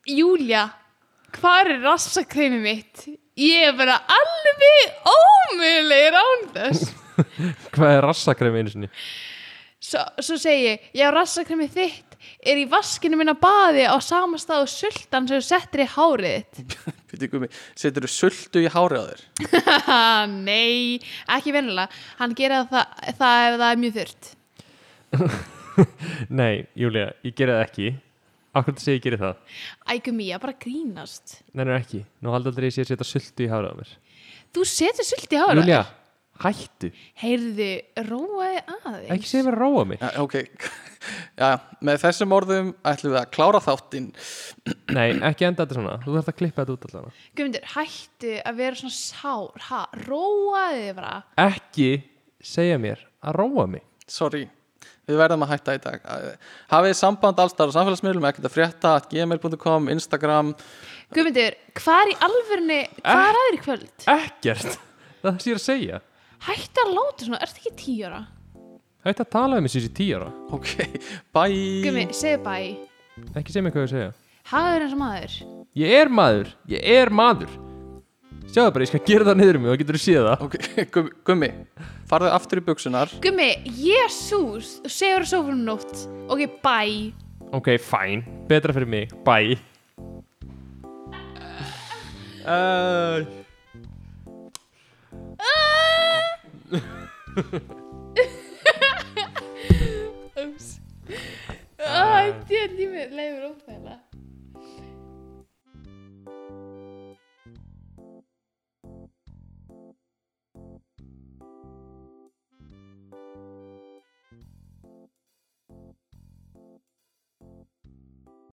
[SPEAKER 1] Júlia, hvar er rassakreimi mitt? Ég er bara alveg ómögulegir án þess
[SPEAKER 4] hvað er rassakremi einu sinni
[SPEAKER 1] Svo, svo segi ég, já, rassakremi þitt er í vaskinu minna baði á sama stað og sultan sem þú settir í hárið þitt.
[SPEAKER 3] Fyrir Guðmi, setur þú sultu í hárið á þér
[SPEAKER 1] Ha, Nei, ekki venulega. Hann gera það, það ef það er mjög þurrt.
[SPEAKER 4] Nei, Júlia, ég geri það ekki Akkur til að segja ég geri það
[SPEAKER 1] Ægum ég að bara grínast
[SPEAKER 4] Nei, nei, ekki, nú haldi aldrei að ég sé að setja sultu í hárað á mér
[SPEAKER 1] Þú setur sulti á það
[SPEAKER 4] Júlia, hættu,
[SPEAKER 1] Heyrðu, róaði aðeins
[SPEAKER 4] ekki segja mér að róa mig
[SPEAKER 3] Já, ok, já, með þessum orðum ætlum við að klára þáttinn
[SPEAKER 4] Nei, ekki enda þetta svona, þú þarf að klippa þetta út allan
[SPEAKER 1] Guðmundur, hættu að vera svona sár ha, Róaði þið bara
[SPEAKER 4] Ekki segja mér að róa mig
[SPEAKER 3] sorry, við verðum að hætta í dag hafið samband allstar á samfélagsmiðlum ekkert að frétta, at gmail.com Instagram,
[SPEAKER 1] Guðmundur, hvað er í alvörni Hvað er aðeir í kvöld?
[SPEAKER 4] Ekkert, það er það sem ég er að segja
[SPEAKER 1] Hættu að láta svona, ertu ekki tíu ára?
[SPEAKER 4] Hættu að tala um þessi í tíu ára
[SPEAKER 3] ok, bye
[SPEAKER 1] Guðmundur, segðu bæ
[SPEAKER 4] Ekki segja mér hvað ég á að segja
[SPEAKER 1] Hagaður eins og maður
[SPEAKER 4] Ég er maður, ég er maður Sjáðu bara, ég skal gera það niður um mig og getur þú séð það
[SPEAKER 3] ok, gummi, gummi farðu aftur í buksunar
[SPEAKER 1] Gummi, jésús, þú segur að sofa um nótt Ok, bæ
[SPEAKER 4] Ok, fæn, betra fyrir mig, bye
[SPEAKER 3] uh,
[SPEAKER 1] Ah, Ups Æ, djöðlífið, leiður óþægilega